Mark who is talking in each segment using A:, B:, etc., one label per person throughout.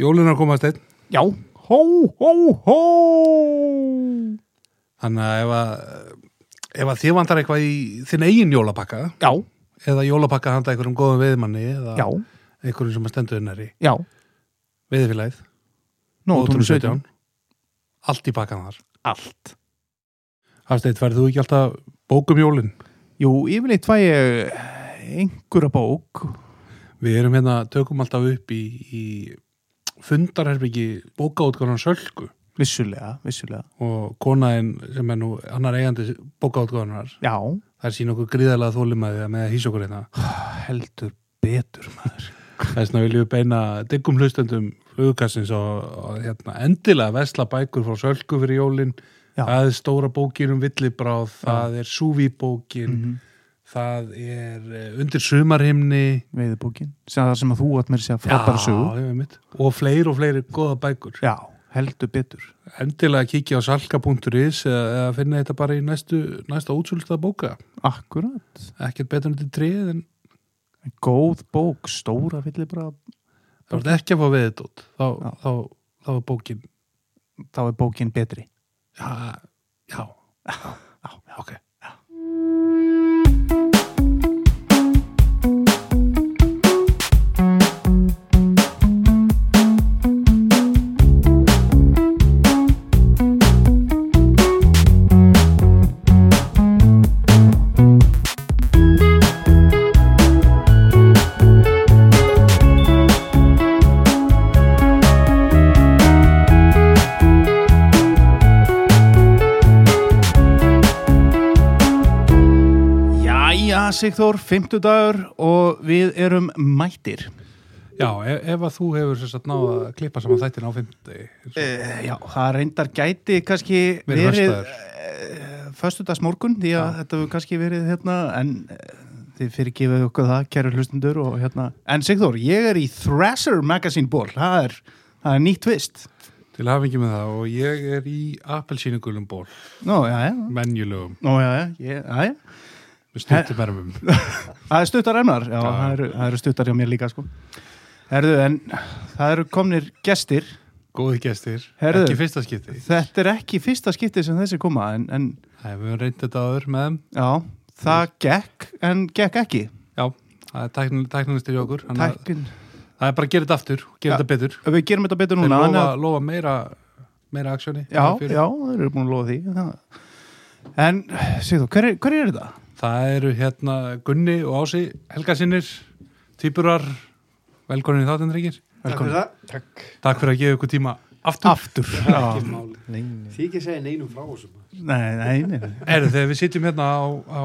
A: Jólunar komast einn
B: Já, hó, hó, hó
A: Þannig að ef að, ef að þið vantar eitthvað í þinn eigin jólapakka
B: Já,
A: eða jólapakka handa einhverjum góðum veðmanni eða
B: já,
A: einhverjum sem að stendur innari
B: já
A: veðfélagið,
B: Nú, tónu 17
A: allt í pakkan þar
B: Allt
A: Hafsteinn, færðu þú ekki alltaf bókum jólin?
B: Jú, yfirleitt fæ ég eh, einhverja bók
A: Við erum hérna, tökum alltaf upp í, í fundarherbyggi bókaútgáðan Sölku
B: Vissulega, vissulega
A: og konaðin sem er nú annar eigandi bókaútgáðanar
B: Já,
A: þær sín okkur gríðarlega þólimaði með að hýsa okkur hérna
B: heldur betur maður
A: þess vegna viljum við beina diggum hlustendum flugkassins og, og hérna, endilega vesla bækur frá Sölku fyrir jólin
B: Já.
A: það er stóra bókin um villibráð það er súvíbókin
B: Mhm.
A: það er eh, undir sumarhimni
B: Veiðbókin, sem það sem að þú átt mér segja frábæra sögur
A: ég veit. og fleiri og fleiri góða bækur
B: Já, heldur betur
A: endilega kíkja á salka.is eða, eða finna þetta bara í næstu, næsta útsölda bóka
B: Akkurat
A: ekkert betur en þetta trið en
B: Góð bók, stóra villibra
A: það voru ekki að fá við þetta út þá,
B: Já.
A: þá, þá var bókin
B: þá er bókin betri
A: já, já, já, ok
B: Jæja, Sigþór, fimmtudagur og við erum mættir
A: já, ef, ef að þú hefur sem sagt náð að klippa saman þættin á fymti
B: uh, Já, það reyndar gæti kannski
A: Verið
B: verið
A: föstudagur.
B: uh, föstudagsmorgun því að þetta hefur kannski verið hérna en uh, þið fyrir gefið okkur það, kæru hlustendur og hérna En Sigþór, ég er í Thrasher Magazine ból, það er, það er nýtt vist
A: til hafingi með það og ég er í appelsínugulum ból,
B: Nú, já, já,
A: menjulegum
B: nú, já, já, ég- já, já
A: með stuttum ermum
B: Það er stuttar ennar, já,
A: Já.
B: Það, eru, það eru stuttar hjá mér líka sko. Herðu, en það eru komnir gestir
A: góði gestir,
B: Herðu.
A: ekki fyrsta skipti
B: Þetta er ekki fyrsta skipti sem þessi koma en, en
A: Æ, við höfum reyndið þetta aður með þeim
B: já, það gekk en gekk ekki
A: já, það er tæknin- tæknilistir í okkur þannig að-
B: Tækn,
A: Það er bara að gera þetta aftur, gera
B: Já.
A: þetta betur.
B: Við gerum þetta betur
A: Þeir
B: núna
A: lofa,
B: þannig að-
A: lofa meira, meira aksjóni.
B: Já, já, þeir eru búin að lofa því það. En, segðu, hver, er- hver er þetta?
A: Það eru hérna Gunni og Ási, helgasinnir, týpurar, velkonin í þáttinn, drengir.
B: Velkomin.
C: Takk.
A: Takk fyrir að gefa ykkur tíma aftur.
B: Aftur já.
C: Því ekki að segja neinum frá þessum.
B: Nei, nei, nei, nei.
A: Erðu, þegar við sitjum hérna á, á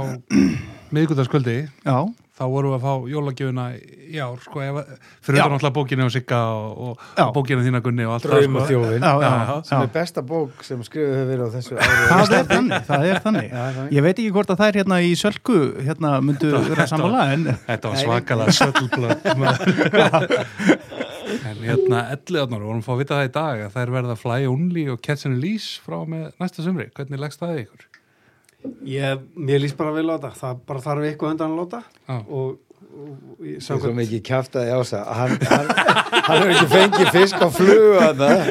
A: miðgutaskvöldi,
B: Já,
A: þá vorum við að fá jólagjöfuna í ár, sko, ef, að- fyrir
B: Já.
A: þetta náttúrulega bókina og Sigga og,
B: Já.
A: og bókina þína Gunni og allt það, sko.
C: Draumaþjófin.
B: já, já,
A: Já,
C: Sem
B: já.
C: er besta bók sem skrifuð hefur verið á þessu ári.
B: Það er þannig, það er þannig.
C: Já, það er-
B: Ég veit ekki hvort að þær hérna í sölku hérna myndu vera sammála en
A: Þetta var svakalega söllblöð En hérna 11 átnar, vorum að fá að vita það í dag að þær verða fly only og catch and release frá og með næsta sumri, hvernig leggst það í ykkur?
C: Ég, mér líst bara vel á þetta. Það bara þarf eitthvað undan að láta.
A: Já.
C: Og, og ég-
D: Svo
C: samkvæmt-
D: mikið kjaftaði á þess að hann, hann, hann hefur ekki fengið fisk á flugu að það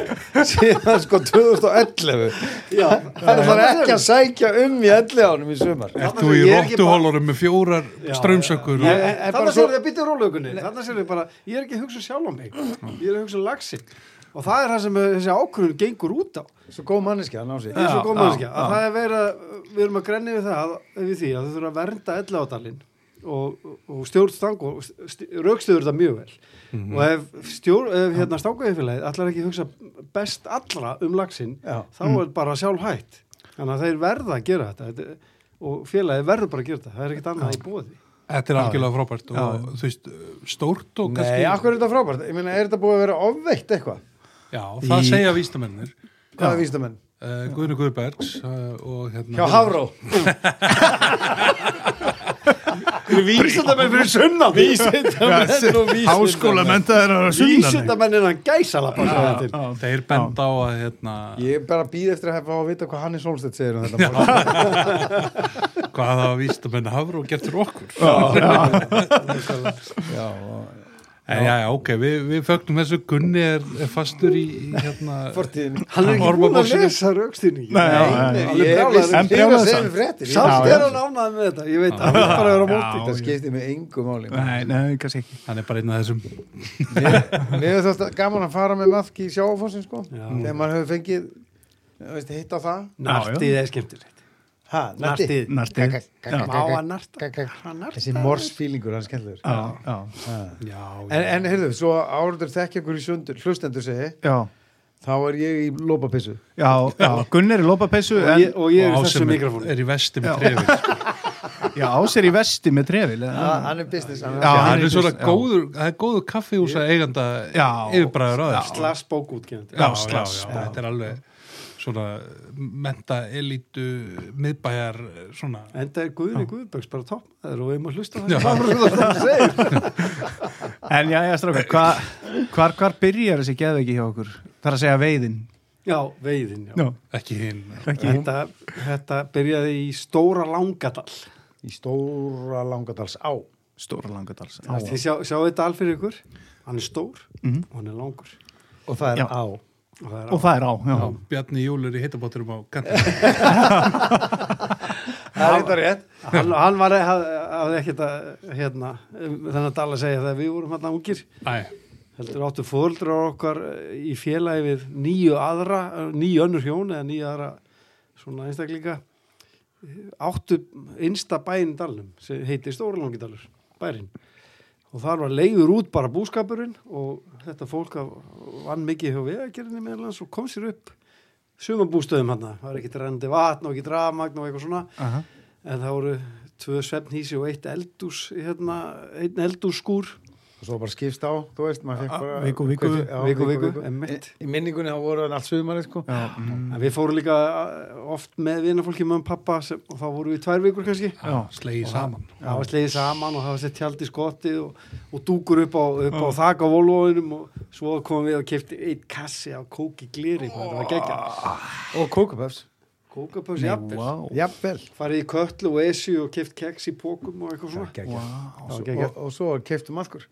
D: síðan sko 2011
C: Já,
D: hann þarf ekki að sækja um í 11 ánum í sumar
A: Ert
C: Þarna
A: þú í
C: sem ég er ekki
A: róttuhólarum með fjórar strömsökkur
C: Ég-
A: og...
C: en- en bara svo- Þarna
D: Þarna segirðu
C: sér þið að bytja rólegunni. Þarna sér þið bara, ég er ekki að hugsa sjálf um mig. Ég er að hugsa um lagsin. Og það er það sem uh, þessi ákvörðun gengur út á.
D: svo góð manneski hann á sig
C: Ég er svo
B: Já,
C: góð
B: já,
C: mannskja.
B: já.
C: Að það er verið að, við erum að grenni við það, við því að þau þurfum að vernda elláðalinn og, og stjórn stangu, raukstuður það mjög vel. Og ef stjórn, ef hérna stanguðinfélagið allar ekki hugsa best allra um laxinn,
D: Já.
C: þá er bara sjálf hætt. Þannig að þeir verða að gera þetta. þetta. Og félagið verður bara að gera þetta. Það er ekkert annað í bóði.
A: Þetta er algjörlega frábært og þú veist, stórt og
D: nei, akkur er þetta frábært, ég meina er þetta búið að vera ofveitt eitthvað,
A: Já, það
B: Í-
A: segja vístamennir
D: hvað er vístamenn
A: uh, Guðinu Guðbergs uh, og hérna...
D: hjá Hafró
C: Vísindamenn fyrir sunnan. Vísindamenn og
B: háskóla mentaður að
C: Vísindamenn er hann gæsalappa. sem þetta er.
A: Þeir benda á að hérna,
D: ég bara býð eftir að hafa að vita hvað Hannes Holstedt segir um þetta mál.
A: hvað hafa vístamenn hafur og gert fyrir okkur
D: Já, og-
A: En Eh, já, já, ok, við, við fögnum þessu Gunni er, er fastur í, í hérna,
D: Fortíðin
C: Hann er ekki
A: Orma
C: búin að
A: bóksina.
C: lesa raukstinni
B: Nei, já, já, já.
D: Ég er
C: brjálaður.
D: viss-
B: En
D: ég er að
B: brjálaður
D: segja
B: samt.
D: mér fréttir
C: Sátt
B: Já,
C: er
B: já.
C: hann ánað með þetta Ég veit, hann vil bara vera á móti
D: Það skiptir mig engu máli
B: Nei, nei, kannski ekki
A: hann er bara einn af þessum.
D: Mér er þetta gaman að fara með maðki í sjáfósin sko Þegar maður hefur fengið þú veist, hitt á það
C: Nartið er skemmtilegt
D: ha, narti.
C: Nartið
B: Nartið.
D: Kakak,
B: Já.
D: kakak,
C: Má að narta
D: kakak.
C: Hann nartar.
D: Þessi morsfílingur, hann er skemmtilegur
B: Já, já,
A: Já,
D: En, en heyrðu, svo áruður þekkja ykkur í sundur, hlustendur segi,
B: já,
D: þá er ég í lópapissu.
B: já, já. Gunn er í lopapessu
C: Og
B: en
C: ég- Og ég er í
A: og
C: þessu
A: ásum er,
C: mikrofónu
A: er í vesti
B: Já.
A: með trefið.
B: já, ás er í vesti með trefil
D: Ah, hann er business, hann
B: Já,
D: er
A: Það
B: hann er
A: er svona
B: fyrst- já.
A: góður, það er góður kaffihúsa eiganda
B: Já.
A: yfirbræður á þér.
C: Slass bókútgefandi
A: Já, já,
B: slags,
A: já,
B: já.
A: þetta er alveg svona menta elítu miðbæjar svona.
C: Enda er Guðni Guðbergs bara topp Það er og við erum að hlusta á
A: Já.
C: það
B: En já, já, strákar, hva, hvar, hvar byrjar þessi geðveiki hjá okkur? Það er að segja veiðin
C: Já, veiðin já.
B: Já,
A: Ekki hinn.
B: ekki hún
C: Þetta, þetta byrjaði í Stóra Langadal
D: í stóra langadals á.
B: Stóra langadals
C: Þið sjá, sjá þetta alfyrir ykkur Hann er stór
B: Mhm.
C: og hann er langur
D: Og það er
B: Já.
D: á.
C: Og það er
B: Og það er á, já,
A: Já, Bjarni Júlur í hittabótturum á kantinum.
D: Það er þetta rétt.
C: hann, hann var hafði ekkert að hérna, um þennan dal að segja það við vorum hann ungir
A: Æ,
C: heldur áttu fóruldrar okkar eh, í félagi við nýju aðra eh, nýju önnur hjón eða nýju aðra svona einstaklinga eh, áttu einsta bæinn í dalnum sem heitir Stóralangidalur bærin og þar var leiður út bara búskapurinn og þetta fólk af- vann mikið hjá vegagerðinni meðlans og kom sér upp sumabústöðum hann það var ekkert rendi vatn og ekki rafmagn og eitthvað svona
B: aha,
C: en það voru tvö svefnhísi og eitt eldús hérna, einn eldússkúr
D: Og svo bara skipst á, þú veist, maður
B: Ah,
D: fekk bara...
B: viku, viku,
D: Hversu- já,
C: viku, viku, einmitt.
D: Í, í minningunni þá voru hann allt sögumarið, sko.
B: já, mm,
C: en við fórum líka uh, oft með vinafólki með pappa sem, og þá voru við tvær vikur kannski
B: já,
A: slegið saman.
C: það var slegið saman og það var sett tjaldi skotti og, og dúkur upp á, upp á þak á volvoðinum og svo komum við og kefti eitt kassi af kóki glýri það var geggja
D: Og kókupöfs.
C: kókapössi jafnvel
B: wow,
D: Jafnvel.
C: farið í köll og esju og keft keks í pókum og eitthvað svona
D: Wow.
C: Það var
D: Og,
C: geggjað.
D: og, og svo keftum maðkur.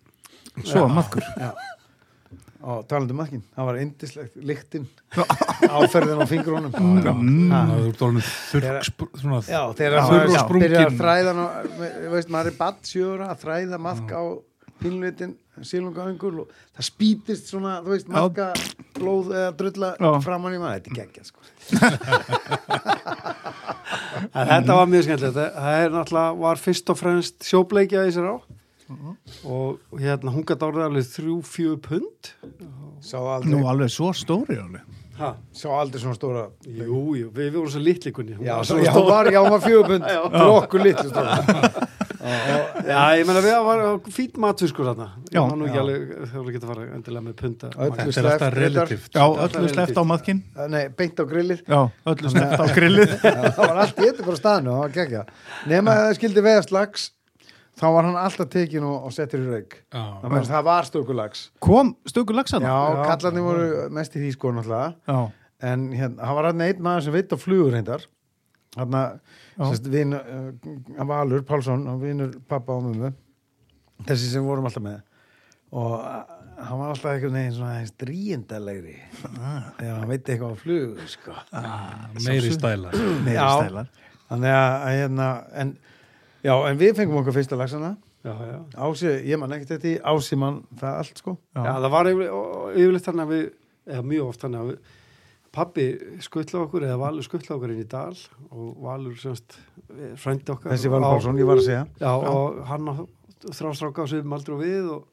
B: Svo, maðkur
D: Og talandi um maðkin. Það var indislegt, lyktinn, áferðin á fingrunum.
A: Það er út orðin þurrkspr... svona
D: Já,
A: þ-
D: þegar
B: Já,
D: maður
B: já.
D: byrjar að
A: Sprungin.
D: þræða ná, veist, maður er badd sjöra að þræða maðk á pínlutin sílungaöngul og það spýtist svona, þú veist, maðka blóð eða drulla
B: Já.
D: framann í maður þetta er geggjað, sko
C: En þetta var mjög skemmtilegt. Það- Það er náttúrulega, var fyrst og fremst sjóbleikja í sér á og hérna hún gæti árið alveg þrjú, fjögur pund.
D: sá aldrei,
B: Nú alveg svo stóri alveg
C: Hæ?
D: sá aldrei svona stóra
C: Jú, jú, við við vorum svo litlikunni.
D: já, svo, já, hún var, já, hún var fjögubund fyrir okkur litlu stóra
C: Já, ég meina við varum fýtt matfiskur sko, þarna. Ég
B: Já.
C: man nú ekki
D: Já.
C: alveg, það voru ekki að fara endilega með punta.
D: Öllu
A: Þetta er alltaf
D: reyndar.
A: relativt.
B: Já, öllu sleppt á maðkin
D: nei, beint á grillið
B: Já, öllu sleppt á grillið
D: það var allt í þetta bara á staðnum, það var geggjað nema að það skildi veða slags þá var hann alltaf tekin og, og settir í rauk
A: Já,
D: það, það var stökulags
B: Kom stökur lagsan
D: já, kallarnir voru mest í því sko náttúrulega
B: já,
D: en hérna, hann var hann einn maður sem veit á flugur reyndar hann
B: Já.
D: uh, Valur Pálsson hann vinur pappa og mömmu þessi sem við vorum alltaf með og uh, hann var alltaf einhvern veginn svona aðeins dríendalegri þegar hann veit eitthvað á flugur sko.
A: meiri stæla.
B: meiri
D: Já.
B: stælar
D: þannig að, að hérna, en, já, en við fengum okkur fyrsta lagsana
C: Já, já.
D: Ási, ég man ekkert þetta í Ási mann það allt sko
C: Já, það var yfir, yfirleitt þannig að við, eða mjög oft þannig að við, pappi skuttla okkur eða Valur skuttla okkur inn í dal og Valur semst eh, frændi okkar.
D: þessi Valur
C: á-
D: Pálsson, ég var að segja
C: Já, og hann á þrástráka á svipum aldrei og við og,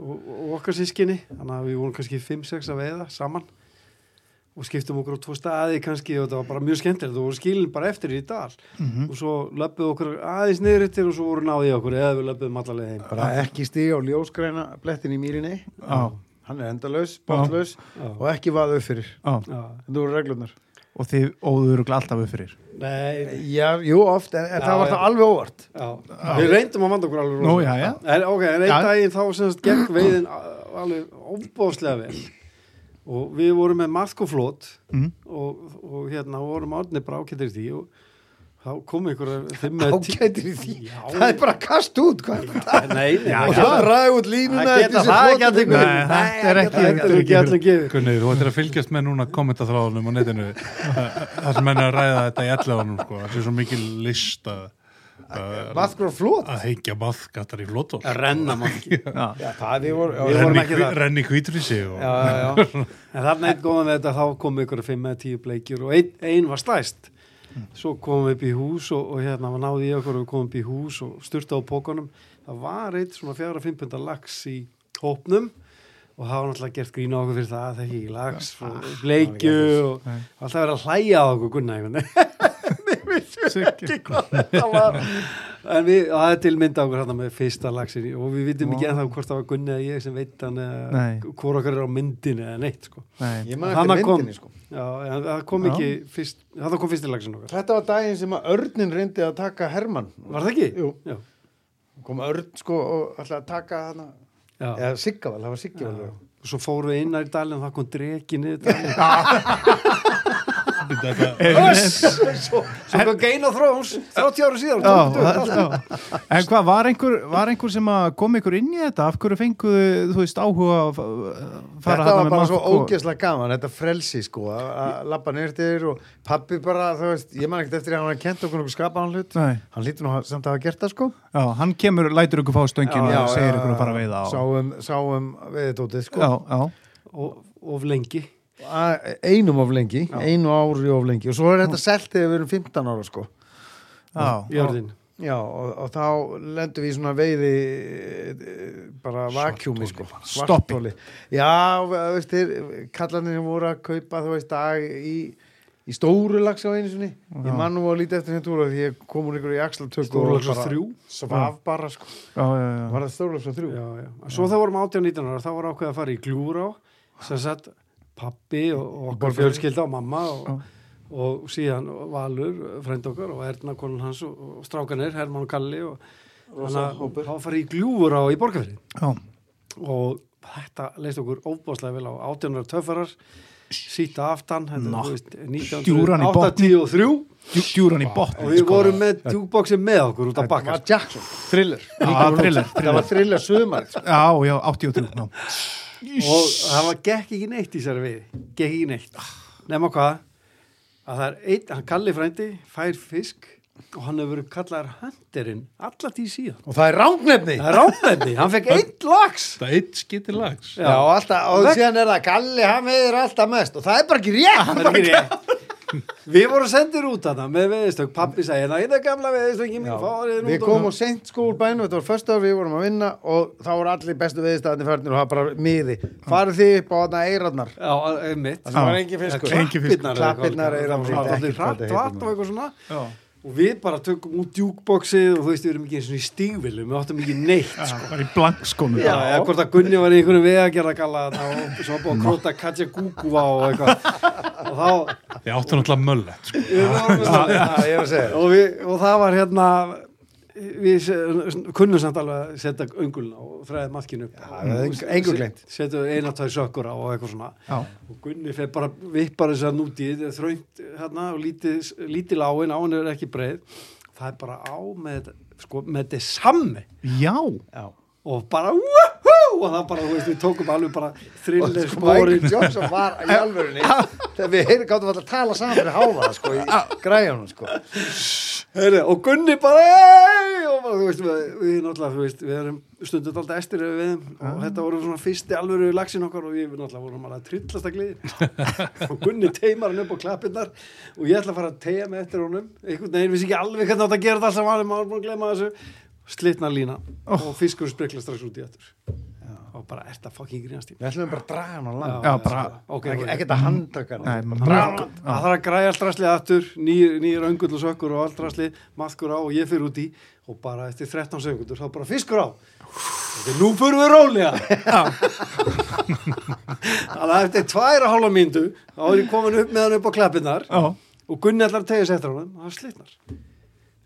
C: og, og okkar sískinni, þannig að við vorum kannski 5-6 að veiða saman og skiptum okkur á tvo staði kannski og þetta var bara mjög skemmtilegt og voru skilin bara eftir í dal
B: Mhm.
C: og svo löppuð okkur aðeins niður yttir og svo voru náði í okkur eða við löppuðum allalega heim
D: bara ekki stíg á ljósgræna blettin í mýrinni
B: Já,
D: hann er endalaus, bóttlaus
C: Já.
D: og ekki vaðu fyrir
B: já
C: Já.
D: Þetta voru reglunar.
B: Og þið óður örugglega alltaf upp fyrir
C: Nei,
D: Já, jú, oft, en, en
C: Já,
D: það var
C: já.
D: það alveg óvart.
C: já. við reyndum að vanda okkur alveg
B: Nú,
C: rosalega.
B: já, já
C: En, ok, en einn
B: Já.
C: daginn þá semst gekk veiðin a- alveg óbóðslega vel og við vorum með maðkoflót
B: Mhm.
C: og, og hérna vorum átni brákettir því og þá kom einhverja fimm eða tí-
D: ágætir í því
C: Já.
D: það er bara að kasta út hvað er þetta
C: Nei, nei,
D: og
C: já,
D: það ræði út línuna
C: Það geta það
D: eftir þessi
C: ekki allir
D: fótbolti-
B: guð. Nei, þetta er ekki-
D: það geta
C: Þetta er ekki allir gefið
A: Gunni, þú ættir að fylgjast með núna kommentaþráðunum á netinu þar sem menn er að ræða þetta í allafanum sko. það er svo mikil list að
D: það.
A: að-
D: Maðkur og flót
A: að heikja maðgattar í flótól
C: Að renna mann
B: Já.
D: Já, það við vorum
C: Við
D: já,
C: vorum
A: renni,
C: ekki
A: hví,
C: það.
A: renni hvítrisi og
D: já, já, já.
C: En þarna einn góðan við þetta, þá kom ykkur fimm eða tíu bleikjur og einn ein var slæst. Svo komum við upp í hús og, og hérna var náði í okkur og við komum upp í hús og styrta á pókanum. Það var eitt svona fjara fimmpunta lax í hópnum og það var náttúrulega gert grína okkur fyrir það, það er ekki lax og bleikju og alltaf verið að hlæja á okkur gunna einhvern veginn.
B: Siggi.
C: Það var- en við, og það er tilmynda okkur hérna með fyrsta laxin og við vitum ekki ennþá hvort það var Gunni eða ég sem veit hann eða
B: Nei.
C: hvort okkar er á myndinu eða neitt sko.
B: Nei.
D: ég maður
C: Þarna
D: eftir
C: kom-
D: myndinni sko
C: Já, en það kom
B: Já.
C: ekki fyrst, það kom fyrst í lagsin okkar.
D: þetta var daginn sem að örnin reyndi að taka Hermann
C: Var það ekki?
D: Jú.
C: Já.
D: kom örn sko og ætlaði að taka hana
C: Já.
D: eða Siggaval, það var Siggaval
C: Og svo fórum við inn í dalinn og það kom dregi niður dalinn. svo, svo kom Gein og Þróns, 30 ára
B: Já,
C: síðan. tókum við
B: það-
C: þetta.
B: já. En hvað, var einhver, var einhver sem að kom ykkur inn í þetta? Af hverju fenguðu, þú veist, áhuga að fa- fara
D: þetta
B: þarna
D: var
B: með
D: bara
B: Mark
D: svo
B: og-
D: ógeðslega gaman þetta frelsi sko, að- að lappa nýrtir og pappi bara, þú veist, ég man ekkert eftir að hann hafi kent okkur okkur skapaðan hlut
B: Nei,
D: hann lítur nú ha- samt að hafa gert það sko
B: já, hann kemur, lætur ykkur fá stöngin
D: Já,
B: og segir
D: já,
B: ykkur að fara að veiða á.
D: sáum, sáum veiðdótið sko
B: Já, já,
C: Og, of lengi.
D: A- einum of lengi, einu ári of lengi og svo er þetta selt þegar við erum 15 ára sko
C: Í
B: já.
C: orðin.
D: já og, og þá lendum við í svona veiði eh, bara vakjúmi sko
B: Stoppi.
D: Svartholi. já, ve- veist þér, kallanir voru að kaupa þú veist dag í í stóru lags á einu sinni ég mann nú að líta eftir henni túra því ég kom úr ykkur í axlatöku
C: Stóru lax á þrjú.
D: svaf bara sko
B: Já, já, já.
D: var það stóru lags á þrjú
C: Já, já. Svo það vorum 18-19 ára, þá var ákveð að fara í glúra sem sagt pappi og, og okkar fjölskylda og mamma og, og síðan Valur, frend okkar og Erna konun hans og, og strákanir, Herman og Kalli og þannig að þá fara í glúra í borgarfyrir
B: já.
C: og þetta leist okkur óbáslega vel á 18 ára töffarar síta aftan þetta,
B: Ná,
C: þú veist,
B: stjúran í botn.
C: 1983 og
B: Djú- Djúran í sko. botn.
C: við vorum með djúkbóksi með okkur út af
D: þetta
C: bakkar
D: var Jackson, thriller
B: Já, thriller,
D: það var thriller sömar sko.
B: Já, já, 83, já.
C: og það var, gekk ekki neitt í þessari við gekk ekki neitt nema hvað að það er einn, hann kalli frændi fær fisk og hann hefur verið kallaðar höndirinn alla tíð síðan
D: og það er rángnefni
C: það er ráðvenni, hann fekk einn lags
A: það er eitt skiti lags
D: Já, og alltaf, og
C: Vegna-
D: síðan er það Galli, hann veiðir alltaf mest og það er bara ekki rétt
C: Það er ekki rétt. Við vorum sendir út að það með veðistökk, pappi sagði, það er það gamla veðistökk, ég mín fárið út.
D: Við komum seint sko úr bænum, þetta var första ár við vorum að vinna og þá voru allir bestu veðistæðinni færnir og það bara miði. Farið þið upp á þarna eirarnar.
C: Já, einmitt.
D: Það var engin fiskur.
B: Engin fiskur.
D: Klappirnar eru
C: Það var
D: alveg ekki
C: allir
D: hvað
C: hratt
D: þetta heitir
C: vatn og
D: núna.
C: eitthvað svona.
B: Já.
C: Og við bara tökum út djúkboxið og þú veist, við erum ekki eins og í stígvilum, við áttum ekki neitt.
B: Já, Bara í sko, blankskónu.
C: Já, eða hvort að Gunni var í einhverjum vegagerða galla og svo var búið að króta Katja Gúgúa og eitthvað. Og þá,
A: ég áttu náttúrulega möllet sko.
C: við vorum með
D: Já,
C: það.
D: já, ég var að segja.
C: og, við, og það var hérna við se- kunnum samt alveg að setja öngulna og fræðið matkinu upp
D: það er engu- engu gleymt.
C: setja eina tvær sökkur á og eitthvað svona
B: Já.
C: og Gunni fer bara vippar þess að núti þetta er þröngt hérna og lítið, lítið láin á hann er ekki breið það er bara á með þetta sko, með þetta er sammi
B: Já.
D: Já.
C: og bara woohoo og það bara, þú veist, við tókum alveg bara
D: Og
C: þrillir
D: sko
C: spórin
D: Michael Johnson var í alvörunni þegar við heyrðum gáttum alltaf að tala saman fyrir háfaða sko í græjunum sko
C: Heyri, og Gunni bara, hei, og bara, þú veist, við, við náttúrulega, þú veist, við erum stundum alltaf estir við við þeim
D: Ah.
C: og þetta voru svona fyrsti alvöru lagsin okkar og við náttúrulega vorum alveg að trillast að gleði og Gunni teimar hann upp á klappinnar og ég ætla að fara að teima með eftir honum, einhvern veginn vissi ekki alveg hvernig átt að gera þetta allt saman, maður er búin að glemma þessu, slitna lína
D: Oh.
C: og fiskur spekla strax út í aftur og bara, er þetta fucking grínast í?
D: Við ætlum bara að draga hann á land
B: Já, bara,
C: Ok,
D: Ekki-
C: ok.
D: Ekkert að handtaka
B: nei,
D: hann
B: hann var,
C: Það þarf að græja allt rastlið aftur, nýjir, nýjir öngull og sökkur og allt rastlið, maðkur á og ég fyrir út í og bara eftir 13 sekundur þá bara fiskur á. Þegar nú fyrir við rólega. Þannig að eftir tværa hálfa mínútu þá er ég komin upp með hann upp á klappinnar
B: já,
C: og Gunni allar tegis eftir honum og hann slitnar.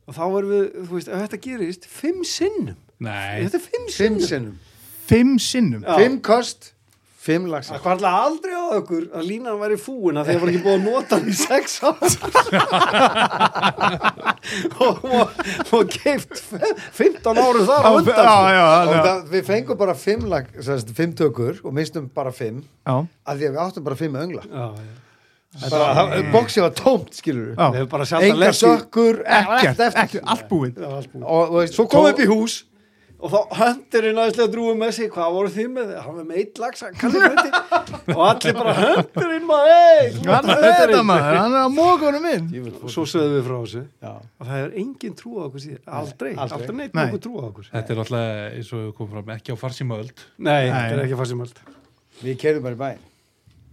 C: Og þá erum við, þú veist, ef þetta gerist, fimm sinnum.
A: nei,
C: Þetta er fimm sinnum.
D: Fimm sinnum.
B: fimm sinnum.
C: Já.
D: Fimm kost fimm lagsar
C: Það kvarla aldrei á okkur að línan væri fúin að þegar var ekki búið að nota hann í sex árs og, og, og keift 15 áru þar á
B: Já, já,
C: undan
B: já,
D: sko. og
B: já.
D: það, við fengum bara fimm, lag, sérst, fimm tökur og mistum bara fimm
B: Já,
D: að því að við áttum bara fimm öngla
C: Já, já.
D: bara, það- boxið var tómt
B: Já.
D: skilur við
C: Við hefum bara sjálf að
D: enga
C: lesa
D: sökkur, ekkert
B: ekkert,
D: eftir
B: ekkert, allt búið
D: og þú veist,
C: Svo kom upp í hús og þá höndirinn aðeinslega drúið með sig hvað voru þið með þið? Hann var með eitt lags og allir bara höndirinn maður
B: Hann er þetta maður, hann er að móka honum inn
C: og svo sögðum við frá þessu
D: Já.
C: og það er engin trú á okkur síðan aldrei, aldrei,
D: aldrei.
C: neitt
B: Nei.
C: nokkuð trú á okkur
A: Þetta er alltaf, eins og við komum fram, ekki á farsímaöld.
C: nei,
B: Nei.
C: þetta er ekki farsimöld
D: við kerðum bara í bæn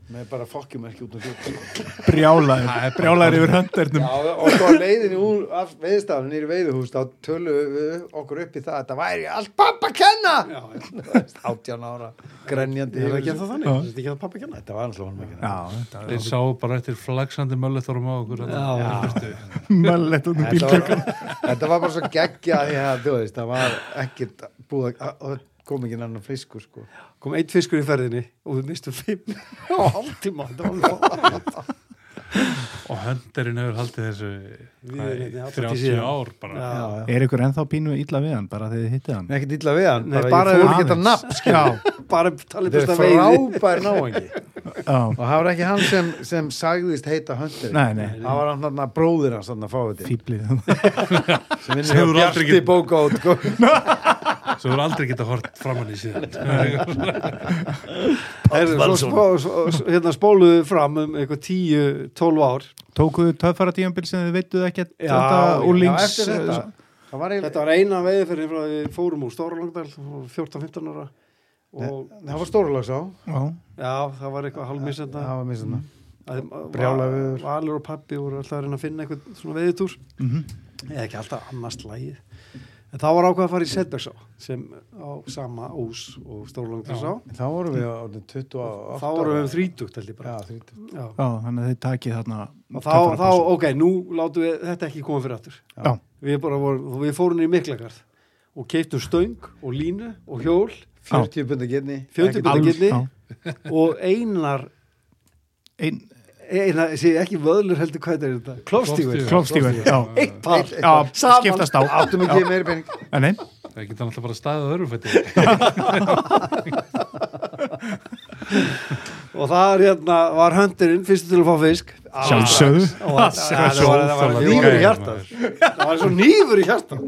D: með bara fokkjum ekki út um glugg
B: Brjálæður, brjálæður yfir höndernum
D: Já, og svo á leiðinni úr veiðstafnum nýri veiðuhús þá tölum við okkur upp í það að það væri allt pappa að kenna
C: já, já.
D: átján ára, grenjandi
C: Ég er
D: yfir
C: ekki að
D: þessu.
C: það þannig, þetta er ekki að pappa kenna
D: þetta var alltaf honum ekki
B: Já, þetta
A: Þeir sá bara eftir flagsandi mölluþorm á okkur. þarna.
C: Já.
B: er möllett út um
D: þetta
B: bílklökk
D: var, þetta var bara svo geggja því að þú veist, það var ekkert búið að- að kom ekki annan fliskur sko.
C: Kom eitt fiskur í ferðinni og við mistum fimm og hálftíma, þetta var alveg fáránlegt.
A: Og höndirinn hefur haldið þessu hvað,
C: erum
A: í
C: hérna í
A: 30
C: síðan.
A: ár bara.
C: Já.
B: Er ykkur ennþá pínu illa við hann bara þegar þið hittið hann?
D: ekkert illa við hann,
C: Nei,
D: bara,
C: bara
D: ég fór
C: við-
D: ekki þetta nafn
B: Já,
C: Bara talið besta
D: þetta er
C: veiði
D: frábær náangi
B: já,
D: og það var ekki hann sem, sem sagðist heita höndir
B: nei, nei,
D: það var hann þarna bróðir hans þarna fáviti
B: fýblið
D: sem
A: Sem
D: vinnur
A: þú
D: hjá
A: aldrei
D: Bjarti
A: getur-
D: bóka út sko.
A: Svo voru aldrei geta hort framann í síðan.
C: Heyrðu, svo
A: Valsson.
C: spó- svo- svo- Hérna spóluðu fram um eitthvað 10, 12 ár
B: Tókuðu töffara tíambil sem þið veituð ekkert
C: Já, já,
B: þetta
D: já,
B: úlings
D: eftir þetta það var
C: Þetta
D: eiginlega
C: var eina veiði fyrir frá því við fórum úr Stóra Langbel 14-15 ára og
D: það var stóralags á
B: Já,
C: já, það var eitthvað hálfmissenda
D: það var missan brjálæði
C: brjálaður Valur og pappi voru alltaf að reyna að finna eitthvað svona veðitúr eða ekki alltaf annars lagið en þá var ákvað að fara í Sedbergsá sem á sama ós og Stórlangarsá
D: þá vorum við orðin 28
C: þá vorum við um þrítugt held ég bara
D: já, 30
C: Já.
B: já, þannig að þið takið þarna
C: og þá, þá, ok, nú látum við þetta ekki koma fyrir aftur
B: Já,
C: við, bara vorum, við fórum niður í Miklagarð og keiptum stöng og línu og hjól
D: 40 bunda getni
C: 40 bunda
B: Alls,
C: getni.
B: já.
C: og einar,
B: Ein,
C: einar sé, ekki vöðlur heldur hvað þetta er þetta klofstígur
B: klofstígur, já
C: eitt par
D: Eitt- eitt
B: Já,
C: Saman.
B: skiptast á
D: áttum ekki meiri pening
B: En nei,
A: Það geta alltaf bara staðið á öðrum fætti.
C: og það er hérna, var höndurinn fyrstu til að fá fisk
B: sjálfsögðu
C: og það- það
B: Sjálfsögðu.
C: var- það var nýfur í hjartað það var svo nýfur í hjartað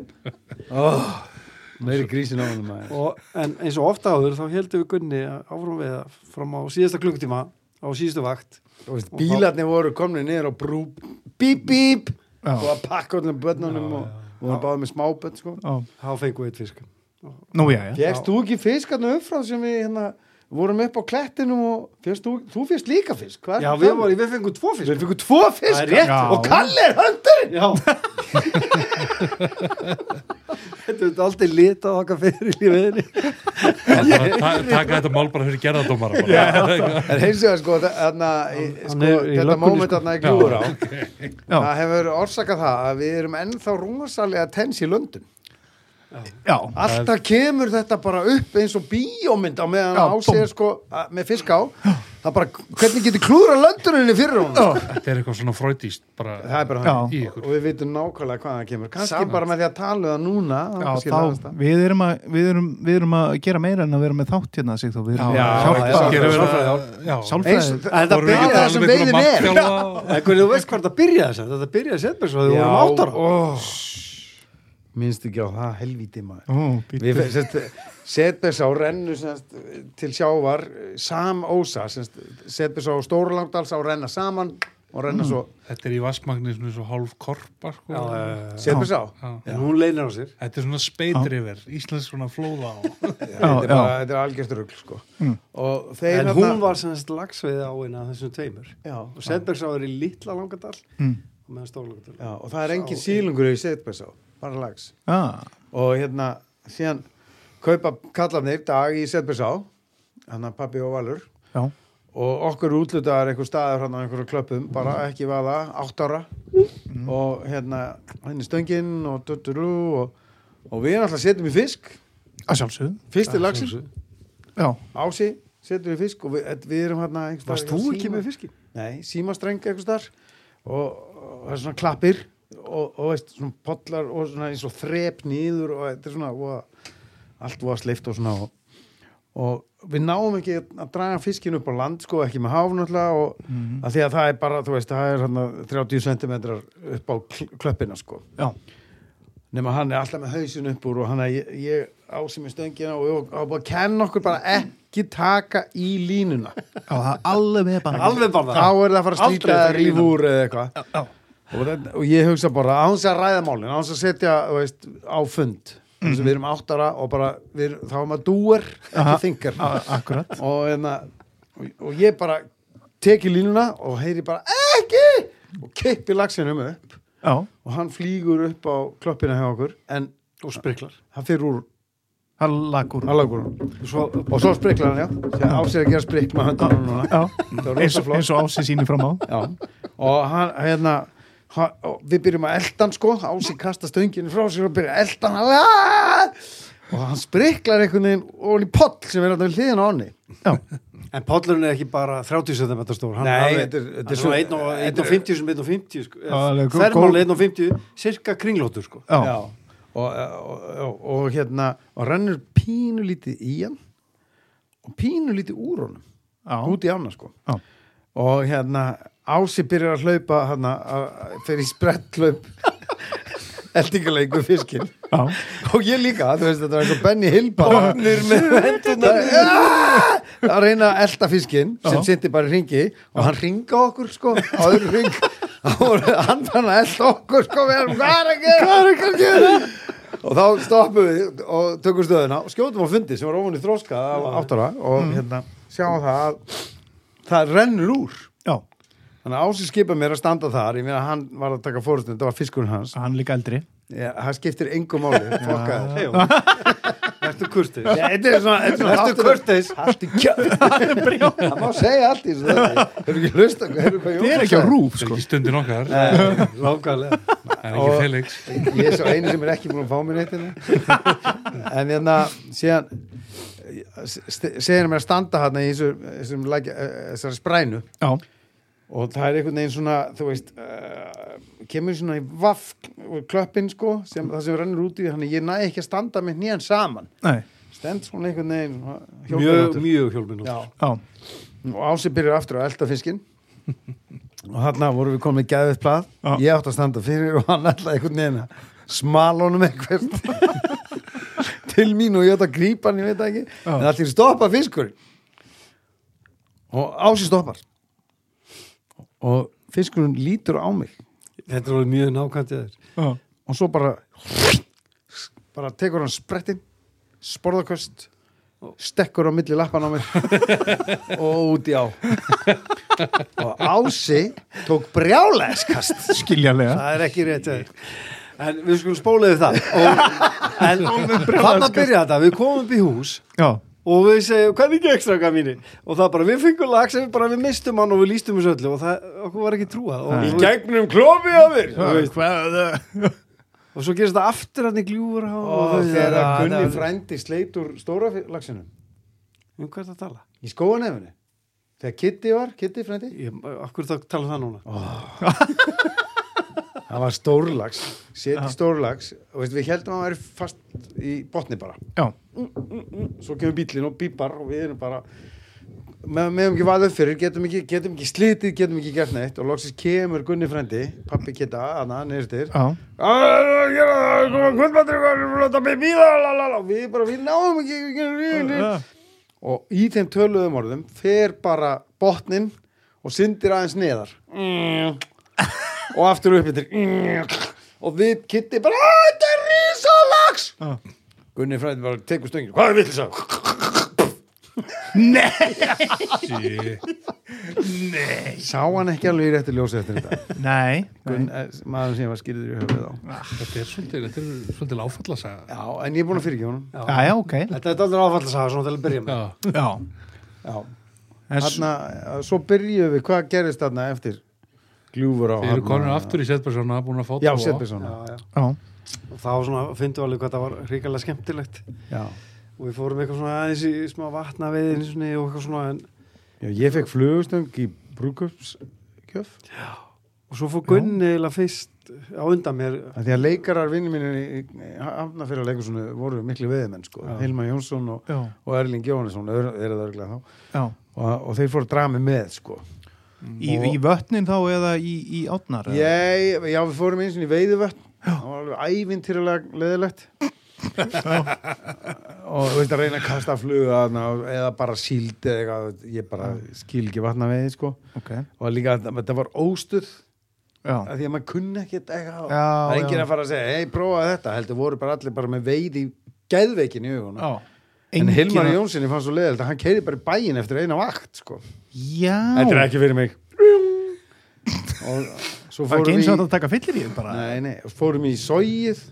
D: meiri grísin á honum maður.
C: og, en eins og ofta áður þá heldum við Gunni að áfram við það fram á síðasta klukkutíma á síðustu vakt
D: Þú veist, bílarnir voru komni niður á brú bíp bíp
B: Já.
D: og að pakka allir börnunum og og voru báðið með smábönd sko
B: Já.
C: þá fengum við eitt fisk
B: Nú, já, já
D: Fjöxt þú ekki fisk hann umfram sem við hérna vorum upp á klettinum og fjöxt þú, þú fjöxt líka fisk hvað
C: já
D: ertu
C: við,
D: að tala um?
C: var, við fengum tvo fisk
D: við fengum tvo fisk
C: Það er rétt.
B: Já.
D: og Kalli er höndurinn
C: já þetta er aldrei litað okkar fyrir í veðinni
A: Takka þetta mál bara fyrir gerðardómara. bara.
D: en hins vegar sko, þa- þarna, í-
C: hann
D: sko
C: er í
D: þetta
C: löggunni,
D: moment
C: sko.
D: þarna í glúður á
B: Já.
D: það hefur orsakað það að við erum ennþá rúmasalega tens í löndum
B: Já,
D: alltaf kemur þetta bara upp eins og bíómynd á meðan
B: Já,
D: á sér
B: búmm.
D: sko að- með fisk á það bara, hvernig getur klúður lönduninni fyrir hún sko?
A: Þetta er eitthvað svona fröydíst.
D: það er bara
B: Já.
D: hann
A: í
D: og
A: ykkur.
D: við vitum nákvæmlega hvaðan það kemur kannski bara með því að tala um það núna þá
B: já
D: kannski lagast
B: þá,
D: það.
B: við erum, að, við, erum, við erum að gera meira en að vera með þátt hérna sig þó Við
A: Já,
B: erum að
A: já, já,
B: hjálpa
A: gerum við
C: sálfræði,
A: það. Já.
D: eins
B: Sálfræði
D: og þetta
A: Vorum við ekki að
D: byrjaði það
A: tala um
D: sem
A: einhverja
D: veiðin er
A: markþjálfa?
C: en hvernig þú veist hvað þetta byrjaði þess þetta byrjaði setmur svo þau vorum áttar á
D: ó, minnst ekki á það helvíti maður
B: Ó,
D: við
B: býttu
D: setbess á rennu semst, til sjávar samósa setbess á Stórlandals á renna saman og renna svo
A: Þetta er í vassmagni svona eins og hálf korpa. Sko.
C: Já, já, já, já.
D: setbess á
A: Já.
C: en hún leinar á sér
A: Þetta er svona speitriver, íslensk svona flóða á.
D: þetta er
B: já.
D: bara, þetta er algjörst rugl sko. og þeir
C: en
D: þarna-
C: hún var sem sagt lagsveið á eina þessum tveimur
D: já,
C: og Sedbergsá er í litla langadal
B: Mm.
C: og meðan stóra langadal
D: já, og það er engin sílungur í setbess á bara lags
B: Já,
D: og hérna síðan kaupa kallarnir dag í Selbersá hann að pappi og Valur
B: já,
D: og okkur útlutaðar einhver staður hann á einhverju klöppum bara ekki vaða, átt ára og hérna henni stöngin og dutturú og, og við erum alltaf að setjum í fisk
B: að sjálfsögðu
D: fyrsti lagsins,
B: Já,
D: ási setur við fisk og við, et- við erum hérna einhvers
C: Varst
D: staðar-
C: þú ekki
D: síma-
C: með fiskinn?
D: Nei, símastreng einhvers þar og, og það er svona klappir og, og veist, svona pollar og svona eins og þrep nýður og þetta er svona og, allt voða sleift og svona og, og við náum ekki að draga fiskin upp á land sko, ekki með háf náttúrulega og
C: Mhm.
D: að því að það er bara, þú veist, það er hana, 30 cm upp á kl klöppina sko
B: já,
D: nema hann er alltaf með hausin upp úr og hann er ég, ég á sem er stöngina og ég á bara að kenna okkur bara ekki taka í línuna
B: já, það er alveg með bann
C: Alveg bara
D: þá er það að fara að
C: Aldrei
D: slíta eða
C: taka í
D: ríf
C: línuna.
D: úr eða eitthvað
B: já,
D: og, það- og ég hugsa bara án þess að ræða málin án þess að setja þú veist, á fund mm -hmm. við erum áttara og bara við, erum- þá er maður dúer ekki þingar
B: akkurat
D: og, hérna, og, og ég bara teki línuna og heyri bara ekki og kippi lagsinum upp
B: já,
D: og hann flýgur upp á kloppina hjá okkur en
C: Og spriklar
D: hann fyrir úr
B: það lagur
D: Allagur.
C: Svo
D: Og svo spriklar hann, já. Sér á sér að gera sprikk með höndunum núna.
B: já,
D: Það var
B: eins,
D: rosa
B: og-
D: flott.
B: eins og ási síni fram á
D: Já. Og hann, hérna, hann, og við byrjum að elda hann sko, á sér kasta stönginu frá sér og byrja að elda hann. Aaaah! Og hann spriklar einhvern veginn og hann í poll sem er alltaf hliðin á honni.
B: já,
C: En pollurinn er ekki bara 30 cm stór hann
D: Nei,
C: alveg-
D: þetta er- þetta er
C: hann er
D: svo-
C: svona 1 og- 1 og 50 sem 1 og 50 sko.
B: alveg góð-
C: Þermál
B: góð-
C: 1 og 50 Cirka kringlótur sko
B: já, já.
D: Já. Og, og, og, og hérna, og rennur pínu lítið í hann og pínu lítið úr honum. Út í ána sko.
B: Já.
D: Og hérna, Ási byrjar að hlaupa, hérna, fyrir í spretthlaup eldingaleiku fiskinn.
B: já.
D: og ég líka, þú veist, þetta var eins og Benny Hill bara Bonnir með hendunar Ah! að reyna að elta fiskinn sem
B: Já.
D: sindi bara í ringi og hann ringa okkur, sko, á öðru ring og hann fann að elta okkur sko, við erum, hvað er að gera? Hvað er að gera? og þá stoppum við og tökum stöðuna og skjótum á fundi sem var ofan í þróska á áttara og hérna, sjáum það að það rennur úr
B: já.
D: þannig að Ási skipa mér að standa þar ég meina hann var að taka fórustin, þetta var fiskurinn hans
B: hann er líka eldri
D: Já, það skiptir engum máli fokkaður
C: Hey, Jón. Ertu kurtið
D: Já, þetta er svona, þetta er
C: Ertu
D: svona
C: kurtið
D: Allt í kjöld Það má segja allt í þessu þætti. Hefur ekki hlust að hefur hvað
B: þið er ekki á rúf
A: Þetta er
B: sko
A: ekki stundin okkar,
C: Lákalega
A: það er ekki
D: og-
A: Felix
D: Ég er svo einu sem er ekki búin að fá mér neitt hérna. En hérna, síðan st- segir hann mér að standa hérna í þessu, þessum lækja- eh, þessari sprænu
B: já,
D: og það er einhvern veginn svona, þú veist uh, kemur svona í vaff klöppin sko, sem, það sem rennur út í þannig ég næ ekki að standa með nýjan saman
B: nei,
D: stend svona einhvern veginn svona
C: Mjög,
D: hjólbarðatur.
C: mjög hjólminótt
D: Já.
B: já,
D: og Ási byrjar aftur að elda fiskinn og þarna vorum við komið gæðið plað,
B: Já.
D: ég átti að standa fyrir og hann ætlaði einhvern veginn að smala honum eitthvað til mín og ég átti að grípa hann, ég veit það ekki
B: Já.
D: en allir stoppa fiskur og Ási stoppar og fiskurinn lítur á mig
C: Þetta er alveg mjög nákvæmt í þér
B: já,
D: og svo bara bara tekur hann sprettinn sporðaköst stekkur á milli lappan á mig og út í á og Ási tók brjálæðskast
B: skiljanlega
C: Það er ekki rétt hjá þér. En við skulum spóla yfir það og, En þannig að byrja þetta Við komum upp í hús
B: já,
C: og við segjum hvernig gekk stráka mínir og það bara við fengum lag sem við bara við mistum hann og við lístum þessu öllu og það okkur var ekki trúað og, og,
D: gegnum klófi á mér
B: hvað
C: og svo gerist það aftur hann í gljúfur og,
D: og
C: þau-
D: þegar
C: það-
D: Gunni
C: það-
D: frændi sleit úr stóra lagsinu
C: um hvað er það að tala?
D: í skóanefinu þegar Kitty var, Kitty frændi
C: Ég, okkur það tala það núna
D: hann var stórlags, seti stórlags og veist, við heldum að hann væri fast í botni bara
B: já,
D: svo kemur bílinn og bípar og við erum bara með, meðum ekki vaðið upp fyrir getum ekki, getum ekki slitið, getum ekki gert neitt og loksins kemur Gunni frendi pappi geta, hana, neyrstir
B: já,
D: Ah, við bara, við náum ekki, ekki, ekki,
B: já.
D: ekki og í þeim töluðum orðum fer bara botnin og syndir aðeins neðar og aftur upp yfir og við kitti bara "Á, þetta er risalags
B: Já.
D: Gunni frændi bara tekur stöngin hvað er vill þess að sá hann ekki alveg í réttu ljósi eftir þetta
B: nei,
D: Gunn, eh, maður sem var skýrður í höfuð á
A: Þetta er svolítið, þetta er svolítið áfalla að segja
D: já, en ég er búin að fyrirgefa honum
B: já, já, ok
C: Þetta er allir áfall að sagða svona til að byrja með
A: Já,
B: já,
D: já.
B: en s-
D: Þarna, eh, svo byrjuðum við, hvað gerist þarna eftir gljúfur á
A: þeir eru
D: þarna-
A: konur aftur í Setbersona búin að fá
D: já,
A: tvo.
D: setbjörnsson
C: já, já.
B: já,
C: og þá svona finnum við alveg hvað það var hrikalega skemmtilegt
D: Já.
C: og við fórum eitthvað svona aðeins í smá vatna við og eitthvað svona en,
D: Já, ég fekk flugustöng í brúkupskjöf
C: og svo fór Gunni eiginlega fyrst á undan mér
D: Því að leikarar vinni mínu í hafna fyrir að voru miklu veðimenn sko.
C: Já.
D: Hilma Jónsson og,
B: já,
D: og Erling Jóhannesson eru er það örglega þá
B: já.
D: og, og þeir fóru að draga mig með sko.
B: Í, í vötnin þá eða í, í átnar eða?
D: Ég, já, við fórum eins og í veiðuvötn það var alveg ævintýralega leðilegt og þú veist að reyna að kasta fluga þarna og- eða bara síld eða eitthvað, ég bara skil ekki vatna veiði sko.
B: ok,
D: og líka að þetta var óstuð
B: já,
D: að því að maður kunni ekkert eitthvað
B: Já,
D: það er enginn
B: já.
D: að fara að segja, hei, prófa þetta heldur voru bara allir bara með veið í gæðveikin í auguna
B: já.
D: en Hilmar
B: Enginn-
D: Jónssoni fannst svo leiðilegt að hann keiri bara í bæin eftir eina vakt sko. þetta er
B: já,
D: ekki fyrir mig og
B: það
D: svo
B: er
D: fórum
B: ekki eins og
D: við
B: þetta að taka fyllir í þeim bara
D: nei, nei, og fórum í sóið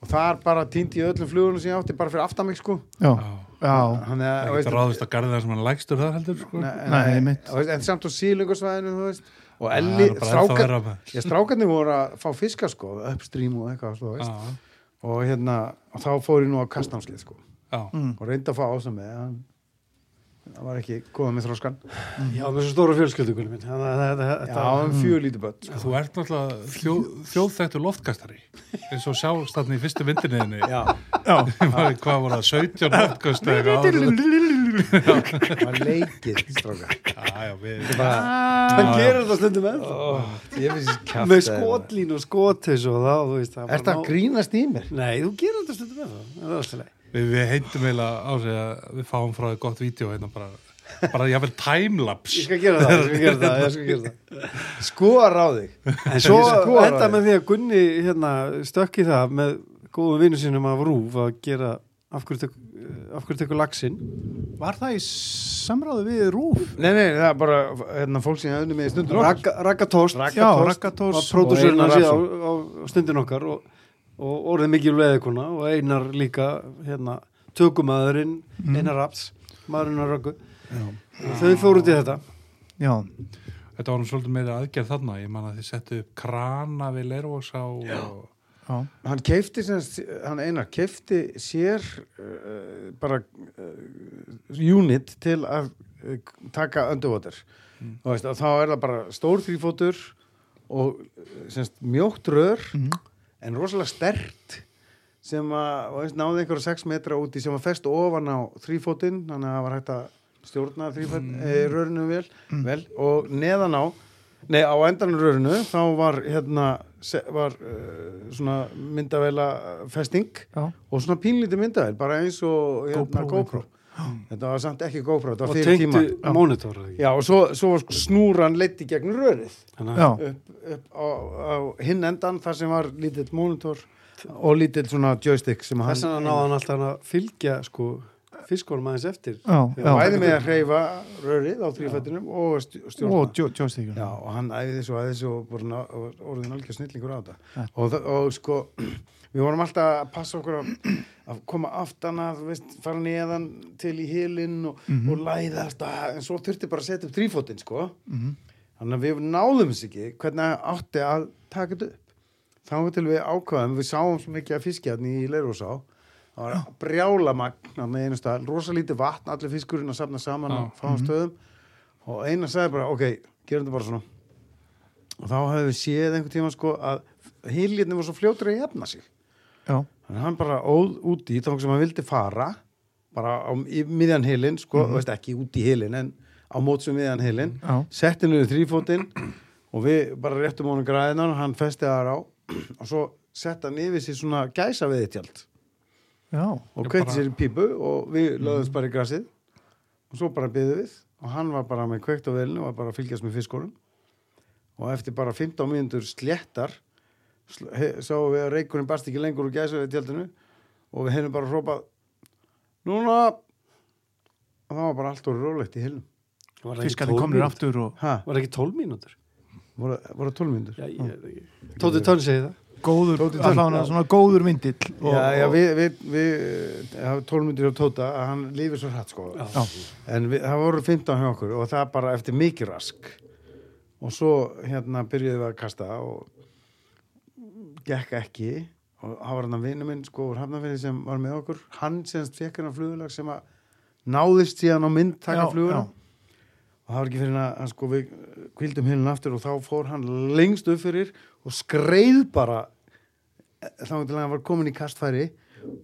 D: og þar bara týndi ég öllum flugunum sem ég átti bara fyrir aftan mig sko
B: já, já,
A: Ah,
D: Þannig að,
A: Það
D: þú
A: getur ráðist að garða það sem hann lægstur það heldur sko.
D: Nei,
B: Nei,
D: nei,
B: einmitt.
D: þú veist, en samt á sílungosvæðinu þú veist, og
A: Það
D: elli,
A: er bara ennþá
D: strákar
A: verra maður.
D: ég, strákarnir voru að fá fiska sko, upstream og eitthvað þú veist.
A: Já,
D: og hérna, og þá fór ég nú á kastnámslið sko,
A: já.
D: og reyndi að fá ásum með hann það var ekki góða með þróskan já,
C: já, með svo stóra fjölskyldu Gunni minn þannig að þetta- þetta
D: hann fjögur lítið börn sko.
A: Þú ert náttúrulega þjó, þjóðþættur loftkastari eins og sjást þarna í fyrstu myndinni
D: já,
A: hvað voru það, 17 loftkast eða eitthvað á-
D: það var leikið strákar
A: Já, já, við
D: Þetta er bara,
C: hann gerir þetta stundum með
D: oh, ég finnst þessi kjaft
C: með skotlín og skotis og þá, þú veist
D: er það að grínast í mér?
C: Nei, þú gerir þetta stundum með það Það er alltaf leið
A: Við, við heitum eiginlega á sig að við fáum frá þér gott vídeo hérna bara, bara jáfnvel timelapse
C: Ég skal gera það, ég skal gera það, ég skal
D: um
C: gera það.
D: skoar á þig
C: En svo
D: Ég skora
C: enda
D: þig.
C: með því að Gunni hérna, stökki það með góðum vinnu sínum af Rúf að gera af hverju tek- af hverju tekur laxinn
B: var það í samráðu við Rúf
D: nei, nei, það er bara, hérna, fólk sem ég unni með stundur
C: Ragga Ragga Tóst
D: Ragga
B: já,
D: Torst
C: var
B: Rakatórs
D: og
C: pródúsurinn
D: Einar
C: hans í á,
D: Rafnsson.
C: á stundin okkar og, og orðið mikið leðikuna og Einar líka hérna, tökumæðurinn
D: Mhm.
C: Einar Raps, maðurinn að Raggu og þau fóru út í þetta
B: já,
A: Þetta var nú svolítið meira aðgerð þarna ég man að þið settu upp krana við Lervósá og
B: já,
D: hann keifti semst, hann einar keifti sér uh, bara uh, unit til að uh, taka underwater mm. veist, og þá er það bara stór þrýfótur og uh, semst, mjótt rör
B: Mhm.
D: en rosalega stert sem að þú veist, náði einhverja 6 metra úti sem var fest ofan á þrýfótinn þannig að það var hægt að stjórna þrýfót, mm. e, rörinu vel, vel og neðan á Nei, á endan rörinu þá var hérna se- var uh, svona myndavela festing
B: já,
D: og svona pínlítið myndavel, bara eins og hérna
B: GoPro.
D: GoPro. Þetta var samt ekki GoPro, þetta
C: og
D: var fyrir tíma.
C: tengtu mónitor eða ekki?
D: Já, og svo, svo var sko snúran leitt í gegn rörið
C: Þannig
B: já,
C: að-
D: upp, upp á, á hinn endan þar sem var lítill monitor og lítill svona joystick sem hann
C: þess vegna náði hann alltaf að fylgja sko, fiskunum aðeins eftir
B: já,
D: Já,
B: já.
D: bæði með að hreyfa rörið á þrýfættinum og stj- stjórna.
B: og Jóstíkun
D: Já, og hann æði þessu og æði þessu og bara ná- og orðin algjör snillingur á þetta. Og, þa- og sko, við vorum alltaf að passa okkur að, að koma aftan að, þú veist, fara neðan til í hilinn og,
C: Mhm.
D: og læðast að, en svo þurfti bara að setja upp þrýfótinn, sko. Þannig að við náðum þess ekki hvernig átti að taka þetta upp. Þá var til við ákvaðum, við sáum svo mikið að fiskja hann í Leirúsá, það var brjála magna með einu stað, rosa lítið vatn, allir fiskurinn að safna saman á fáum stöðum og eina sagði bara, ok, gerum þetta bara svona og þá hefðum við séð einhvern tíma sko að hýlirni var svo fljótur að jafna sig
B: já,
D: þannig að hann bara óð úti í þá sem hann vildi fara bara á, í miðjan hilin sko, þú veist ekki út í hilin en á mótsum miðjan hilin
B: Já.
D: setti niður þrýfótinn og við bara réttum honum græðinan hann festi það á og svo setti hann yfir sér svona gæsa við tjald
B: já,
D: og
A: Ég
D: kveitti
A: bara-
D: sér í pípu og við löðumst bara í grasið og svo bara byggðum við og hann var bara með kveikt á velinu og var bara að fylgjast með fiskunum og eftir bara 15 mínútur sléttar sl- he- sáum við að reikurinn barst ekki lengur úr gæsa við tjaldinu og við hennum bara að hrópa núna og það var bara allt orðið rólegt í hilum
C: var það ekki
B: fiskarnir
C: 12
B: komnir
C: mínútur?
B: aftur og
D: ha,
C: var það ekki 12 mínútur
D: voru, voru 12 mínútur
C: Já, ég veit ekki. Tóti Tönn segir það
B: góður,
D: Tóti Tönn,
B: allan
D: já.
B: svona góður myndill og,
D: já, já, við, við, við eh, hafa 12 mínútur á Tóta að hann lífið svo hratt sko
B: já,
D: En við, það voru 15 hjá okkur og það bara eftir mikið rask og svo hérna byrjuðum við að kasta og gekk ekki og það var hann að vinnu minn sko úr hafnafyrir sem var með okkur hann síðan fekk hann að flugulag sem að náðist síðan á mynd taka
B: Já,
D: fluguna
B: já.
D: og það var ekki fyrir hann að hann sko við kvildum hinn aftur og þá fór hann lengst upp fyrir og skreið bara eh, þá til að hann var komin í kastfæri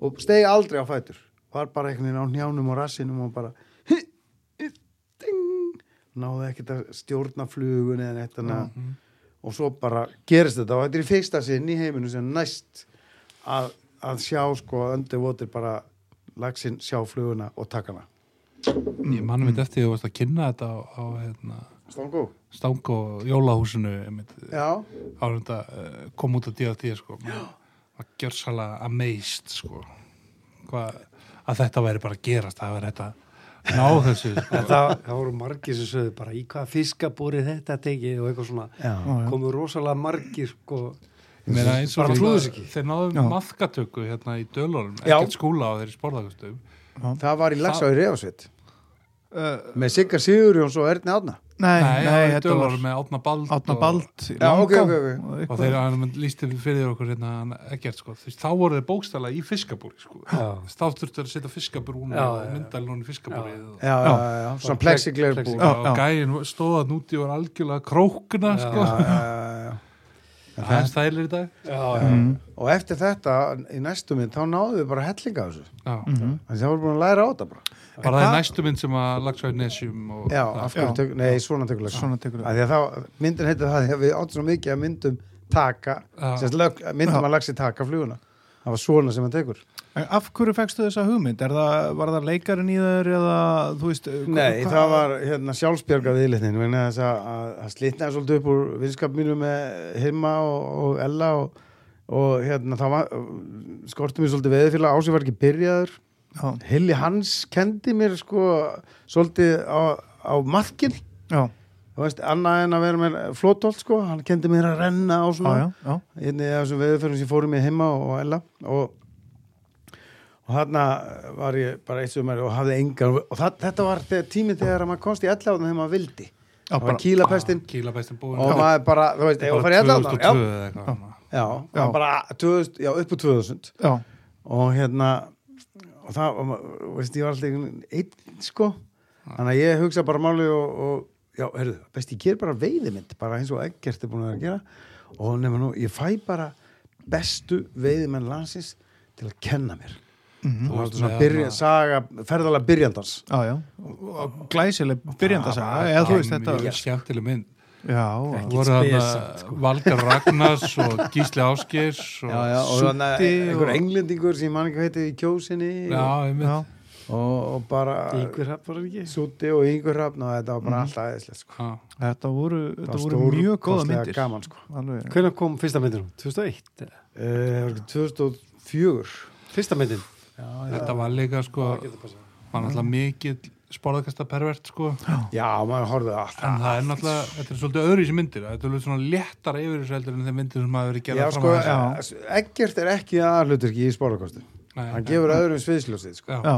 D: og stegi aldrei á fætur var bara einhvern veginn á njánum og rassinum og bara ding, náði ekkert að stjórna flugun eða neitt hana og svo bara gerist þetta og þetta er í fyrsta sinn í heiminu sem næst að, að sjá sko underwater bara laxinn sjá fluguna og taka hana
A: Ég mannum mitt eftir því að þú varst að kynna þetta á, á hérna,
D: Stangu?
A: stang og jólahúsinu einmitt,
D: Já,
A: árum þetta uh, kom út á D.A.T. sko. Maður var gjörsalega amazed sko. Hva, að þetta væri bara að gerast það væri þetta ná þessu sko.
C: Þetta, það voru margir sem sögðu bara í hvaða fiskabúri þetta tekið og eitthvað svona
D: já.
C: komu rosalega margir sko
A: Ég meina, eins og
C: Bara
A: þeir-
C: trúðu þessu ekki.
A: þeir náðu maðkatöku hérna í dölunum
D: Já.
A: ekkert skúla á þeirri sporðagustum
D: það var í laxa í Refosveit
B: Uh,
D: með Sigga Sigurjóns og Erni Átna
B: nei, nei,
A: nei,
B: þetta var
A: dölunum með Átna Bald
B: Átna
A: og-
B: Bald
D: ok, ok, ok.
A: og þeir hann lísti fyrir okkur hérna hann ekkert sko, þú veist, þá voru þeir bókstala í fiskabúri sko,
C: Já.
A: þá þurftu að setja fiskabúrúnu
C: Já,
A: og
C: já, já.
A: myndalun í fiskabúri og,
D: Já, já, já, já, svona plexiglerbú
C: plexi-
D: Já,
B: Já,
A: og gæin stóðan úti og var algjörlega krókna
C: Já.
A: sko,
D: já, já, já.
A: það er stælir í dag
C: já, mm.
D: Og eftir þetta, í næstu minn, þá náðum við bara hellinga af þessu.
A: já.
D: Þannig það voru búin að læra á þetta bara.
A: bara það er næstu mynd sem að lagsa í nesjum og
D: Já,
A: það,
D: af hverju
B: Já.
D: tök, nei, svona tekur lögsa.
B: Svona tekur lögsa.
D: Af því að þá, myndin heitir það því að við áttum svo mikið að myndum taka,
A: Já.
D: sérst, lög, myndum að lagsi taka fluguna. Það var svona sem hann tekur.
B: Af hverju fegstu þessa hugmynd? Er það, var það leikarinn í þær eða, þú veist hva-
D: Nei,
B: hva-
D: það var hérna sjálfsbjörgað yðlitnin, vegna þess að, að, að slitnaði svolítið upp úr vinskap mínu með Himma og, og Ella og, og hérna, það var, skorti mér svolítið veðfélag, ásig var ekki byrjaður.
B: Já,
D: Hilli Hans kendi mér sko svolítið á, á markinni
B: já,
D: þú veist, annað en að vera mér flótólt sko, hann kendi mér að renna og
B: já,
D: svona
B: já, já.
D: einni af hérna þessum veðurferðum sem fórum ég heima og Ella og, og þarna var ég bara eitt sumar og hafði engan og það, þetta var þegar, tími þegar maður komst í Ella og þegar maður vildi
B: Já,
D: það
B: bara-
D: var kýlapestin
A: kýlapestin búin
D: og maður bara, þú veist, ég var farið í Ella já,
A: 2002 eða eitthvað svona.
D: já, já.
B: Já.
D: bara 2000, já, upp úr 2000
B: já.
D: og hérna og það, og, ma- veist, ég var alltaf einhvern veginn einn sko, þannig að ég hugsa bara máli og, og já, heyrðu, best ég ger bara veiðimynd, bara eins og ekkert er búin að vera að gera og nema nú, ég fæ bara bestu veiðimenn landsins til að kenna mér mm
A: Þú
D: -hmm.
A: varst
D: svona
A: með
D: byrja,
A: hana-
D: saga, ferðala byrjandans
B: já, já. Glæsileg byrjandasaga eða þú veist þetta
A: mjög skemmtileg mynd
B: Já,
A: voru þarna Valgar Ragnars og Gísli Áskers og
D: já, já, og
B: Súti
D: þannig að
B: og-
D: einhver englendingur sem mann ekki heiti í kjósinni og,
A: já, einmitt.
B: já.
D: og, og bara
C: Ígur hafði bara ekki
D: Súti og yngur hafn og þetta var bara alltaf aðeinslega sko.
A: já.
B: Þetta voru, þetta
D: var
B: voru mjög góða
D: stórkostlega
B: myndir
D: gaman, sko.
B: Alveg.
C: Hvernig kom fyrsta myndin út? 2001? eða?
D: Uh, 2004
C: Fyrsta myndin?
A: Þetta var líka sko var náttúrulega mikill sporðakasta pervert sko en
D: Já, maður horfði á allt
A: það er náttúrulega, þetta er svolítið öðru í sér myndir þetta er alveg svona léttara yfir þessu heldur en þeim myndir sem hafa verið
D: Já,
A: gerða
D: sko,
A: fram að
D: ekkert er ekki aðalhuturki í spórarkostu
A: Nei,
D: Hann
A: nei.
D: gefur öðrum sviðsljósið, sko
A: þessu
B: Já,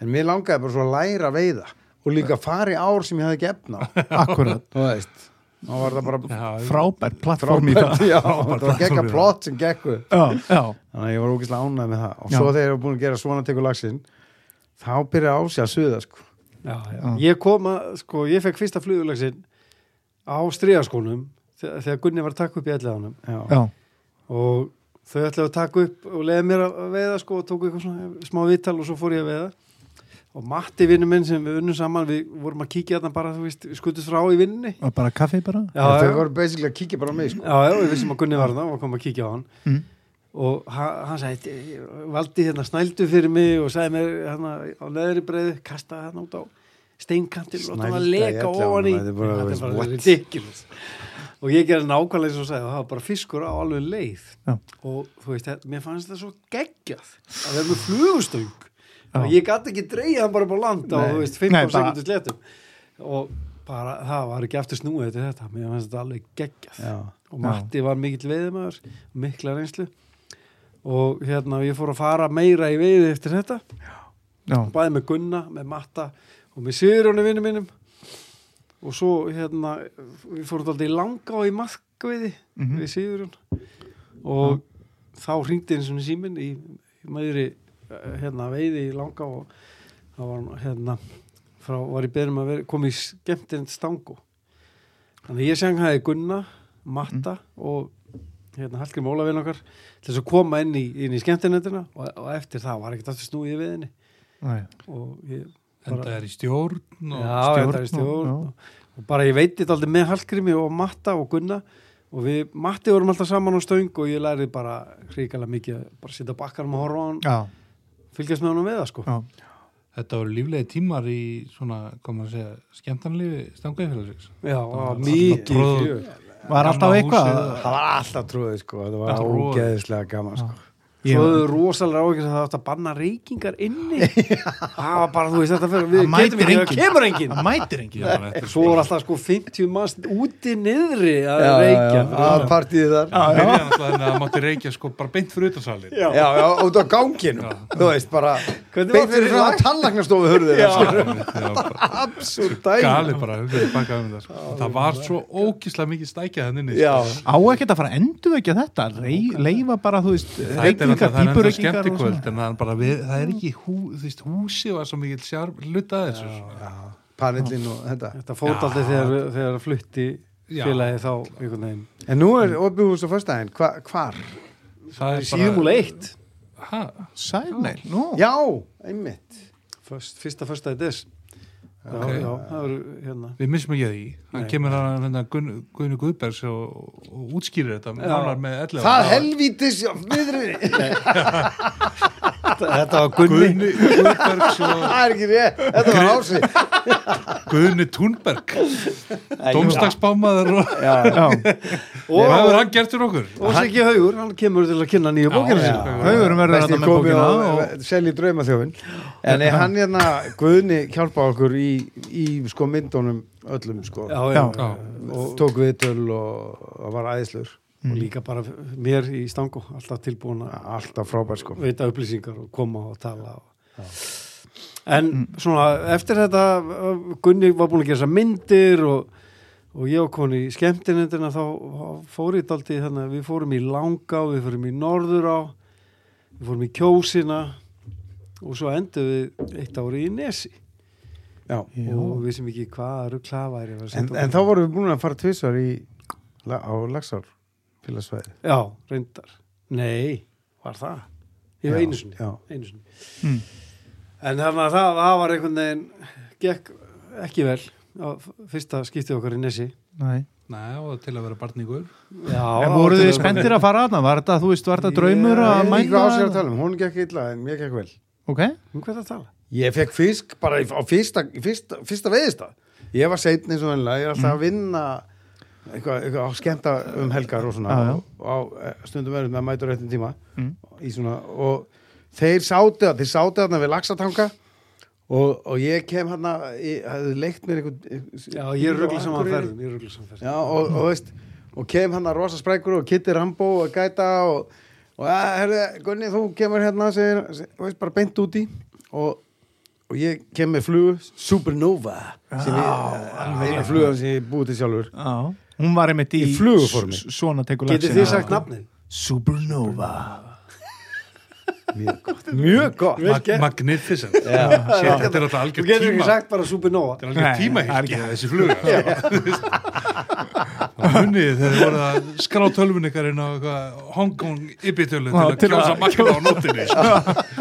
D: En mér langaði bara svo að læra að veiða og líka fari ár sem ég hafði gefna
B: akkurat
D: Þú veist, þá var það bara
A: Já,
B: Frábær plattform í það
D: Já, það var gekka
A: framfyrir.
D: plott sem gekku
B: Já, já,
D: Þannig að ég var ógeðslega ánægð með það Og
B: Já.
D: svo þegar ég var búin að gera svona tekur lagsinn þá byrja ási að suða, sko
C: Já, já. Ég kom að, sko, ég fekk fyrsta flugulagsinn á stríðaskónum þegar, þegar Gunni var að taka upp í elleðanum
D: Já,
B: já
C: og þau ætlaði að taka upp og leiði mér að veiða sko og tóku eitthvað svona smá vittal og svo fór ég að veiða og Matti vinnu minn sem við unnum saman við vorum að kíkja þarna bara, þú veist, við skutust frá í vinnunni
B: Og bara kaffi bara
C: Já,
D: þau
C: já, já,
D: voru basically að kíkja bara á mig, sko
C: já, við vissum að Gunni var þarna og kom að kíkja á hann
B: Mm.
C: og hann, hann sagði, "Ég- valdi hérna snældu fyrir mig og sagði mér hérna á leðri breiðu, kastaði hérna út á steinkantil og það var að
D: Snælda í
C: leka
D: ellefu
C: ofan í
D: ánum, þetta er bara-
C: þetta er bara
D: what?
C: ridiculous og ég gerði nákvæmlega eins og sagði, það var bara fiskur á alveg leið
B: Já.
C: og þú veist, þetta- mér fannst þetta svo geggjað að vera með flugustöng og ég gæti ekki dreigja hann bara upp á landa og þú veist, 15
B: Nei, bara-
C: sekundur sletum og bara, það var ekki eftir snúið til þetta, mér fannst þetta alveg geggjað
D: Já,
C: og Matti var mikill veiðumöður mikla reynslu og hérna, ég fór að fara meira í veiði eftir þetta,
B: Já,
C: bæði með Gunna með Matta og með Sigurjónu vinnum mínum og svo hérna, við fórum alltaf í langa og í maðkveiði
B: Mhm.
C: við Sigurjón og þá hringdi eins og síminn í, í maðurri eh, hérna, veiði í langa og það var hann, hérna frá, var í beðum að vera, koma í skemmtind stangu þannig að ég senghaði Gunna, Matta og hérna Hallgrim Ólafinn okkar til þess að koma inn í, inn í skemmtindina og, og eftir það var ekkert aftur snúið við henni
B: Nei.
C: og ég
A: en það er í stjórn og
C: já,
B: stjórn
C: þetta er
B: og-
C: stjórn og, og bara ég veit þetta aldrei með Hallgrími og Matta og Gunna og við, Matti vorum alltaf saman á stöng og ég lærið bara hrikalega mikið að bara sitja á bakkarum og horfa á hann
B: Já,
C: fylgjast með honum við það sko
B: já,
A: þetta voru líflegi tímar í svona, hvað maður að segja, skemmtanlífi stangaðfélagsins
C: já, og
A: Mikið
C: mikið
A: tróð-
C: fjör.
B: var alltaf
A: Gamla
B: eitthvað
A: húsið.
D: það var alltaf trúið sko, það var
A: Alltaf troðið.
D: ógeðislega gaman sko.
B: Ég-
C: Svo þau rosalega áhyggjur að það átt að banna reykingar inni Það var bara, þú veist, þetta fyrir
B: Það
C: Við
B: mætir
C: getum ekki, það
B: enginn.
C: kemur enginn
B: það mætir engin
A: Já, þetta er
C: Svo var alltaf sko 50 manns úti niðri að
D: Já, já,
C: reykja
D: já, að partíð þar
A: Það byrjaði alltaf þannig að það mátti reykja sko bara beint fyrir utansalinn.
C: Já.
D: já, já, út á ganginu þú veist, bara
C: Hvernig var
D: beint fyrir
C: fyrir
D: frá
C: lagt?
D: tannlagnastofu hörðu
A: Sko, Absúrt
D: sko. dæmi.
A: Gali bara, hugsaði baka um það. sko. Það var svo ókíslega mikið stækjað hann inni. sko.
D: já,
B: Á ekkert að fara að endurvekja þetta Rey, Leifa bara, þú veist,
A: Þetta er alltaf,
B: reykingar,
A: það er enda
B: pípureykingar og
A: skemmtikvöld,
B: svona
A: en það er bara, við, það er ekki hú, þú veist, húsi var svo mikið sjárf, hlutað þessu. sko.
D: panillin og þetta
C: Þetta fót aldrei þegar, þegar flutti
A: Já.
C: félagi þá einhvern veginn
D: en nú er opið hús á fyrstæðin, Hva, hvar?
A: Það er bara,
C: Síðmúla eitt
A: hæ,
B: Sælneil, nú
D: já, einmitt
C: Föst, Fyrsta, fyrsta í des Já,
A: Ok.
C: já, það eru hérna
A: við missum ekki að því. Hann
C: Nei.
A: kemur hann hérna Gunn- Guðni Guðbergs og, og útskýrir þetta,
C: Já.
A: nánar með ellefa.
D: það helvítis niðri.
C: Þetta var Gunni
A: Guðni Guðbergs og
D: það er ekki rétt, þetta var ási
A: Guðni Túnberg, domstagsbámaður og
B: Já,
A: hvað
C: Og,
A: hefur hann gert fyrir okkur?
C: og Siggi Haugur, hann kemur til að kynna nýju bókina
A: Já,
C: sinna
A: já.
B: haugurum verður
D: Besti
B: þetta með
D: komið
B: bókina
D: á
B: og-
D: selji draumaþjófin en eh, hann hérna, Guðni hjálpa okkur í, í sko myndunum öllum sko
C: Já, já,
B: Já.
C: já.
D: og tók viðtöl og og var æðislur
C: Og líka bara mér í stangu Alltaf tilbúin að
D: alltaf frábær sko
C: veita upplýsingar og koma og tala og... en
D: Mm.
C: svona eftir þetta uh, Gunni var búin að gera þessar myndir og, og ég og koni í skemmtinendina þá fór ég daldi þannig við fórum í Langá, við fórum í Norðurá við fórum í Kjósina og svo endum við eitt ári í Nesi
D: Já.
C: og við sem ekki hvað eru klaværi
D: en, en þá vorum við búin að fara tvisvar í, la- á Laxár félagsvæði
C: já, reyndar, nei var það, ég
D: Já,
C: var einu sinni
D: já.
C: einu sinni
A: Hmm.
B: Mm.
C: En þannig að það, það var einhvern veginn, gekk ekki vel á f- fyrsta skiptið okkar í Nessi.
B: Nei.
A: Nei, og til að vera barningur.
C: Já,
B: En voruð þið spenntir að fara aðna? Var þetta, þú veist, var þetta draumur að
D: ég veit ekki hvað ásir að
B: mæta?
D: tala um, hún gekk illa en mér gekk vel
B: Ok,
C: Um hvað það tala?
D: ég fekk fisk bara í- á fyrsta, í fyrsta, fyrsta veiðista ég var seinn eins og ennlega, ég er
B: Mm.
D: alltaf að vinna eitthvað, eitthvað á skemmta um helgar og svona
B: Já, já.
D: og á eh, stundum verður með að mæta á réttin tíma
B: Mm.
D: í svona og þeir sátu að þeir sátu þarna við laxatanga og, og ég kem hérna ég hefði leikt mér eitthvað
C: Já, ég er ruggla saman
D: Akureyri.
C: ferðum, ég er ruggla saman ferðum.
D: Já, og, og veist, og kem hann að rosa sprækur og Kitty Rambo og gæta og, og ja, herri, Gunni, þú kemur hérna segir, segir, veist, bara beint úti og, og ég kem með flugu Supernova sem ég, eina flugan sem ég búið til sjálfur
B: já Hún var einmitt í
D: Í fluguformi.
B: s- Svona tekur
C: Getið þið sagt nafnið?
B: Supernova
D: mjög gott, mjög gott.
A: Mag Magnificent. Sér, þetta er alltaf
C: Þú
A: algjör
C: getur ekki
A: tíma.
C: sagt bara Supernova.
A: Þetta er alveg
B: Nei,
A: tímahyggja þessi fluga Það munið þið þegar þið voruð að skrá tölvun ykkar inn á eitthvað Hong Kong yppitölu til
B: Já,
A: að
B: til að-
A: kjósa makkina á nóttinni sko.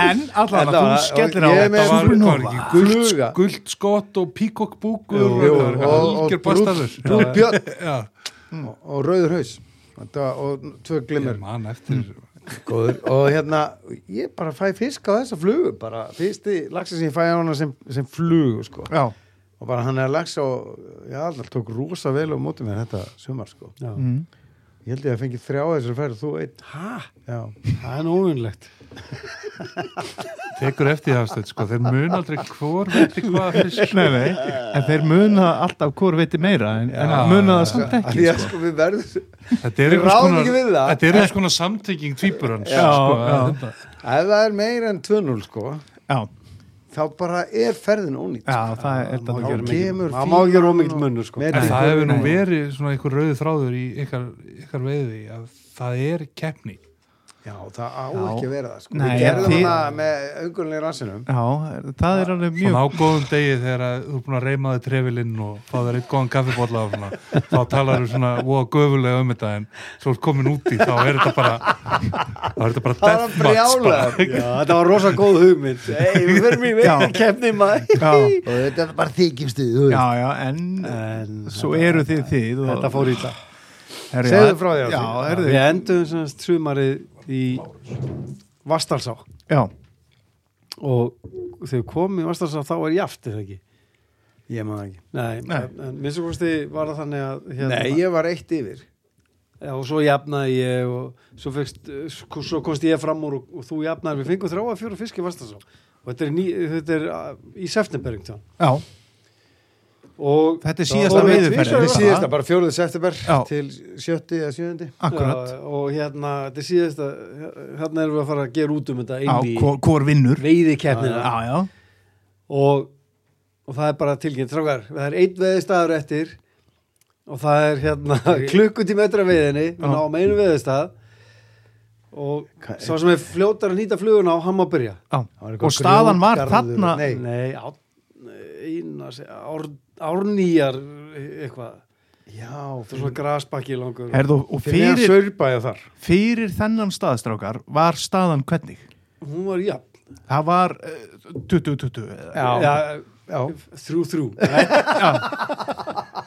B: En allan að
D: Þetta
B: þú
D: var-
B: skellir á
D: ég er
B: þetta
D: með-
A: Það var var
B: Supernova
A: ekki gult,
D: Fluga.
A: gult skott og píkokk búkur
D: Jú,
A: og
D: jú,
A: þetta var eitthvað
D: og- og
A: algjör
D: brúnn-
A: bastaður
D: brúnn björn.
A: Já,
D: og, og rauður haus Þetta, og tvö glimmer
A: ég man eftir
D: Mm. góður og hérna ég bara fæ fisk á þessa flugu bara fyrsti laxa sem ég fæ á hana sem, sem flugu sko
B: Já,
D: og bara hann er að lagsa og já, alltaf tók rosa vel og móti mér þetta sumar sko
C: Já.
B: Mm.
D: ég held ég að fengi þrjá þessar færi þú einn
C: Hæ?
D: já,
C: Það er nógunlegt.
A: Tekur eftir það stöð, sko, þeir mun aldrei hvor veit hvað fisk
B: nei, nei En þeir muna alltaf hvort veiti meira En, en
A: Já.
B: muna það samt
D: Af
B: ekki
D: því að sko við verðum
A: Þetta er
D: Við
A: einhvers
D: ráðum
A: konar-
D: ekki við það.
A: þetta er einhvers konar samtenging tvíburans
B: Já,
A: sko,
B: já.
A: þetta-
D: ef það er meira en 2-0 sko
B: Já,
D: þá bara er ferðin ónýtt
B: Já, það er þetta
A: má
B: að
A: ekki-
B: gera
D: þá
B: mikið.
D: kemur
C: Það má ekki vera of mikill munur, sko.
D: Með-
A: En
D: Nei,
A: það hefur nú
B: nei.
A: verið svona einhver rauði þráður í ykkar, ykkar veiði að það er keppni.
D: já, það á
B: Já.
D: ekki að vera það sko.
B: Nei,
D: við gerðum
B: þið-
D: það með augunlega rassinum
B: Já, það er alveg
A: Svona
B: mjög
A: á góðum degi þegar að þú er búin að reyma þig trefilinn og fá þér eitt góðan kaffibólla af svona, þá talar þú svona voða göfulega um þetta en svo er komin úti þá er þetta bara þá er þetta bara
C: Það var
A: deathmatch bara.
C: brjálæður. Já, þetta var rosa góð hugmynd. Ei, við verum í
B: Já.
C: veginn kemni maður.
B: já,
D: og þetta er bara þykjumstu þú veist.
B: já, já, en eh, svo eru þið þið og,
C: Eh, Þetta fór í það.
B: Herru,
D: Segðu
B: já,
D: frá því, Árni.
B: Já, herru,
C: Við endum semast sumarið í Vastalsá
B: já,
C: og þegar komum í Vastalsá þá er jaft, er það ekki?
D: ég maður ekki
C: Nei,
B: Nei.
C: en- en minnstu kosti var það þannig að hérna-
D: nei, ég var eitt yfir
C: Já, og svo jafnaði ég og svo, fekst, sko, svo komst ég fram úr og, og þú jafnaði, við fengum þráa fjóra fisk í Vastasá og þetta er, ný, þetta er uh, í september einhvern tímann.
B: já,
C: og
B: Þetta er
C: þá
B: síðasta
C: fórum við
B: veiðiferðin.
C: tvisvar í
D: við
B: Bara-
C: Vastasá.
D: síðast bara fjóruðu september
B: Já.
D: til sjötti eða sjöndi
B: akkurat
C: Já, og hérna, þetta er síðasta hérna erum við að fara að gera út um
B: Já,
C: þetta inn í
B: hvor- hvor vinnur
C: veiðikeppnina
B: Já, já,
C: og, og það er bara tilkynnt strákar, það er einn veðistæður eftir og það er hérna klukkutíma eftir að veiðinni við náum einu veðistæð og sá sem er fljótar að nýta fluguna á hann má byrja
B: já Og staðan var þarna
D: nei,
C: nei, á, eina ár, árnýjar eitthvað,
D: já,
C: það er svona grasbakki langur
B: Herðu, og
D: fyrir neðan
B: fyrir,
D: Saurbæja þar
B: fyrir þennan staðstrákar var staðan hvernig?
C: hún var jafn
B: Það var eh, 20-20 eh,
C: ja,
D: já,
C: þrjú þrjú Nei,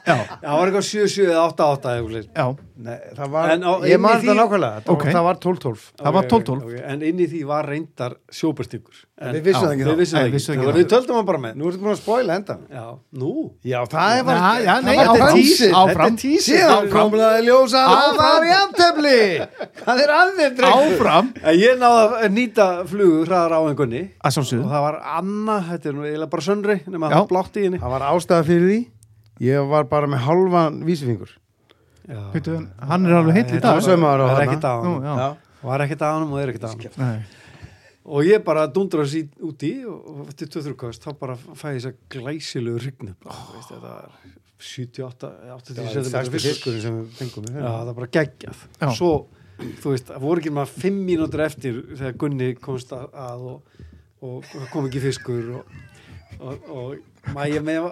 B: Já,
C: það var eitthvað 7-7 eða 8-8 eitthvað leys.
B: já,
D: nei, það var,
C: En á- inn í
D: ég man
C: því-
D: það nákvæmlega það,
B: Ok.
D: var, það var 12-12
B: Það var
C: Ok,
B: 12-12.
C: ok, ok. En inn í því var reyndar sjóberstingur
D: En við vissum það ekki
C: Við
D: þá.
C: vissum
B: Nei,
C: það ekki
B: vissum
C: Það
B: ekki
C: var-
B: þá.
C: Við töldum hann bara með
D: nú ertu búin að spoila endan
C: Já, nú
D: já, það er
B: Já, já, nei,
D: það var
B: áfram.
D: tísið
B: Áfram.
D: þetta er tísið
B: Áfram.
D: komlaði ljósa
B: Áfram.
D: það var jafntefli það er aðeins
B: áfram
C: En ég náði að nýta flugu hraðar á einhvernig
B: Að
C: Og
B: sjálfsögðu
C: það var Anna, þetta er nú eiginlega bara sönri Nefn að
B: Já.
C: það blátt í henni
D: það var ástæða fyrir því ég var bara með halvan vísifingur
C: Já.
B: Bíddu, Hann er alveg heill í dag
D: var svo- saumaður á
C: Það er
D: þarna.
C: ekkert að
B: Nú,
C: hann
B: já.
C: Var ekkert að hann og er ekkert að hann
B: Nei.
C: Og ég bara dundra þessi úti Og til 2-3 kost Þá bara fæði þess að glæsilegu rignu Þetta er 78, 80
D: það
C: centimeter
D: var
C: fiskur.
D: fiskurinn sem við fengum
C: Já, það var bara geggjað.
B: Já.
C: Svo, þú veist, það voru ekki maður fimm mínútur eftir þegar Gunni komst að- að og, og kom ekki fiskur og, og, og mæja með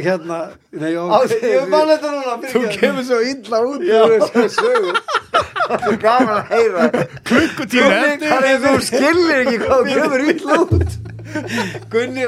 C: hérna, nei, og,
D: þetta núna Þú kemur svo illa út úr þessu sögu Þú er gaman að heyra
B: Klukkutíma
D: Gunni, hvað er þú skilur ekki hvað þú kemur illa út
C: Gunni,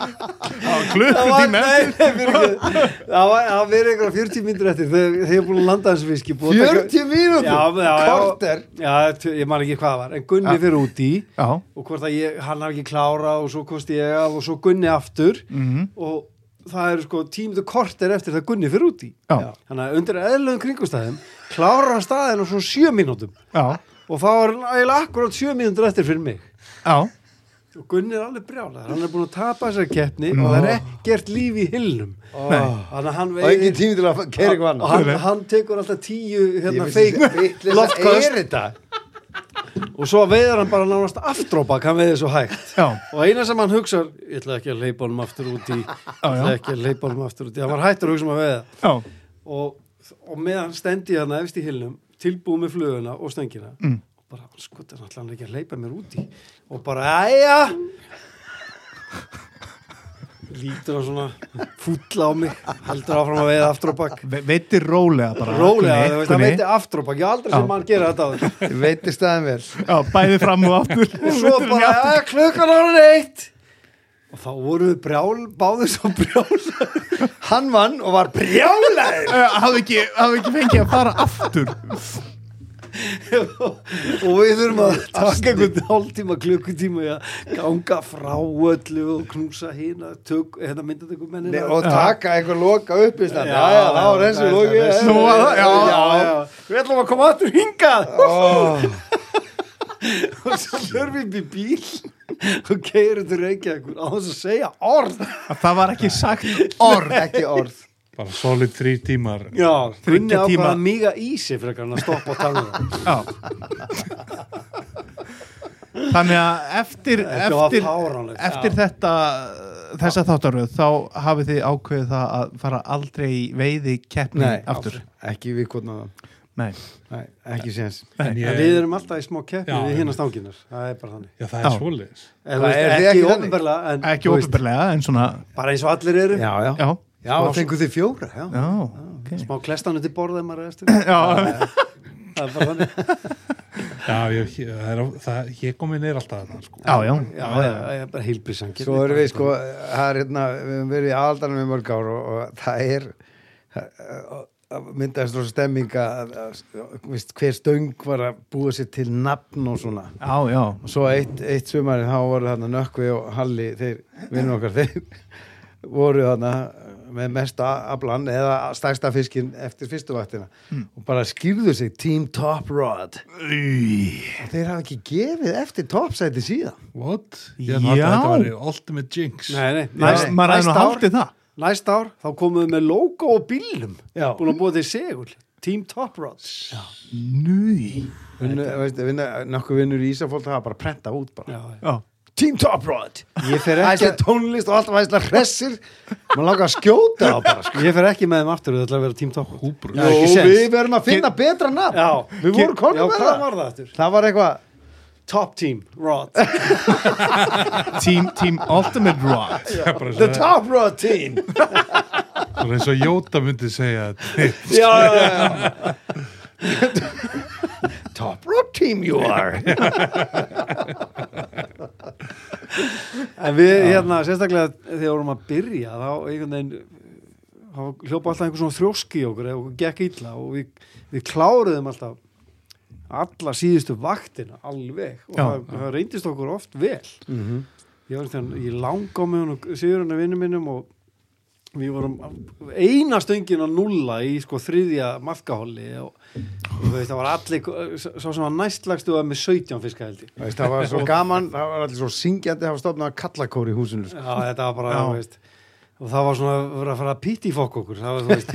C: það var,
B: Klukkutíma
C: nei, nei, fyrir ekki, það var, það verið einhverja 40 mínútur eftir þegar þegar ég er búin að landa þessu fiski. búið að taka-
D: 40 mínútur
C: Já, já, já.
D: Korter
C: Já, t- ég man ekki hvað það var, en Gunni fyrir út í.
B: Já,
C: og hvort að ég, hann hafði ekki klára og svo kosti ég af og svo Gunni aftur
B: Mhm.
C: og það eru sko tímundu kortir eftir það Gunni fyrir út í
B: Já.
C: þannig að undir eðlöðum kringustæðum klárar hann staðin á svona sjö mínútum
B: já,
C: og þá er hann eiginlega akkurat sjö mínútur eftir fyrir mig
B: já
C: og Gunni er alveg brjálega, hann er búin að tapa þessari keppni og það er ekkert líf í hillnum þannig að hann
D: Og engin tími til að keira eitthvað
C: og
D: annað
C: hann, hann tekur alltaf tíu
D: Ég
C: hérna
D: vissi
C: feik
D: þetta vitleysa
C: loftköst
D: er þetta
C: og svo veiðar hann bara nánast aftrópa hann veiði svo hægt
B: Já,
C: og eina sem hann hugsa ég ætla ekki að leipa honum aftur út í ég ætla
B: já.
C: ekki að leipa honum aftur út í hann var hættur að hugsa um að veiða
B: já,
C: og, og meðan stendi ég hann efst í hillum tilbúið með fluguna og stöngina mm. og bara sko þetta er náttúrulega ekki að leipa mér út í og bara æja lítur á svona fúll á mig heldur áfram að veiða aftur á bak
B: Ve- veitir rólega bara
C: rólega,
B: Gunni,
C: þú veist, hann
B: Gunni.
C: veiti aftur á bak ég hef aldrei
B: Já.
C: sem mann gera þetta á þetta
D: Veitir staðin vel
B: Já, bæði fram og aftur
C: og svo
B: Veitir henni
C: bara,
B: aftur.
C: ja, klukkan ára eitt og þá voru við brjál, báðir svo brjál
D: Hann vann og var brjálæður
B: Eh, Hafði ekki, hafði ekki fengið að fara aftur
C: og við þurfum að taka einhvern hálftíma, klukkutíma í að ganga frá öllu og knúsa hina, tök, hérna myndað einhver mennina
D: Og taka einhver loka upp í stand Já, já, þá er þessi loki
B: Nú var það- já,
C: eh, við ætlum að koma aftur hingað og svo þurfum við upp í bíl og keirum til Reykjavíkur á þess að segja orð
B: Það var ekki sagt orð
D: Ekki orð
A: Bara solid þrý tímar.
C: Já, Gunni
B: Þriggja tíma.
C: ákvaða að míga í sig frekar en að stoppa og tala um það.
B: Já þannig að eftir,
C: Þetta var
B: eftir,
C: fáránlegt.
B: eftir þetta þessa þáttaröð þá hafið þið ákveðið það að fara aldrei í veiði keppni
D: Nei,
B: aftur
D: ekki við kvotna það
B: Nei.
D: Nei, ekki séns
A: En
C: En
A: ég,
C: við erum alltaf í smá keppni
A: Já,
C: við
A: já.
C: hérna stanginar, það er bara þannig
A: já, það er
B: Já.
A: svoleiðis.
C: en,
D: Hvað,
C: það er
D: eruð þið
C: ekki
D: ekki þannig?
C: ofinbarlega en
B: ekki
C: þú veist,
B: ofurberlega en svona
C: bara eins og allir eru
D: Já, já,
B: já,
D: já, fenguð þið fjóra já.
B: já, ok
C: smá klestanu til borða ef maður er eftir.
B: já,
C: það er bara þannig
A: Já, ég, ég- það er, það, ég kom inn er alltaf þarna, sko.
B: já, já,
C: já, já, já, bara heilbrísangir
D: Svo erum við sko, það er hérna, við höfum verið í aldanum í mörg ár og, og það er það- það myndaðist rosa stemming að, að, að víst, hver stöng var að búa sér til nafn og svona
B: já, já.
D: og svo eitt, eitt sumarið þá voru þarna Nökkvi og Halli þeir vinnum okkar þeir voru þarna með mesta aflan eða stærsta fiskin eftir fyrstu vaktina og bara skýrðu sig Team Top Rod og þeir hafa ekki gefið eftir topsæti síðan
A: What? Ég hætti að
B: Já.
A: þetta væri Ultimate Jinx.
C: nei, nei,
B: Næst,
C: næst,
B: maður hefði
C: næst
B: nú
C: ár
B: haldið það
C: næst ár, þá komum við með logo og bílum
D: Já.
C: búin að búa til segul Team Top Rods já,
B: Núi
D: Vinnu, veistu, vinna, nokkuð vinnur í Ísafold hafa bara prenta út bara.
C: já.
B: Já,
D: Team Top Rod
C: Ég fer
D: Það
C: ekki,
D: er tónlist og alltaf aðeinslega hressir maður langar að skjóta á bara sko.
C: ég fer ekki með þeim aftur, það ætla að vera Team Top Rods
A: Húbrú.
D: Jó,
C: Já, ekki séns.
D: við verðum að finna betra nafn
C: Já,
D: Við vorum konum
C: já,
D: með
C: hvað
D: það
C: var það aftur?
D: Það var eitthvað
C: Top Team Rod
B: Team, team Ultimate Rod
A: Það er bara
D: The
A: svo-
D: Top Rod Team
A: það er eins og Jóta myndi segja þetta.
D: já, já, já. Top Rod Team you are
C: En við hérna, sérstaklega þegar við vorum að byrja þá einhvern veginn þá hljópa alltaf einhver svona þrjóski í okkur eða okkur gekk illa og við, við kláruðum alltaf alla síðustu vaktina alveg og
B: Já,
C: það, það reyndist okkur oft vel ég var einhvern veginn, ég langa með hún sigurinn af vinnum minnum um og við vorum eina stöngin að nulla í sko þriðja markahóli og, og þú veist það var allir sá sem var næstlagstu var með 17 fiska held ég
D: Veist, Það var svo gaman, það var allir svo syngjandi það var stofnað að kallakóri í húsinu sko.
C: Já, þetta var bara,
B: Já.
C: þú veist og það var svona að vera að fara að pitti í fokk okkur það var, þú veist,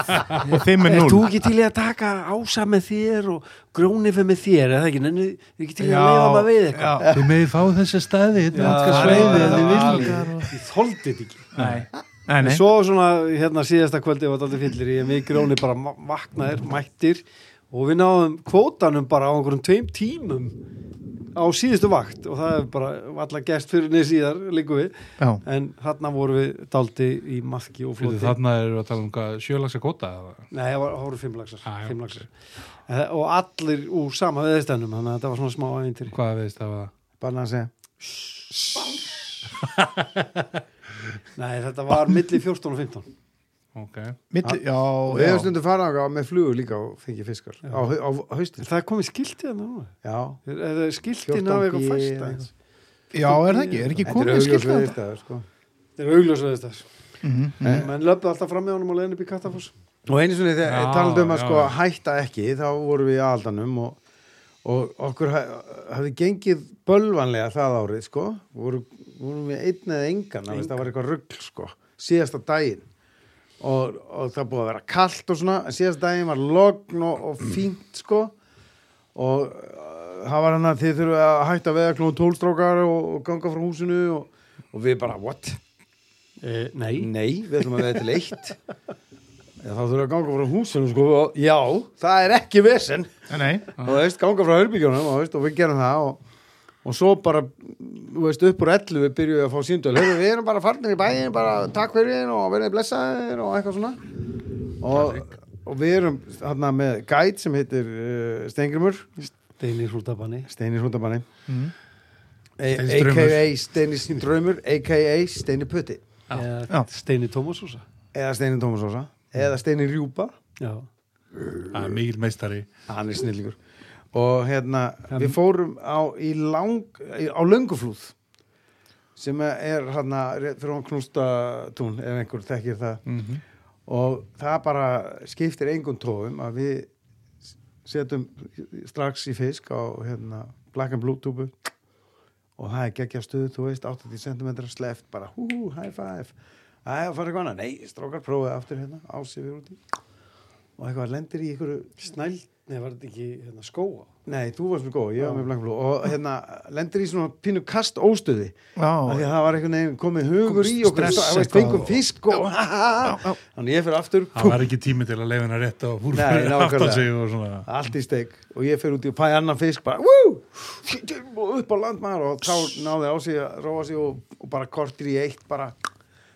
B: og þeim er
C: er þú
B: núl
C: ekki til í að taka ása með þér og grónifi með þér, eða ekki nenni, er ekki til í
B: Já,
C: að leiða maður að veið eitthvað
B: já.
A: Þið meði fá þessi staði, þetta er alltaf
B: Já,
A: sveiði en
B: já,
A: þið
B: já.
A: viljum.
B: viljar
C: ég, ég þoldi þetta ekki
B: Nei, nei,
C: en
B: nei.
C: svo svona, hérna síðasta kvöldi var þetta fyllir ég við gróni bara ma- vaknaðir, mættir og við náðum kvótanum bara á einhverjum tveim tímum á síðustu vakt og það er bara allar gest fyrir niður síðar, líku við
B: Já.
C: en þarna voru við daldi í maðki og flóti
A: Þannig erum við að tala um hvað sjölagsa kota. eða?
C: Nei, það var- það voru fimm laxar,
A: Ah, já,
C: fimm laxar. Eh, og allir úr sama veðistænum þannig að þetta var svona smá ævintir
A: Hvað veist það var?
D: Bara að segja
C: Nei, þetta var milli 14 og 15
A: Ok.
B: Milli, já,
D: Og við
B: já.
D: höfum stundu farað á með flugur líka og fengið fiskar á, hau- á haustin
C: Það er komið skiltið hann núna
D: Já,
C: Er- er það skiltið
D: 14
C: náðu eitthvað
D: bí-
C: fæst aðeins?
B: já, er það ekki, er ekki
D: Þetta er
B: komið
D: augljós
B: skilt að um
D: við
B: þetta
D: þetta sko.
C: Þetta er augljós veðistæs
B: Mhm.
C: mm. Menn löpðu alltaf fram með honum og leiðin upp í Kattafoss
D: Og einu svona þegar
A: Já,
D: talandi um að
A: já,
D: sko
A: já.
D: hætta ekki þá vorum við í aldanum og, og okkur ha- hafði gengið bölvanlega það árið sko vorum, vorum við einn eða engan Enga. það var eitthvað rugl sko síðasta daginn og, og það búið að vera kalt og svona en síðasta daginn var logn og, og fínt sko og uh, það var hann að þið þurfum að hætta veða klón tólstrókar og, og ganga frá húsinu og, og við bara what?
C: eh, Nei
D: Nei, við ætlum að veða til eitt Já, þá þurfum við að ganga frá húsinu sko, og já, það er ekki vesen
B: Nei,
D: og þú veist, ganga frá herbyggjunum og, þú veist, og við gerum það og, og svo bara, þú veist, upp úr 11 við byrjuðum að fá síndöl, Heyrðu, við erum bara farnir í bæin, bara takk fyrir þín og verðið blessaðir og eitthvað svona og, og við erum hérna með gæt sem heitir uh, Steingrimur
C: Deinir hrútabanni
D: Steinir Hundamanni
B: Mhm.
A: Steinir Draumur.
D: a.k.a. Steinir Draumur a.k.a. Steinir Putti
B: Já.
C: Eða Steini Tómasúsa
D: eða Steinir Tómasósa eða Steinir Rjúpa
C: Já
A: Það er mikil meistari.
D: hann er snillingur og hérna, við fórum á, í lang, í- á lönguflúð sem er hérna rétt fyrir hann knústa tún ef einhver þekkir það og það bara skiptir engum tófum að við setjum strax í fisk á hérna, black and blue túbu og það er geggja stuð, þú veist, 80 cm sleft, bara hú, hú, high five Það er að fara eitthvað annað, nei, strókar prófaði aftur hérna, ásifir úti og eitthvað lendir í einhverju
C: Snæld Nei, var þetta ekki hérna, skóa?
D: Nei, þú varst með góð, ég var með blankbló og hérna lendir í svona pínu kast óstöði af því að það var einhvern veginn komið hugur í okkur
B: Stress
D: og við
B: eitthvað
D: fengum
B: og-
D: fisk og þannig ég fyrir aftur
A: það var ekki tími til að leiðin að rétta og húrfæri
D: Nei, nákvæmlega.
A: aftan sig og svona
D: allt í steik og ég fyrir út í og fæ annan fisk bara Woo! og upp á landmaður og þá náði á sig að róa sig og, og bara kortir í eitt bara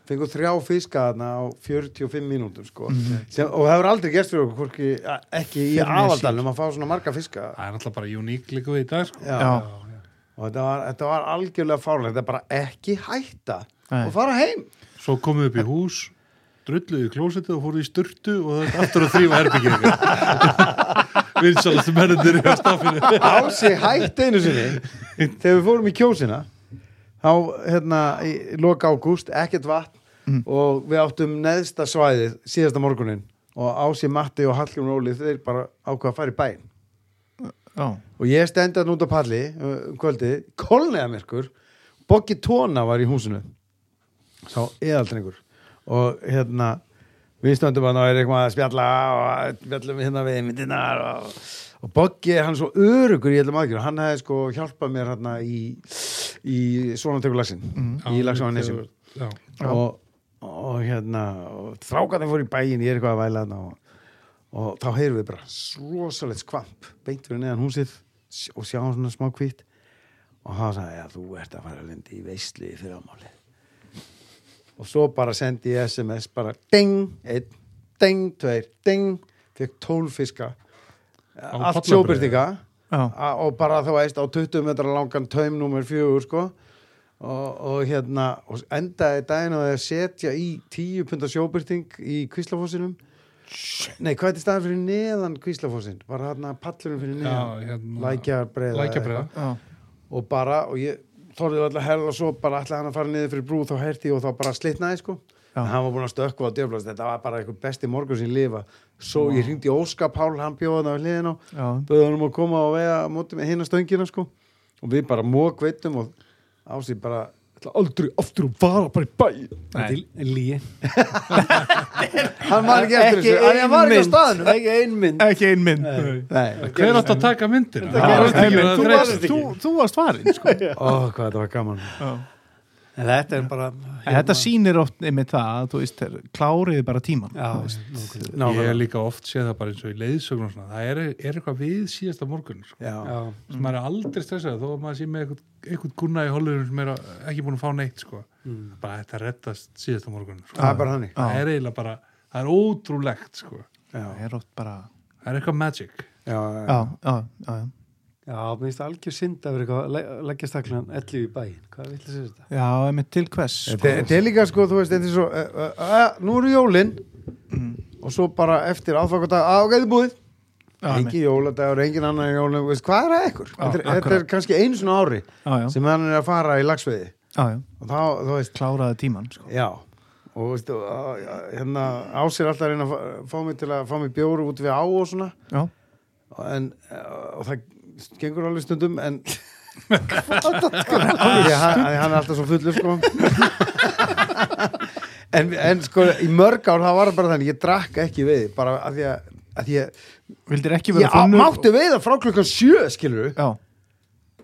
D: fengum þrjá fiska þarna á 45 mínútum sko. Sem, og það hefur aldrei gerst fyrir okkur hvorki, ekki í
B: Fyrir mér
D: aðaldalum að fá svona marga fiska
A: það er náttúrulega bara uník líka við í dag sko.
D: Já.
B: Já.
D: og þetta var, þetta var algjörlega fárlega þetta er bara ekki hætta
B: Nei.
D: og fara heim
A: svo komum við upp í hús drulluðu í klósetið og fóruðu í styrtu og það er aftur að þrýfa herbyggjum vinsalastu mennendur í staffinu
D: á sig hætt einu sinni þegar við fórum í kjósina þá hérna í loka ágúst ekkert vatn og við áttum neðsta svæðið síðasta morgunin og á sig Matti og Hallgrún Óli þeir bara ákvað að fara í bæn
B: já,
D: og ég stendi hann út á palli uh, um kvöldið, kollega myrkur Boggi Tóna var í húsinu sá eðaldrengur og hérna við stöndum hann og er eitthvað að spjalla og spjallum hérna við myndinar og, og Boggi er hann svo örugur í öllum aðgjörn hann hefði sko hjálpað mér hérna í, í svona tegur lagsin í lagsáðan nesjum
A: Já.
D: og, og hérna og þrákarnir fór í bæin, ég er eitthvað að væla þarna og, og þá heyrum við bara rosalegt skvamp, beint fyrir neðan húsið s- og sjáum svona smá hvitt og þá sagði ég að þú ert að fara að lendi í veislu í fyrramálið og svo bara sendi ég sms bara ding, einn, ding, tveir ding, fekk tólfiska allt
A: pollabreiðu.
D: sjóbyrtinga
B: já,
D: A- og bara þá veist á 20 metra langan taum nummer fjögur sko og, og hérna og endaði daginn og að setja í 10 punda sjóbyrting í kvíslafossinum nei hvað er þetta staðan fyrir neðan kvíslafossin bara hérna pallurinn fyrir neðan
A: Já, hérna-
D: lækjarbreiða
A: lækjarbreiða
B: já,
D: og bara og ég þorðið alltaf herða og svo bara ætlaði hann að fara niður fyrir brú þá herti ég og þá bara slitnaði sko
B: Já.
D: en hann var búin að stökkva á djöflast þetta var bara einhver besti morgun sem ég lifa svo ég hringdi í Óska Pál, hann bjóða það við hliðin á
B: já,
D: böðum hann um að koma og vega á móti með hina stöngina sko og við bara mók veitum og ásýr bara ætla aldrei aftur að vara bara í bæ
C: Þetta er líi.
D: hann var ekki eftir
C: Ekki
D: þessu, hann var ekki á
C: einmynd.
D: staðinu
C: Ekki einmynd.
B: ekki ein mynd
D: nei,
A: hver átt að taka myndina
D: Þetta gerist
A: Það var ekki
D: ekki.
A: að
D: Þú
A: þreyta.
D: varst-
B: þú, þú varst farin sko.
D: ó hvað þetta var gaman
B: Já.
C: En þetta er bara...
D: Hérna.
B: En þetta sýnir oft einmitt það að þú veist, þeir kláriði bara tíman
C: Já,
A: ég hef líka oft séð það bara eins og í leiðsögn og svona, það er, er eitthvað við síðasta morgun sko.
D: já,
C: já.
A: sem maður er aldrei stressað þó að maður sé með eitthvað, eitthvað gunna í holurum sem er að- ekki búin að fá neitt sko. bara þetta rettast síðasta morgun sko.
D: það er bara hannig
A: það er eiginlega bara, það er ótrúlegt sko.
D: já,
B: það er oft bara
A: það er eitthvað magic
D: já, já.
B: já, já, já, já.
C: Já, mér finnst það algjör synd að vera eitthvað að le- leggja staklan 11 í bæinn. Hvað vill þessi þetta?
B: já, einmitt til hvers
D: Þetta er- þetta er líka sko, þú veist, þetta er svo uh, uh, uh, nú eru jólin og svo bara eftir aðfakundag, á, ok, þið búið
B: Já, einmitt.
D: engin jóladagur, engin annar jólin veist, hvað er að ykkur? Þetta er- þetta er
B: akkurat.
D: kannski einu svona ári
B: Já, já.
D: sem hann er að fara í lagsveiði
B: já, já,
D: og þá, þú veist,
B: kláraði tíman sko.
D: Já, og veistu, að- að- hérna ásir alltaf að reyna að fá- fá mig til að fá mig bjóru út við á og svona
B: já,
D: en, eh, og það gengur alveg stundum en Ég- hann hann er alltaf svo fullur sko en, en sko í mörg ár það var það bara þannig, ég drakk ekki veið bara að því að, að því að
B: vildir ekki
D: ég
B: vera
D: á,
B: funnur
D: mátti veiða frá klukkan sjö skilur
B: já,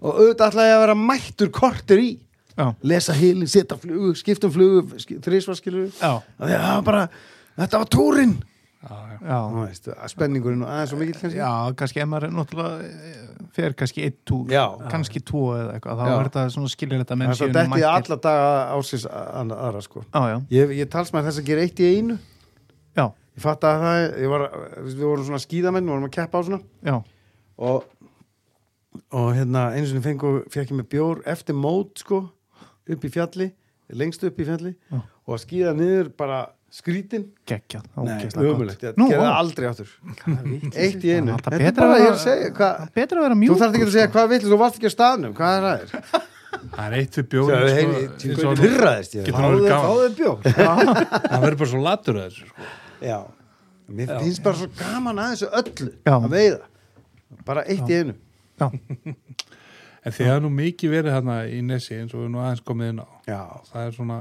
D: og auðvitað ætlaði ég að vera mættur kortir í
B: já,
D: lesa hilin, setja um flugu, skiptum flugu þrísvar skilur
B: já,
D: að því að það var bara, þetta var túrin
A: já, já.
B: já.
D: Þú veist, að spenningurinn og aðeins og mikill kannski
B: já, kannski ef maður er náttúrulega eh, fer kannski einn túr,
D: Já.
B: kannski tvo eða eitthvað, þá
D: Já.
B: er þetta svona skiljulegt að menn
D: það
B: séu
D: detti
B: mættir.
D: ég alla daga ásins að- aðra sko
B: já, já,
D: ég, ég tals maður þess að gera eitt í einu
B: já,
D: ég fatt að það, ég var við vorum svona skíðamenn, við vorum að keppa á svona
B: já,
D: og, og hérna einu sinni fengu, fekk ég með bjór eftir mót sko, upp í fjalli lengst upp í fjalli
B: Já.
D: og að skíða niður bara skrítin
B: geggjað, ógeðslega gott.
D: ömulegt, ég
B: Nú,
D: gerði það
B: ó.
D: aldrei áttur
C: Hvað vill þessi
D: eitt í einu,
B: Það er
D: þetta er
B: betra
D: bara,
B: að
D: ég er
B: vera-
D: að segja hvað,
B: Það er betra að vera
D: þú
B: mjúk
D: þarf ekki að segja hvað vill, þú varst ekki að staðnum, hvað er það
A: það er eitt við
D: Sjáðu,
A: bjóðin
D: heyri,
A: sko,
D: tjóðin
A: eins og-
D: pyrraðist ég
A: Getur
D: það.
A: hann
C: Fáðu
A: verið
C: þér-
A: gaman
C: fáðu þér bjór.
A: það verður bara svo latur að þessu sko.
D: Já. Mér finnst bara svo gaman að þessu öllu
B: Já.
D: að veiða. Bara eitt í einu.
B: Já,
A: en þegar nú mikið verið þarna í Nessi eins og við nú aðeins komið inn á
D: Já.
A: það er svona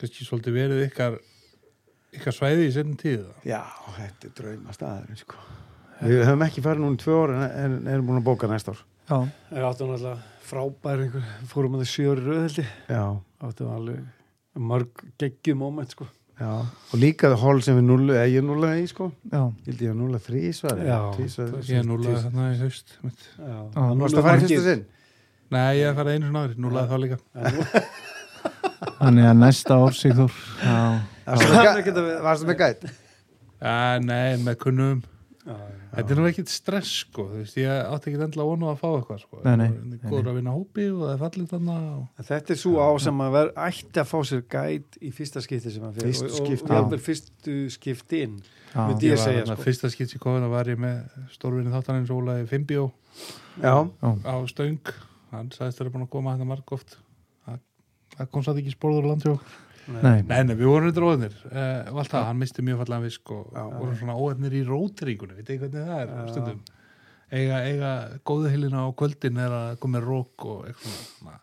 A: kannski svolítið verið ykkar ykkar svæði í sérnum tíð
D: Já, þetta er drauma staður, sko. Við höfum ekki farið núna í tvö ár en en erum búin að bóka næsta ár.
B: já,
C: Það áttu náttúrulega frábær einhver, fórum að það sjöri röðheldi.
D: Já,
C: Áttu alveg mörg geggjum moment, sko.
D: já. Og líka það hól sem við núlu, eða ég núla í sko.
B: já,
D: Ég held ég að núla þrísvar.
C: Já,
D: tvísvar.
A: Ég núlaði þarna í haust mitt.
C: Já.
B: Já,
D: Nú varst að fara í fyrsta sinn.
A: Nei, ég farið einu svona aðri, núlaði það líka
B: þannig að næsta ár Sigþór já,
D: Varstu með gæ- Varstu með gæt?
A: Já, Nei, með kunnum
C: Já, já.
A: Þetta er nú ekkit stress sko þú veist, Ég átti ekki endla vonu að fá eitthvað sko.
B: Nei, nei,
A: Góður að vinna hópi og það er fallið þarna og...
C: En Þetta er svo á sem að vera ætti að fá sér gæt í fyrsta skipti sem að fyrir
D: Fyrstu
C: og, og,
D: skipti.
C: og jafnvel fyrstu skipti inn
B: já,
C: Myndi-
A: Ég
C: Ég
A: var
C: segja,
A: þarna
C: sko.
A: fyrsta skipt í kofina var ég með stórvinni þáttanins Ólaði Fimbjó
D: Já.
A: á Stöng Hann sagðist þeirra búin að koma þetta marg oft Það það kom satt ekki spórður landjó
B: nei,
A: Nei, nei, við vorum reyndir óðnir uh, og allt það, hann misti mjög fallega fisk og vorum svona óðnir í rótiríkunni við tegum hvernig það er
C: Já.
A: stundum eiga, eiga góðu hilina á kvöldin er að koma með rók og eitthvað svona.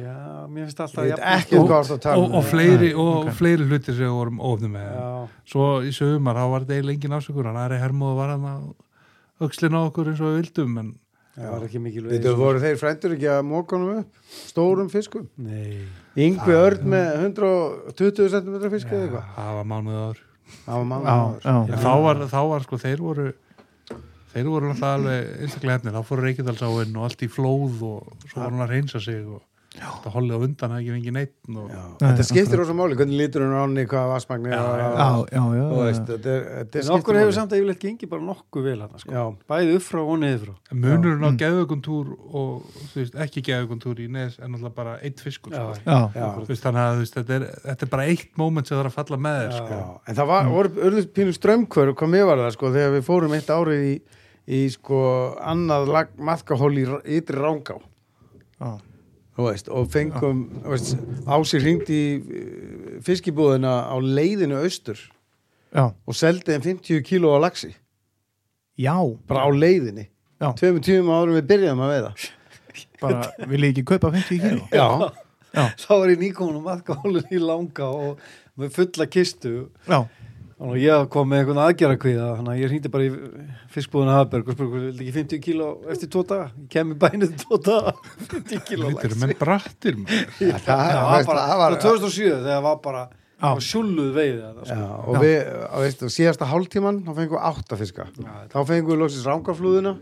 C: Já, mér finnst
D: Ég
C: alltaf sko.
D: veit ekki um hvað varst að tala
A: og,
D: um.
A: og fleiri, og fleiri hlutir sem við vorum óðnir með
C: Já,
A: svo í sögumar, þá var þetta eiginlega engin afsökur hann aðri hermóðu var hann að aukslina á okkur eins og við vildum en
C: það var ekki mikil sko.
D: Þetta voru þeir frændur ekki að móka honum upp? Stórum fiskum?
C: Nei,
D: Yngvi Örn með 120 cm fisk eða eitthvað?
A: það var mánuð ár
D: Það var mann
B: já, já,
A: En þá var, þá var sko, þeir voru þeir voru alltaf alveg einstaklega hefnir, þá fóru Reykjadalsáinn og allt í flóð og svo voru hann að reynsa sig og þetta hollið á undan hafði ekki fengið neitt og
D: Þetta skiptir ósum máli, hvernig lítur hún ánni, hvaða vassmagni
B: já, já, já,
D: Þú veist,
B: já.
D: þetta er- þetta
C: en
D: skiptir
C: okkur hefur
D: máli.
C: samt að yfirleitt gengið bara nokkuð vel hann sko.
D: Já,
C: Bæði upp frá og niður frá
A: munurinn á geðugundtúr og þú veist, ekki geðugundtúr í nes en alltaf bara eitt fiskur sko.
C: Já.
B: já,
D: já,
A: Þú veist, þannig að þú veist, þetta, er, þetta er bara eitt moment sem það er að falla með þér sko.
D: já En það var, voru örlið pínu strömmkvör hvað mér var það, sko, þegar við fórum eitt árið í, í sko, annað lag, maðkahól í Ra- ytri rángá
B: já,
D: Þú veist, og fengum, þú veist, Ási hringt í eh, fiskibúðina á leiðinu austur
B: já,
D: og seldi þeim 50 kíló á laxi
B: já,
D: bara á leiðinni
B: Já.
D: tveimur tíum árum við byrjaðum að veiða
B: bara, vil ég ekki kaupa 50 kíló?
D: já,
C: Þá var ég nýkomin og maðkálun í langa og með fulla kistu
B: Já,
C: og ég kom með einhvern aðgjara kviða þannig að ég hringdi bara í fiskbúðuna Hafberg og spurði, vildi ekki 50 kíló eftir tvo daga? Ég kem í bænið tvo daga 50 kíló
A: Þetta eru menn brattir maður.
D: það,
C: það var bara, það var 2007 þegar var bara
B: Já.
C: það var sjúluð veið það,
D: já,
C: sko.
D: og við, á, veist, á síðasta hálftíman þá fengum við átta fiska þá fengum við loksins rángaflúðuna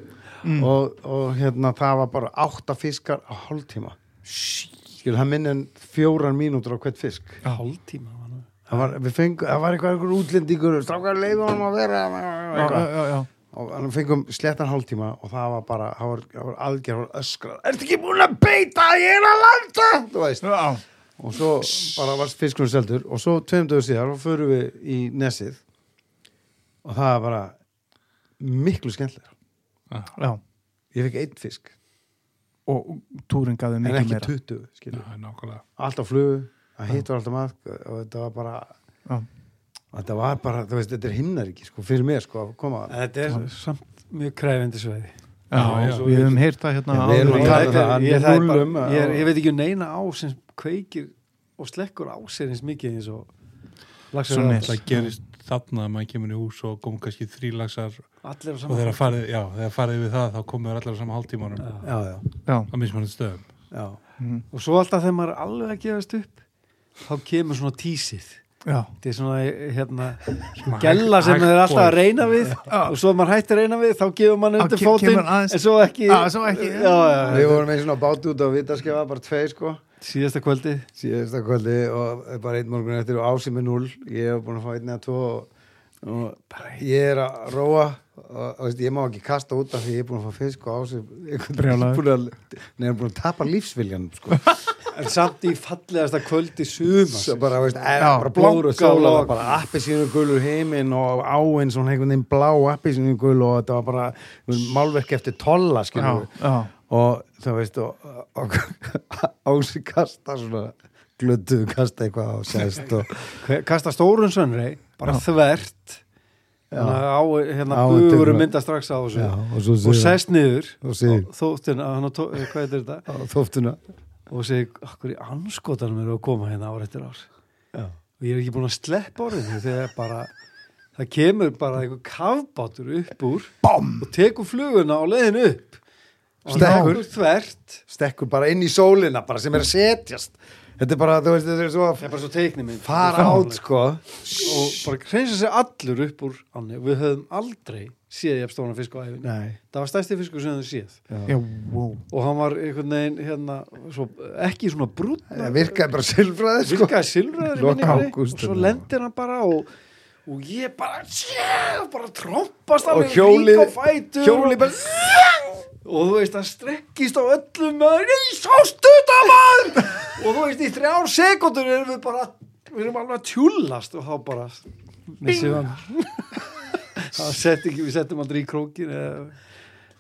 B: Mm.
D: og, og hérna, það var bara átta fiskar á hálftíma skil, það minn en fjórar mínútur á hvert fisk
C: hálftíma var nú.
D: það var, við fengum, það var eitthvað einhver útlendingur strákar leifunum að vera
B: já,
D: eitthvað.
B: já, já,
D: og við fengum slettan hálftíma og það var bara, það var, það var algjör það var öskrar, ertu ekki búin að beita ég er að landa, þú veist
B: já,
D: og svo bara varst fiskurinn seldur og svo tveim dögur síðar og förum við í nesið og það var bara miklu skemmtilega
B: já.
D: ég fekk einn fisk,
B: og túrin gaf þau
D: en
B: mikið
D: ekki
B: meira
D: 20 skilur,
A: Já, nákvæmlega.
D: allt á flugu að hitt var alltaf maður og þetta var bara
B: Já.
D: þetta var bara, þú veist, þetta er himnaríki sko, fyrir mér sko, að koma
C: En þetta er samt mjög kræfindi sveiði
B: Já,
A: Já, já.
B: við höfum heyrt það hérna
D: Já, við
B: áður
D: erum
B: í-
D: að tala um það, hann
C: ég,
D: er
C: það er
D: núllum,
C: bara- ég, er-
D: já.
C: ég veit ekki um neina á sem kveikir og slekkur á sér eins mikið eins og laxar
B: Svona
C: eru
B: er.
C: allir-
A: Það gerist þarna að maður kemur í hús og kom kannski þrýlagsar
C: allir á
A: og
C: saman
A: þegar farið, já, þegar farið við það þá komum við allar á sama hálftímanum
C: Já.
D: já, já,
B: Já, mhm.
A: á mismunandi stöðum
D: já,
C: og svo alltaf þegar maður er alveg að gefast upp þá kemur svona tísið
B: já,
C: þetta er svona hérna gella sem maður er alltaf að reyna við og svo ef maður hættir að reyna við þá gefur maður
B: Þá
C: undir
B: ke-
C: fótinn
B: kemur aðeins-
C: en svo ekki,
B: Já, svo ekki.
C: Já, já,
D: við vorum eins og báti út á vitaskefa, bara tvei sko
C: síðasta kvöldi
D: síðasta kvöldi og bara einn morgun eftir og ási með 0 ég hef búin að fá einn eða tvo og, og ég er að róa og, og veist, ég má ekki kasta út af því ég er búin að fá fisk og ási
B: Brjálaður.
D: búin að, nei, ég er búin að tapa lífsviljanum sko.
C: en samt í fallegasta kvöldi sumars
D: Svo bara, veist, er,
B: Já,
D: bara
C: blanka
D: blóður og sóla
C: lok.
D: bara appisínu gulur heiminn og áinn svona einhvern veginn blá appisínu gul og þetta var bara veist, málverk eftir tolla
B: já,
D: skilur við
B: já.
D: og þú veist og, og, ási kasta svona glötuðu kasta eitthvað á sest og
C: Hver- kasta stórun sönri bara þvert þannig að á, hérna
D: Á,
C: bugurum
D: tekur-
C: mynda strax á þessu
D: Já, og svo
C: og
D: segir-
C: sest niður
D: og segir-
C: og þóttin að hann á tó- eh, hvað er þetta
D: á þóftuna
C: og segir, okkur í anskotanum eru að koma hérna ár eftir ár
D: Já.
C: og ég er ekki búin að sleppa orðinu þegar bara það kemur bara einhver kafbátur upp úr Bom! og tekur fluguna á leiðin upp og það
D: Stekkur.
C: er þvert
D: stekkur bara inn í sólina bara sem er að setjast þetta er bara, þú veist, þetta er svo
C: það
D: að
C: er bara svo teikni minn
D: fara át sko
C: og bara hreinsa sér allur upp úr ánni og við höfum aldrei séð ég að stóna fisk á æfinni
D: nei,
C: það var stærsti fiskur sem þau séð
B: Já, wow.
C: og hann var einhvern veginn hérna, svo, ekki svona brútt
D: það virkaði bara silfraði sko
C: virkaði silfraður í
D: Lok
C: minningunni
D: ágúst,
C: og svo
D: hérna.
C: lendir hann bara og, og ég bara yeah, bara trompast
D: Og
C: alveg
D: hjólið-
C: rík á fætur
D: hjóli bara
C: og þú veist að strekkist á öllum maður, ég sást þetta maður og þú veist í þrjár sekundur erum við bara, við erum alveg að tjúllast og þá bara missið hann það sett ekki, við settum aldrei í krókin eða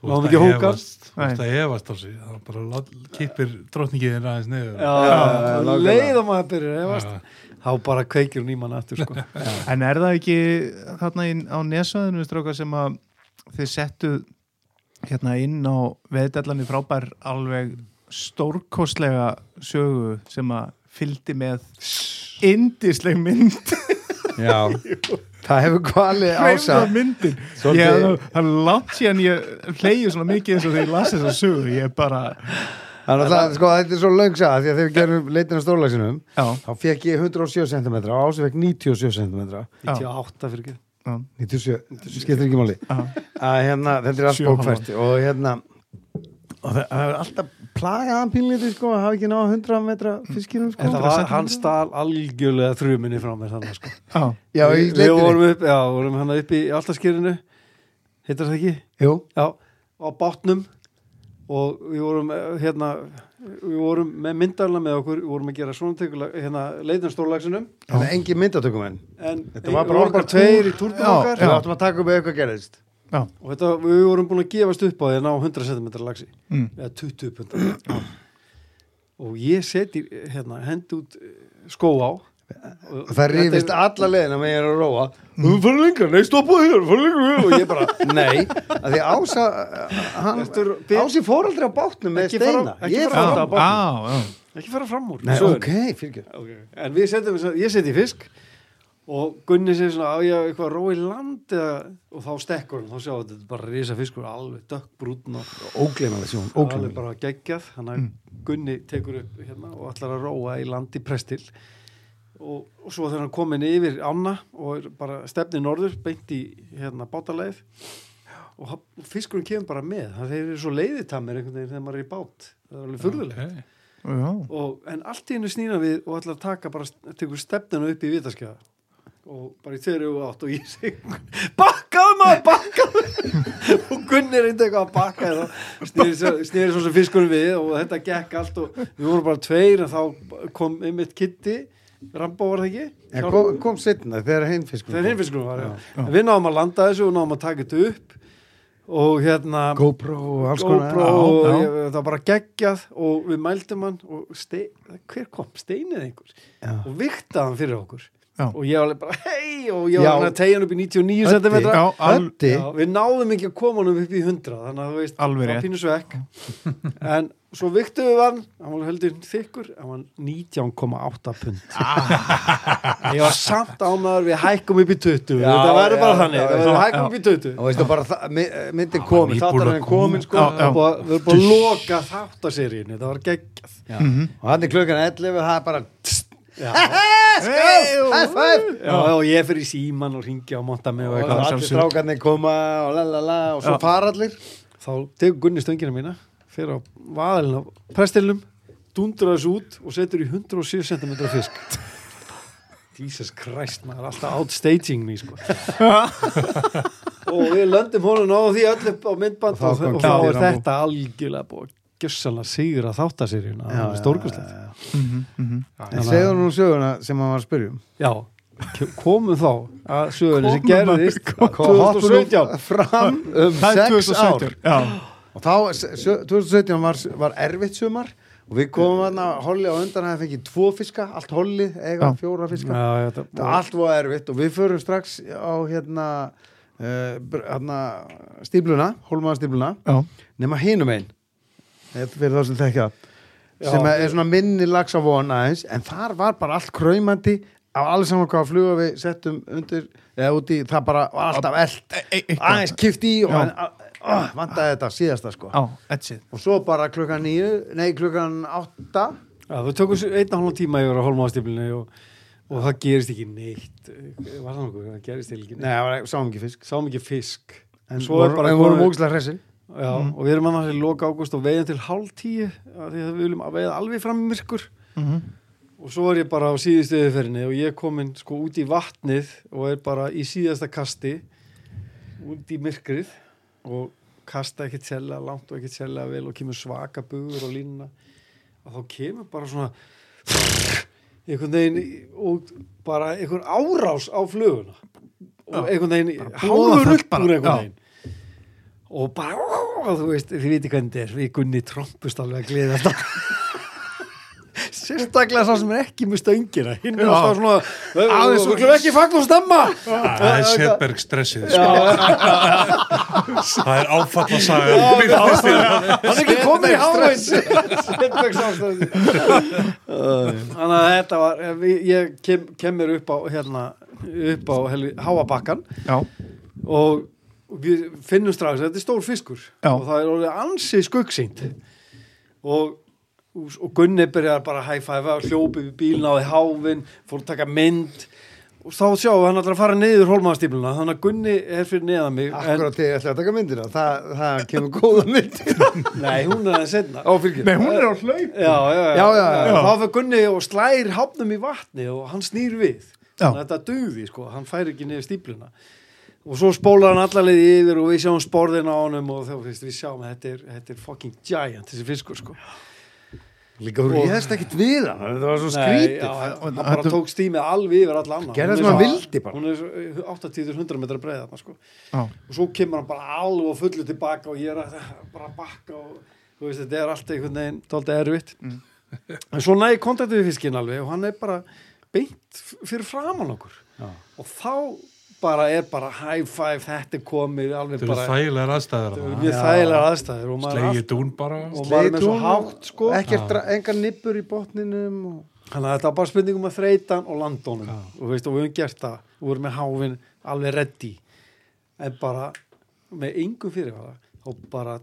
A: Þú
C: Náðum
A: ert
C: ekki
A: að
C: hóka.
A: efast- Þú ert að efast á sig Það bara lát- kippir drottningið þér aðeins neyður
C: Já,
D: já,
C: já,
D: nákvæmlega.
C: leið að maður byrjar að efast þá bara kveikir hún í mann aftur sko.
B: En er það ekki þarna inn á nesöðinu stráka sem að þið settu hérna inn á veðdellanir frábær alveg stórkostlega sögu sem að fylgdi með indisleg mynd
D: já, það hefur kvali ása
B: hreyfða myndin
D: Svolítið-
B: ég, það- það er langt síðan ég hleyju svona mikið eins og þegar ég las þessa sögu ég bara,
D: þannig að það, sko, þetta er svo löngsa því að þegar við gerum leitin á stórlagsinum
B: já,
D: þá fekk ég 107 cm og ása fekk 97 cm
B: Já.
C: 98 fyrir ekki
D: 97, skiptir ekki máli
B: já
D: að hérna, þetta er allt
B: Sjö
D: bókfært og hérna og það það hefur alltaf plagað hann pínlítið sko að hafa ekki náða 100 metra fiskinum sko
C: Þetta var, hann stal algjörlega þrjuminni frá mér þannig sko.
B: já,
D: já, í
C: Við- Við
D: leitinni.
C: vorum upp, já, vorum hann upp í alltaskirinu heitar það ekki?
D: Jú,
C: Já, á bátnum og við vorum eh, hérna, við vorum með myndarla með okkur, við vorum að gera svona tekula, hérna, leitin stórlagsinum
D: þetta er engin myndatökum enn
C: en
D: Þetta var
C: við
D: bara
C: vorum
D: okkar
C: bara tveir í
D: Við
C: túrnum okkar
D: áttum að taka upp ef eitthvað gerðist
B: já,
C: og þetta, við vorum búin að gefast upp á því að ná 100 cm lagsi
B: Mm.
C: eða 20 pundar og ég seti hérna, hendi út eh, skó á og
D: og það rýfist alla leðina með ég er að róa þú fyrir lengra, nei stoppa hér, fyrir lengra og ég bara, Mm. nei, að því Ása uh, hann,
C: Ertu- byr-
D: Ási fór aldrei á bátnum með
C: Ekki fara-
D: steina
C: ekki
D: ég
C: fara á
D: fór á
C: bátnum.
B: já, já.
C: ekki fara fram úr
D: nei,
C: sögunni.
D: ok, fyrirgjöf
C: okay. en við setjum, þess að- ég setji fisk og Gunni segir svona á ég að eitthvað rói land eða, og þá stekkur hann, þá sjáum við þetta er bara risa fiskur alveg dökkbrútn og
D: ógleymaði sjón,
C: alveg
D: ógleymaði
C: bara geggjað þannig
D: Mm.
C: að Gunni tekur upp hérna og ætlar að róa í land í prestil og, og svo þegar hann komin yfir ána og er bara stefni norður beint í hérna bátaleið og ha- og fiskurinn kemur bara með það þeir eru svo leiðitamir einhvern veginn þegar maður er í bát það er alveg furðulegt
A: okay.
B: já.
C: og, en allt í hennu snýna við og ætlar að taka bara, tekur stefninu upp í vitaskjæða og bara í þeirri og átt og ég segi bakkaðu maður, bakkaðu og Gunni reyndi eitthvað að bakka þá snýri svo- snýri svo sem fiskunum við og þetta gekk allt og við vorum bara tveir en þá kom einmitt Kitty Rambo var það ekki
D: En kom, kom setna þegar heimfiskur
C: þegar hinn fiskunum var já. En við náðum að landa þessu og náðum að taka þetta upp og hérna
D: GoPro og alls konar
C: GoPro
D: Já.
C: og
B: já.
C: ég, það var bara geggjað og við mældum hann og ste, hver kom, steinið einhver
D: Já.
C: og viktaði hann fyrir okkur
B: Já.
C: og ég var alveg bara hei og ég
D: Já.
C: var hann að tegja hann upp í 99
D: Öddi.
C: cm
B: Já, al-
D: Öddi,
C: við náðum ekki að koma hann upp í 100 þannig að þú veist,
B: Alveg
C: það
B: rétt.
C: var pínu svekk en svo viktuðu við hann hann var heldur þykkur, hann var 19,8 pund ég var samt ánaður við hækkum upp í 20
D: Ah. Já,
C: þetta verður bara
D: já,
C: þannig,
D: já,
C: við
D: já.
C: hækkum upp í 20
D: og veistu bara það- mi- eh, myndin
A: hann
D: komin,
A: var
D: þáttar hann
A: nýbúinn að
D: komin sko
B: Já,
C: við erum búin að- við erum búin að loka þáttaseríinu, það var geggjað
D: Já.
B: Mhm,
D: og hann er klukkan 11 og það er bara
B: Hey, jú.
D: high five
C: Já, og ég fyrir í síman og ringi á monta mig og
D: og
C: eitthvað.
D: allir strákarnir koma og lalala og svo
B: Já.
D: fara allir
C: Þá tegur Gunni stöngina mína, fyrir á vaðalinn á prestilnum, dundrar þessu út og setur í 107 cm fisk. Jesus Christ, maður er alltaf outstaging mig, sko. og við löndum honum á því öll upp á myndband
D: Og þá
C: og,
D: kom
C: og, þá
D: Kitty
C: er
D: Rambo.
C: þetta algjörlega búið að gjössalega sigra þáttaseríuna.
D: Já,
C: Það
D: já,
C: er stórkustlegt.
B: mhm.
D: en segðu nú söguna sem hann var að spyrjum
C: Já, komum þá að sögurinn sem
B: Komum að-
C: gerðist
D: Hoppum
C: 2017.
D: fram um
B: það er
D: 6 ár
B: 2017 já,
D: og þá, s- sjö- 2017 var, var erfitt sumar og við komum hann að holli á undan að það fengið tvo fiska, allt holli eiga
B: Já.
D: fjóra fiska
C: Já,
D: Það er allt var erfitt og við förum strax á hérna, uh, br- hérna stípluna, hólmaða stípluna
B: já,
D: nema hinum einn Þetta fyrir þá sem þekkja það.
C: Já.
D: sem er svona minni lags á vona aðeins en þar var bara allt kræmandi af allir saman hvaða fluga við settum undir eða úti, það bara var alltaf eld
B: E- e- eitthvað.
D: aðeins kift í og
B: Já.
D: hann, oh, vandaði þetta síðasta sko
B: á, that's it
D: og svo bara klukkan nýju, nei klukkan átta
C: Já, það tökum svo einn og hálfum tíma yfir að holma ástiflinni og, og það gerist ekki neitt. Var það nokkuð? Það gerist eiginlega ekki
D: nei,
C: neitt.
D: það var- sáum ekki fisk
C: Sáum ekki fisk.
D: en,
C: Svo er
D: voru,
C: bara
D: en vorum
C: komið-
D: ógislega hressin
C: Já, og við erum annars í loka ágúst og veiðum til hálf tíu af því að við viljum að veiða alveg fram í myrkur.
B: Mhm.
C: Og svo er ég bara á síðustu yfirferinni og ég er komin sko út í vatnið og er bara í síðasta kasti út í myrkrið og kasta ekkert selja langt og ekkert selja vel og kemur svaka bugur og línuna og þá kemur bara svona einhvern veginn í- og bara einhvern árás á fluguna og einhvern veginn hálfur
B: boðaföll
C: upp
B: bara,
C: úr einhvern
B: já.
C: veginn og bara, ó, þú veist, þið viti hvernig þetta er við gunni trompust alveg að gleða þetta sérstaklega sá sem er ekki með stöngina hinn er
B: Já.
C: alltaf svona
B: Aðeins
C: aðeins
B: og-
C: og glöf ekki fagn og stemma
A: það er Setberg stressið sko. það er áfalla saga
C: hann er ekki komið í hávæns þannig að þetta var ég- ég kem, kemur upp á hérna, upp á helvi, háabakkan
B: já,
C: og og við finnum strax að þetta er stór fiskur
B: Já.
C: og það er orðið ansi skuggsýnd og, og Gunni byrjar bara að hæfæfa hljópið við bílna á því háfin fór að taka mynd og þá sjáum við hann alltaf að fara niður hólmaðastífluna þannig að Gunni er fyrir neðan mig
D: akkurat þegar ég ætlaði að taka myndina það, það kemur góða myndir
C: en, nei, hún er aðeins setna
D: á fylgjum
B: nei, hún er á hlaup
C: já, já, já,
D: Já, já, já.
C: þá fyrir Gunni og slær háfnum í vatni og hann snýr við
B: Já.
C: þannig að þetta dugði, sko, hann fær ekki niður stífluna og svo spólar hann allar leiði yfir og við sjáum sporðin á honum og þá finnst við sjáum að þetta er, þetta er fucking giant þessi fiskur, sko
D: líka hún réðst ekkit við hann það var svo
C: Nei,
D: skrítið
C: já, hann hann
B: Þetta-
C: bara tók stímið alveg yfir alla annan
D: Gerði
C: Hún er
D: það sem hann
C: svo-
D: vildi bara.
C: hún er svo 80-100 metra breið þarna, sko.
B: já,
C: og svo kemur hann bara alveg á fullu tilbaka og ég er að, bara að bakka og þú veist, þetta er allt einhvern veginn dálítið erfitt
A: Mm.
C: en svo næði kontaktið við fiskinn alveg og hann er bara beint f- fyrir framann okkur
D: Já.
C: og þá bara er bara high five, þetta er komið alveg
A: þetta eru
C: bara,
A: þægilegar aðstæður
C: þetta
A: þarna.
C: eru mjög þægilega aðstæður og maður er
A: slegið dún bara
C: og maður er með svo
D: Sleitún,
C: hátt sko
D: ekkert, dra- engar nippur í botninum og...
C: þannig að þetta var bara spurningum að þreytan og landónum og, veist, og við höfum gert það og við erum með háfin alveg reddi en bara með engum fyrirvara og bara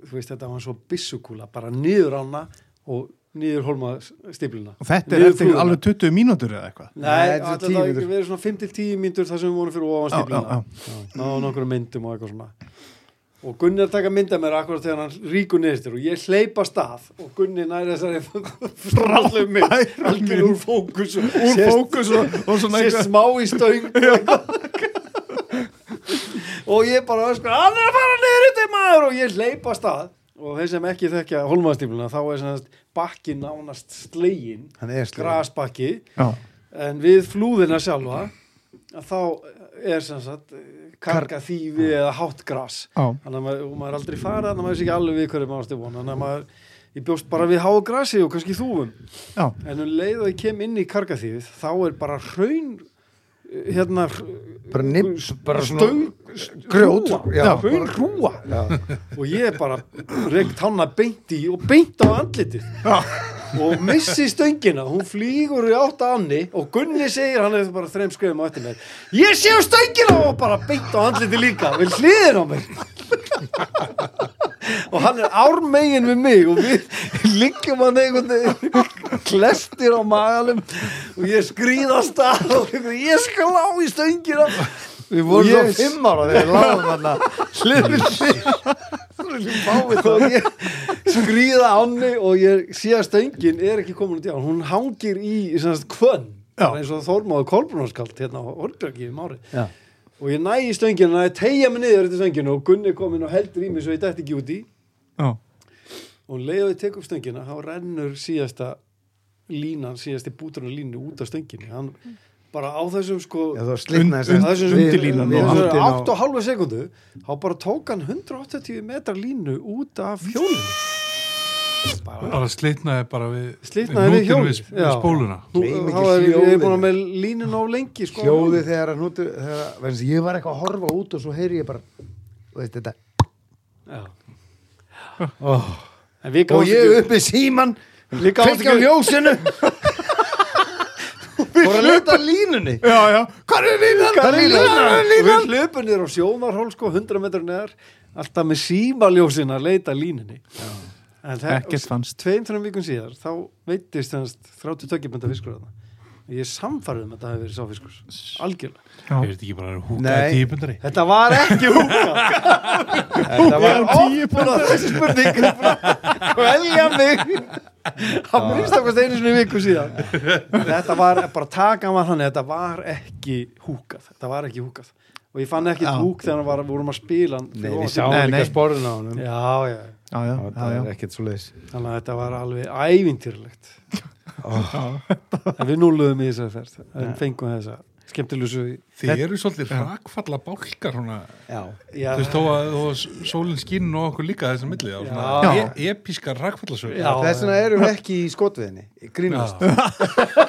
C: þú veist þetta var svo byssukúla bara niður ána og niður holma stifluna
B: og þetta er eftir alveg 20 mínútur eða eitthvað
D: Nei,
C: Nei,
D: þetta er
C: þetta
D: 10
C: var
D: mínútur.
C: verið svona 5-10 mínútur þar sem við vorum fyrir ofan
B: Já,
C: stífluna Ná nokkru myndum og eitthvað svona Og Gunni er að taka mynda mér akkurat þegar hann ríkur neðstur og ég hleypa stað og Gunni næri þessari frállum mynd, algjör úr fókus og
B: úr
C: sést-
B: fókus og, og svona
C: sér smá í stöng og ég bara öskar, hann er að fara niður yfir maður og ég hleypa af stað og þeir sem ekki þekkja holmaðstífluna þá er sem sagt bakki nánast slegin
D: Hann er sleginn.
C: grasbakki
B: já,
C: en við flúðina sjálfa að þá er sem sagt karga þýfi eða hátt gras
B: já,
C: þannig að maður, og maður er aldrei farað þannig að maður sé ekki alveg við hverju maður stífun þannig að maður, ég bjóst bara við háu grasi og kannski þúfum
B: já,
C: En um leið og ég kem inn í kargaþýfið þá er bara hraun eh, hérna
D: bara nipp bara
C: stöng
D: grjót
C: rúa,
D: já,
C: hraun rúa
D: já.
C: og ég er bara reykt hanna beint í og beint á andlitið og missi stöngina hún flýgur í átt að anni og Gunni segir, hann er bara þreim skrifum á eftir mér ég sé á stöngina og bara beint á andlitið líka, við hliðin á mér og hann er ármegin við mig og við liggjum hann einhvern veginn klestir á magalum og ég skrýðast að og ég skal á í stöngina
D: Við vorum
C: Yes.
D: yes. þá fimm ára þegar við lágum þarna hliður
C: og ég skrýða ánni og ég sé að stöngin er ekki komin út í án hún hangir í semast kvönn
B: Já.
C: eins og Þormáður Kolbrunarskald hérna á Orðbjörgi um árið
D: Já.
C: og ég næ í stöngin og ég tegja mig niður eftir stönginu og Gunni kom inn og heldur í mig svo ég dætti ekki út í
B: já,
C: og um leið og ég tek upp stöngina þá rennur síðasta línan síðasti búturinn á línu út af stönginu hann bara á þessum sko
D: Já, það slitnaði
B: Und-
D: sem-
C: þessum
D: við-
B: undirlínan og
D: við- við-
C: Þessar
D: á-
C: 8 og halva sekundu þá bara tók hann 180 metra línu út af hjólinu bara
A: bara slitnaði bara við
C: Slitnaði við
A: hnútinn
C: hjólið,
A: við
C: já.
A: spóluna
C: Nú,
D: Gleym
C: þá er
D: ekki
C: ég er
D: hljóðinu.
C: búin að með línu ná lengi sko,
D: hljóði þegar að nútu þegar, vegna þess að ég var eitthvað að horfa út og svo heyri ég bara þú veist þetta
C: Já. en við
D: og
C: gáðum
D: ég uppi síman
C: Við gáðumst
D: kveikja á
C: ekki-
D: ljósinu
C: voru að
D: út af línunni
B: já, já, hvað er línan?
D: Hvar er
B: Hvar er
D: línan?
C: Við
B: línan?
C: hlupum niður á sjónarhól sko, 100 metrar neðar alltaf með símaljósin að leita að línunni En það-
B: Ekkert fannst.
C: Tveim, þrjum vikun síðar, þá veitist þannig 32 mynda fiskur að það Ég er samfærðum að það hefur verið sá fiskur Algjörlega
A: er þetta ekki bara húkaði
D: Nei.
A: típundari
C: Þetta var ekki húka Þetta var opnur að þessi spurning er bara að velja mig á minnstakast einu sinni viku síðan Þetta var bara taka maður þannig þetta var ekki húkað þetta var ekki húkað og ég fann ekki
B: Já.
C: húk þegar var, vorum að spila hann
D: Nei,
C: fyrir
D: við
C: ofan.
D: sjáum
B: Nei,
D: líka
B: nei.
D: sporun á honum
C: Já, já,
B: Já, já,
D: Já,
B: já, já.
D: það er ekkert svo leiðis
C: þannig að þetta var alveg ævintýrlegt En við núluðum í þessari ferð en fengum þessa skemmtilusu í-
A: Þið eru svolítið rakfalla bálkar svona,
D: Já,
C: Já,
A: þú veist, þó að þó að sólin skinn og okkur líka þessar milli á svona
B: Já.
A: e episkar rakfallasögur
C: Já.
D: þess vegna erum við ekki í skotviðinni í Grínast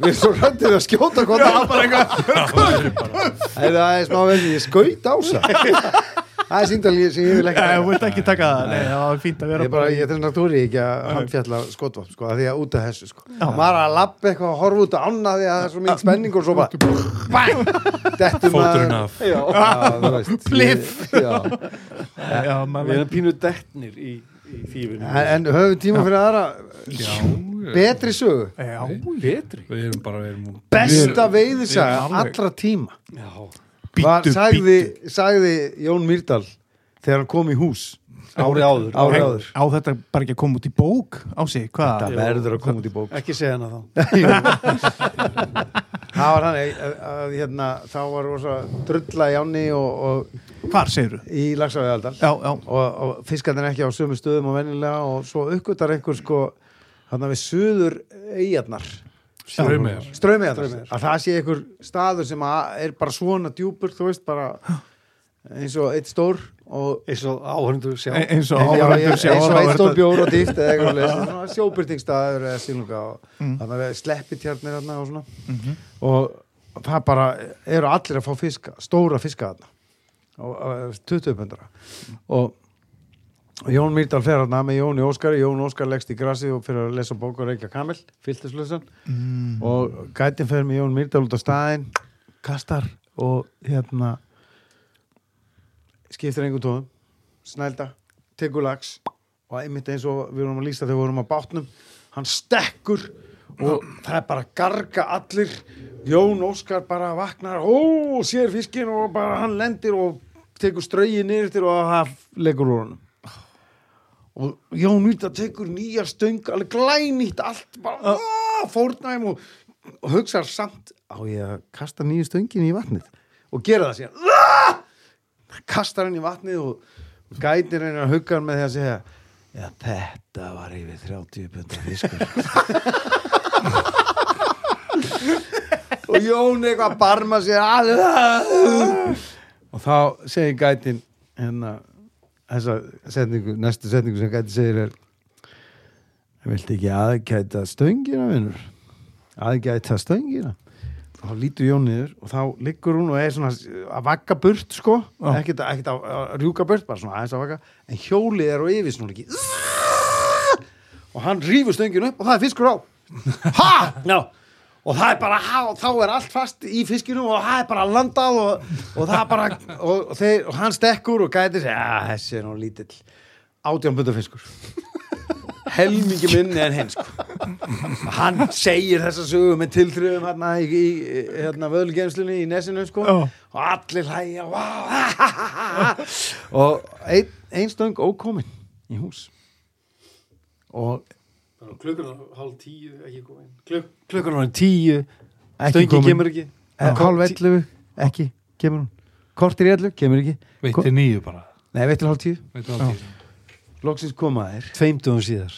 D: Við erum svo rættir að skjóta hvað það bara eitthvað Nei, Það er smá veginn, ég skaut á það Það er síndal sem ég vil ekki
B: Ég vilt ekki taka það, nei, það var fínt að vera
D: Ég bara, ég þess náttúri ekki að handfjalla skotvapn, sko, að því að út af þessu, sko. Maður að lappa eitthvað og horfa út að ána því að það er svo mikið spenning og svo bara, bang, dettur
A: Fóturinn af.
D: Já, já, þú veist.
B: Pliff.
D: ég- Já,
B: Já, maður
C: við erum pínu dettnir í, í þýfinu
D: en, en höfum tíma fyrir aðra
A: Já,
D: betri sögu.
B: Já,
C: Betri
A: við erum bara við erum,
D: Besta veiðisaga allra tíma.
C: Já
D: Var,
A: Bíddu,
D: sagði, sagði Jón Myrdal þegar hann kom í hús
C: Ári áður
D: ári áður.
B: á þetta bara ekki að koma út í bók á sig, hvað?
D: Það verður að koma út í bók.
C: Ekki segja hana þá
D: Jú. það var hann að, að hérna, þá var rosa drulla í áni og,
B: Hvar segirðu?
D: og í Lagsafjaldal
B: Já, já,
D: og, og fiskarnir ekki á sömu stöðum og vennilega og svo uppgötar einhver sko hann við suður eigarnar
A: strömiðar
D: strömiðarnar,
C: Straumeyjar.
D: að það sé einhver staður sem að er bara svona djúpur þú veist bara eins og eitt stór og
C: eins og áhörndu sjá
B: E- eins og
D: Já, já,
B: áhverjandur
D: eins
B: sjá
D: og eitt stór
B: áhverjandur-
D: bjór og dýft eða eitthvað Mm. leist, sjóbyrtingstaður eða sílunga og þannig að við sleppitjarnir þarna og svona og það bara eru allir að fá fiska, stóra fiska þarna og og, 20 pundra og og Jón Myrdal fer þarna með Jóni Óskari Jón Óskar leggst í grassi og fyrir að lesa bók og reykja kamil, fylltislössan og gætin fer með Jón Myrdal út á staðin, kastar og hérna skiptir engum tóðum snælda, tekur lags og einmitt eins og við vorum að lýsa þegar við vorum að bátnum hann stekkur og það er bara að garga allir Jón Óskar bara vaknar ó, sér fiskin og bara hann lendir og tekur strögi niður til og það leggur úr honum og Jón Myrdal tekur nýja stöng alveg glænýtt allt bara uh. fórnæm og, og hugsar samt á ég að kasta nýju stöngin í vatnið og gera það síðan Aah! kastar hann í vatnið og, og gætir henni að hugga hann með því að segja já þetta var yfir 30 pundar fiskur og Jón eitthvað barma sér alveg og þá segir gætin hérna þessa setningu, næstu setningu sem gæti segir er viltu ekki aðgæta stöngina vinnur aðgæta stöngina þá lítur Jón niður og þá liggur hún og er svona að vagga burt sko ekkert, að- ekkert að, að rjúka burt bara svona aðeins að vagga en hjólið er á yfir svona ekki og hann rýfur stönginu upp og það er fiskur á ha! No. og það er bara ha, og þá er allt fast í fiskinu og það er bara landað og, og það er bara og, og, þeir, og hann stekkur og gætir sig að þessi er nú lítill átjánbunda fiskur helmingi minni en hinn sko. hann segir þessa sögu með tilþrifum hérna í, í hérna, vöðlugemslunni í nesinu sko.
B: Já.
D: og allir hlæja wow, ha, ha, ha, ha. og ein, ein stöng ókomin í hús og
C: klukkan var hálf tíu ekki komin Kluk, klukkan var tíu
D: Ekki
C: stöngi
D: komin.
C: kemur ekki
D: Eh, Hálf 11, ekki, kemur hún Kortir í 11, kemur ekki Ko-
A: veitir nýju bara
D: Nei, veitir hálf 10
A: veitir á tíu
D: Loksins koma þær
C: tveimtugum síðar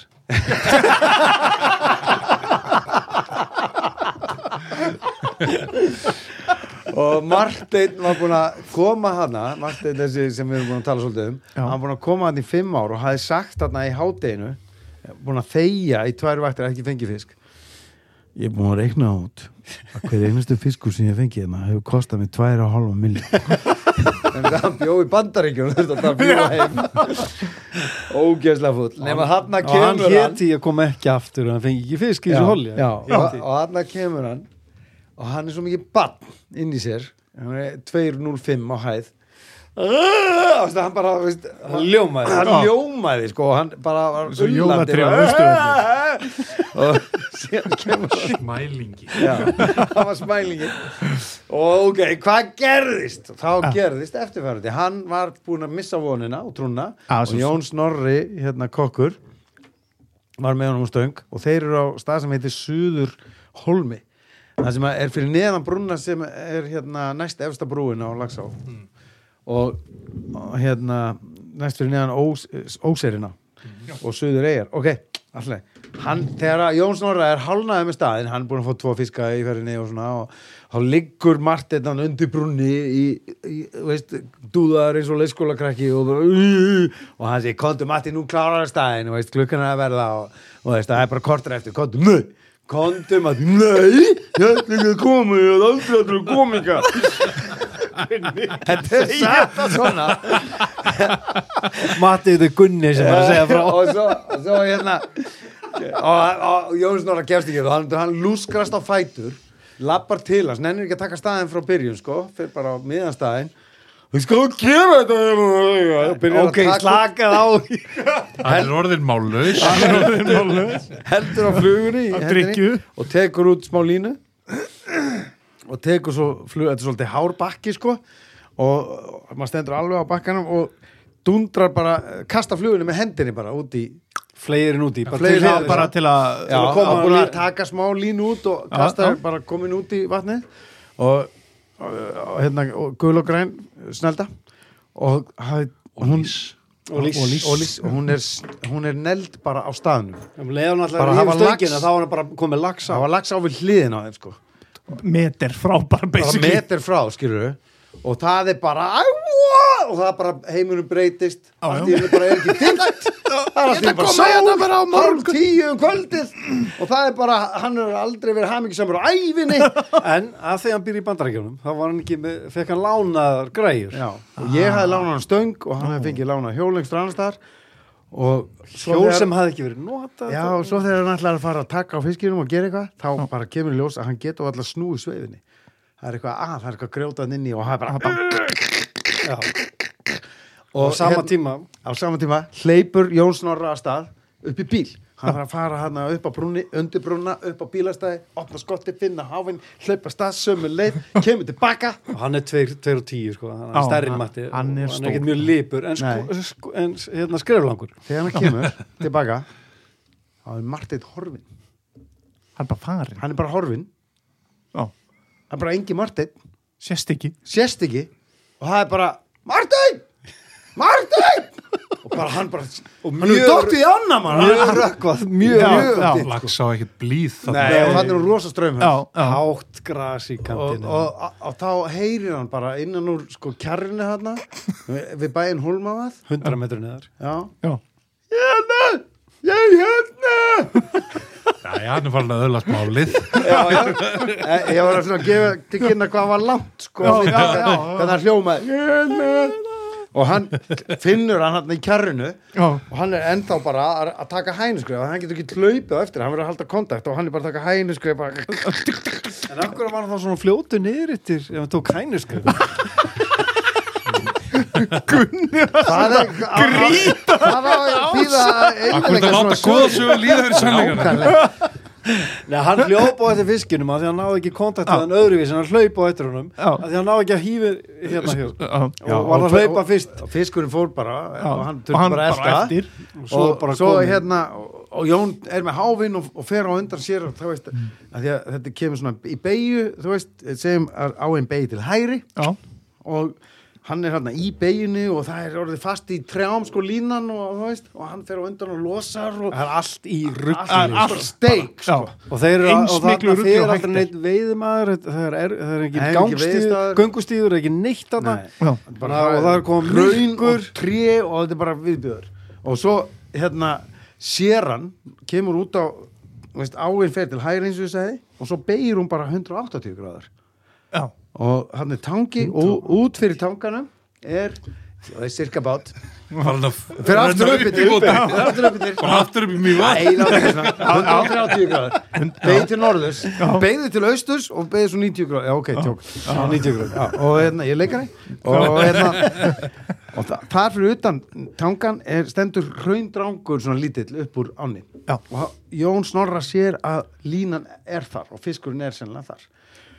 D: Og Marteinn var búin að koma hana Marteinn þessi sem við erum búin að tala svolítið um
B: Já.
D: Hann var búin að koma hana í 5 ár og hafði sagt hana í hátdeinu Búin að þegja í tvær vaktir að ekki fengi fisk Ég er búin að reikna út að hver einastu fiskur sem ég fengi hérna hefur kostað mér 2,5 miljón En það bjóði bandaríkjum þetta bara bjóða heim Ógeðslega fúll Nefn að
C: og
D: hann
C: hann
D: kemur hann
C: héti að koma ekki aftur og hann fengi ekki fisk í þessu holja
D: já, og, og hann kemur hann og hann er svo mikið bann inn í sér hann er 2.05 á hæð Þannig að hann bara veist, hann ljómaði hann ljómaði sko og hann bara var
B: Svo
D: ullandi,
B: jólatré á
D: bara, og síðan kemur hann
A: Mælingi
D: Já, það var smælingin og ok, hvað gerðist þá
B: Ah.
D: gerðist eftirfærandi hann var búin að missa vonina og trúna
B: Ah,
D: og
B: svo-
D: Jón Snorri, hérna kokkur var með honum á stöng og þeir eru á stað sem heitir Suður Holmi það sem að er fyrir neðan brúna sem er hérna næst efsta brúin á Laxá og, og hérna næst fyrir neðan ós, óserina og suður eigar ok, alltaf hann, þegar að Jón Snorra er hálnaði með staðin hann er búin að fá tvo fiska í ferinni og svona og þá liggur Martin hann undir brunni í, í þú veist, dúðar eins og leikskólakrakki og bara "Ugh", og hann segir, kontu Martin, nú klárar staðin og veist, klukkan er að verða og, og veist, það er bara kortur eftir, kontu, nö kontu Martin, nei ég ætla ekki að koma, hérna ég ætla aldrei að þú koma ykkar þetta er satt að svona
C: Matið þau Gunni sem var að segja frá
D: og svo, og svo hérna og, og Jón Snorra gefst ekki og hann, hann lúskrast á fætur lappar til hans, nennir ekki að taka staðin frá byrjun sko, fyrir bara á miðan staðin og sko, hvað gera þetta hérna?" og byrjar
C: Ok,
D: að taka
C: slakað á
A: Hann er orðin mállaus
D: heldur á flugunni í
B: Af
D: hendinni
B: drykkju.
D: og tekur út smá línu og tekur svo flug, þetta er svolítið hár bakki sko og, og maður stendur alveg á bakkanum og dundrar bara, kasta flugunni með hendinni bara út í
C: Fleirinn úti bara
D: Fleirinn
C: til
B: Já,
C: hliðar.
B: bara til að
D: Já,
C: að koma
D: að koma búin
C: hann
D: að
C: í-
D: taka smá línu út og
B: Já,
D: kasta
B: já.
D: þér bara komin út í vatnið og, og, og hérna og gul og græn snelda og, hafði-
A: Og lís
D: og lís, og, lís. Og, hún, er, s- hún er neld bara á staðnum
C: Um leiðan alltaf
D: Bara
C: að
D: hafa
C: rífa stöngina
D: lax.
C: þá var hann bara komið lax á
D: það var lags á við hliðin á þeim sko
B: meter frá bara
D: bara
B: basically
D: meter frá skilur og það er bara "Æ, og það er bara heimurum breytist
B: Já,
D: allt
B: já.
D: í hennu bara er ekki dimmt það er allt í
B: ætla að
D: hennu bara
B: koma hérna bara á
D: sól hálf
B: morgun.
D: tíu um kvöldið og það er bara, hann er aldrei verið hamingisamur á ævinni
C: En að því hann býr í bandarækjunum þá var hann ekki með, fekk hann lánaðar Ah. græjur
D: Já, og ég hafði lánað hann stöng og hann hafði fengið lánað hjól lengst rannastar og svo
C: Hjól
D: þegar-
C: sem hafði ekki verið nota
D: Já, og svo þegar hann ætlaði að fara að taka á fiskinum og gera eitthvað, þá bara kemur í ljós að hann getur alltaf snúið sveifinni það er eitthvað að, það er eitthvað grjótað inn í og hann er bara
C: Já,
D: og,
C: og sama
D: hérna-
C: tíma
D: á sama tíma hleypur Jón Snorra að stað upp í bíl hann þarf að fara hann upp á brúnni, undir brúnna upp á bílastæði, opna skotti, finna háfinn hlaupa af stað, sömu leið, kemur tilbaka
C: og hann er 2 og 10 sko, hann
B: Já,
C: er stærri
B: hann-
C: matti og
B: hann er
C: hann
B: stór.
C: er ekkert mjög lipur en, sko,
D: Nei.
C: sko, en hérna skreflangur
D: þegar hann kemur tilbaka þá er Marteinn horfinn
B: hann er bara farin
D: hann er bara horfinn
B: Já.
D: það er bara engi Marteinn,
B: sést ekki
D: sérst ekki og það er bara Marteinn Marteinn og bara hann bara og hann
C: mjög-
D: er dótt í anna mann
C: mjög rökkvað, mjög
B: Já,
C: mjög
B: já.
A: Lags á ekkert blíð þarna.
D: Nei, og hann er um rosa strömmur
B: já, já.
C: hátt gras í
D: og,
C: kantinu
D: og, og, og þá heyrir hann bara innan úr sko kjarrinu hann við bæinn Hólmavað
C: 100 metru neðar
D: já
B: Já.
D: hérna, ég er hérna
A: Nei, hann er farin að öðlast málið
D: já, já, ég, ég var að svona gefa til kynna hvað var langt sko já, já, já, hvernig hann hljómaði hérna og hann finnur hann hann í kjarrinu
B: Já.
D: og hann er ennþá bara að, að taka hænuskref hann getur ekki hlaupið á eftir, hann verður að halda kontakt og hann er bara að taka hænuskref bara
C: en akkur var hann þá svona fljótu niður yttir ef hann tók hænuskref
D: það er gríta það var að býða
A: Akkur þetta láta góðsögu líða fyrir sannleikana
C: Nei, hann hljóp á eftir fiskinum að því hann náði ekki kontakt
B: Já.
C: við hann öðruvís en hann hlaup á eftir honum
B: Já.
C: að því hann náði ekki að hýfi hérna hjá
B: Já.
D: Já,
C: og var
D: og
C: að
D: tve-
C: hlaupa
D: og-
C: fyrst
D: og fiskurinn fór bara og hann
B: Og
D: þurfti bara eftir, eftir.
C: og
D: og
C: svo
D: svo,
C: bara
D: svo
C: komið.
D: hérna og, og Jón er með hávinn og, og fer á undan sér og þá veist að því að þetta kemur svona í beigju þú veist, segjum að á einn beigju til hægri
B: Já.
D: og hann er hérna í beiginu og það er orðið fast í trjám sko línan og þú veist og hann fer á undan og losar og
C: það er allt í
D: allt
C: ruggli
D: er bara steik
B: Já.
D: sko.
C: og þeir eru
B: Eins
C: og
B: miklu
C: þarna
B: rugli
C: fer
B: og hægt
C: aldrei neitt veiðmaður það er, er, það er
D: Það er
C: ekki
D: ekki veiðistaður.
C: gangstíður göngustíður, ekki neitt þarna
D: Nei.
B: Já.
D: bara,
C: og það er komið
D: raun
C: myrkur.
D: og tré og þetta er bara viðbjöður og svo hérna sér hann kemur út á þú veist, áin fer til hægri eins og ég segi og svo beigir hún bara 180 gráðar
B: Já.
D: og hann er tangi og út fyrir tanganum er það er cirka bát
A: Fyrir
D: Fyrir aftur upp
A: í bóti
D: Fyrir aftur upp yfir
A: Bara aftur upp í mjög vatn
D: Nei, látum við svona 130 gráður Beigð til norðurs Beigðu til austurs og beigðu svo 90 gráður Já, ok, tjók Já, 90 gráður Já, Og hérna, ég leikar þig Og hérna Og þa- þar fyrir utan tangan er stendur hraundrangur svona lítill upp úr áni
B: Já.
D: Og ha- Jón Snorra sér að línan er þar og fiskurinn er sennilega þar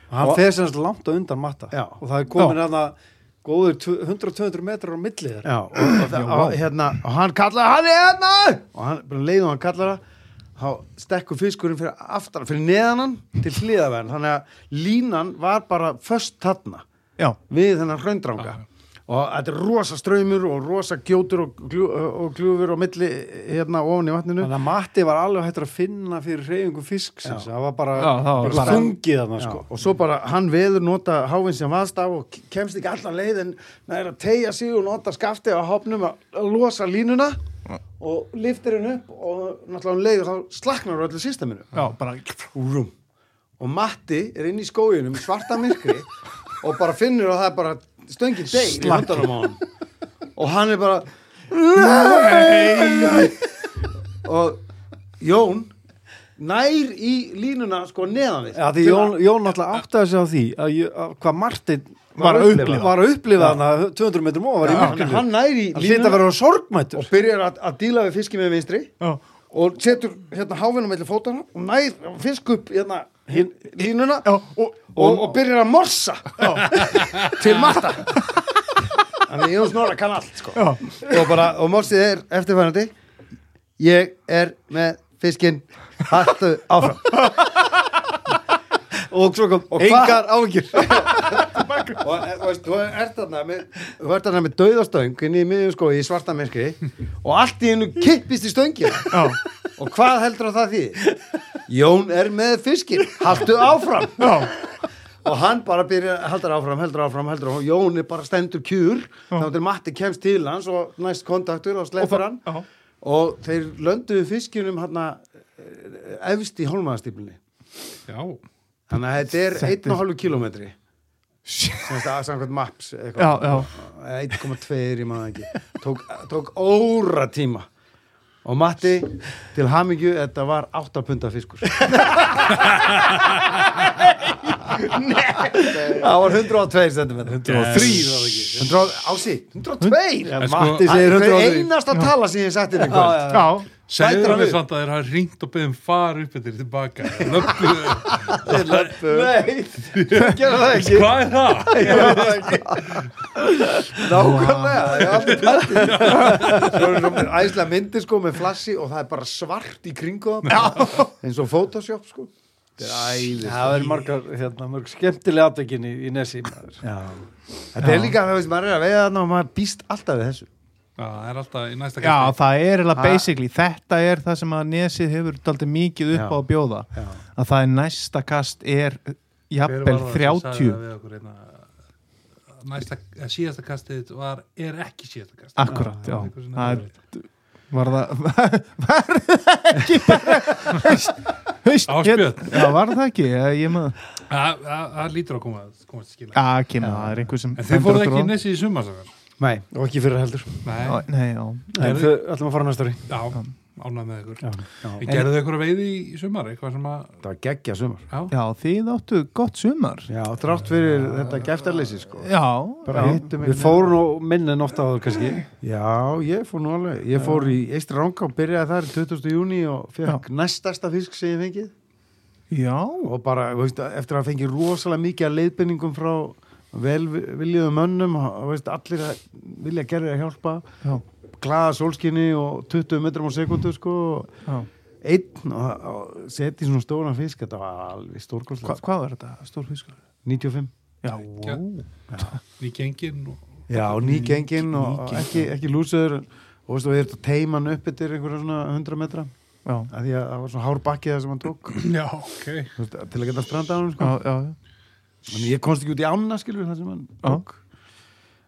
C: og hann
D: Og-
C: fer semst langt og undan matta
D: Já.
C: og það er komin að það góður 100-200 metrar á milli þeirra
D: Já, og, og, það- og, hérna, og hann kallar hann er hérna og hann, bara um leið og hann kallar það þá stekkur fiskurinn fyrir aftan fyrir neðan hann til hliðaverðin þannig að línan var bara föst þarna
B: já,
D: við þennan hraundranga og þetta er rosa ströymur og rosa gjótur og, gljó, og gljúfur og milli hérna ofan í vatninu
C: þannig að matti var alveg hættur að finna fyrir reyfingu fisksins það var bara,
B: Já, það var
C: bara
B: bara-
C: þungið þannig
D: Já,
C: sko
D: og svo bara hann veður nota háfinn sem vaðstaf og kemst ekki allan leið en það er að tegja sig og nota skaftið á hopnum að að losa línuna og liftir henn upp og náttúrulega hann leiður þá slaknar öllu systeminu
B: já, bara
D: Rúm. og Matti er inn í skóginum í svarta myrkri og bara finnur að það er bara stöngin deg í
B: Slakt.
D: hundanum á hann og hann er bara nei, og Jón nær í línuna sko neðan við
C: Já, því
D: Til að-
C: Jón, Jón náttúrulega áttaði sig á því að, ég- að hvað Martin
B: Var að upplifa.
C: var að upplifa hann að 200 metrum og var í
D: hann,
C: mörgum
D: hann næri
C: hann hlýtt að vera sorgmættur
D: og byrjar að, að díla við fiski með vinstri
B: já,
D: og setur hérna háfinum mellir fótana og nær fisk upp hérna hin, línuna
B: já,
D: og,
B: og
D: og, byrjar að morsa til matta þannig að Jón Snorra kann allt sko.
B: Já.
D: og, bara, og morsið er eftirfærandi ég er með fiskin hattu áfram
C: og svo kom
D: hvað-
C: engar áhyggjur
D: og e, þú veist, þú ert þarna með, þú ert þarna með dauðastöng inn í miðjum skói í svarta myrkri og allt í hennu kippist í stöngina og hvað heldur það því? Jón er með fiskinn, haldu áfram
B: já,
D: og hann bara byrja, heldur áfram, heldur áfram, heldur áfram Jón er bara stendur kjur þá til Matti kemst til hans og næst kontaktur og
B: Og
D: sleppur
B: það-
D: hann
B: já.
D: og þeir lönduðu fiskinum hann hérna, eh, efst í holmaðastýplinni
A: Já,
D: þannig að þetta er
B: Þetta er-
D: 1,5 kilometri
B: Shit.
D: sem þetta samkvæmt maps eitthvað.
B: já, já.
D: 1,2 ég maður ekki tók, tók óra tíma og Matti til hamingju þetta var 8 punta fiskur það var 102 cm 103 var það ekki 100, ási, 102
A: En sko-
C: Matti
D: Það
C: segir
D: er
C: 100
D: einasta tala sem ég sætti þér í kvöld
B: já.
A: segðu
D: hann
A: mér
D: upp.
A: samt að þeir hafa ringt og beðum far upp eftir tilbaka Löppuðu
D: Nei, gera það ekki
A: Hvað er það?
D: Nákvæmlega, það er aldrei pætti Svo er það æslega myndir sko með flassi og það er bara svart í kringu það eins og Photoshop sko Þetta er æðislegt.
C: það er margar hérna, mörg skemmtilega atvekin í, í Nessi maður.
D: Þetta er líka, þú veist, maður er að veiða þarna og maður býst alltaf við þessu
A: Já, það er alltaf í næsta
B: Já,
A: kasti
B: það er eiginlega
D: Ha.
B: basically, þetta er það sem að Nesið hefur daldið mikið upp
D: Já.
B: á að bjóða
D: Já.
B: að það er næsta kast er
A: Hver
B: jafnvel
A: var það sem sagði
B: 30
A: það við okkur einna? Næsta, eh, síðasta kastið var, er ekki síðasta kastið
B: akkurat, já,
A: einhver sem
B: það
A: nefnir þetta.
B: er var það var það ekki bara haust, haust
A: Ásbjörn.
B: ég- já, var það ekki, ég, ég maður
A: Það- það- það lítur að koma koma til skila
B: já, kemur, það er einhver sem
A: En þið fóruð ekki í nesið í sumar sagði hann.
C: Nei, og ekki fyrir heldur
A: Nei,
B: nesið nei, já,
C: en þau ætlum að fara næsta ári
A: já, ánað með ykkur
D: Það
A: Ég gerði þau ykkur að veiði í sumar eitthvað sem að
D: var geggja sumar
A: Já,
B: já, þið áttu gott sumar
D: Já, þrátt fyrir þetta geftarleysi sko
B: já,
D: Bara
B: já,
D: hittum
C: við fórum nú minn en ofta áður kannski
D: Já, ég fór nú alveg Ég fór í Eistra Ranga og byrjaði þar 20. júni og fekk næstasta fisk sem ég fengið
B: já,
D: og bara, þú veist, eftir að fengi rosalega mikið að leiðbendingum frá velviljuðu mönnum og, veist, allir að vilja gerði að hjálpa
B: já,
D: klaða sólskinni og 20 metrum á sekundu sko, og
B: já.
D: einn og, og setja í svona stóran fisk þetta var alveg
B: Hva,
D: stórkoslega sko.
B: hvað var þetta, stór fiskur
D: 95
B: já,
A: Gekkja.
B: wow.
A: nýgengin og
D: já, og nýgengin og, og ekki, ekki lúsaður og veist, og við erum að teima hann upp yfir einhverja svona 100 metra
B: já,
D: af því að það var svona hár bakki það sem hann tók
A: Já, ok
D: þú veist, til að geta strandað hann sko.
B: já, já, já.
D: Þannig ég komst ekki út í ána skilur það sem hann
B: Já.
D: tók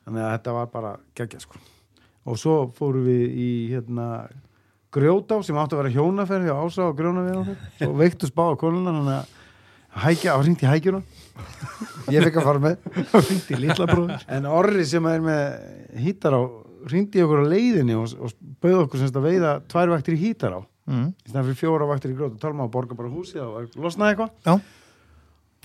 D: Þannig að þetta var bara geggja sko Og svo fórum við í hérna Grjótá sem átti að vera hjónaferð hjá Ása og Grjónaferð og veiktust bá á konuna þannig að hækja, á hringt í hækjuna ég fekk að fara með
B: hringdi í litla bróður
D: en Orri sem er með hýtar á hringdi í okkur á leiðinni og, og bauði okkur semst að veiða tvær vaktir í hítar á
B: Mm.
D: í stæðan fyrir fjóra vaktir í grót og talma og borga bara húsið og losnaði eitthvað
B: Já,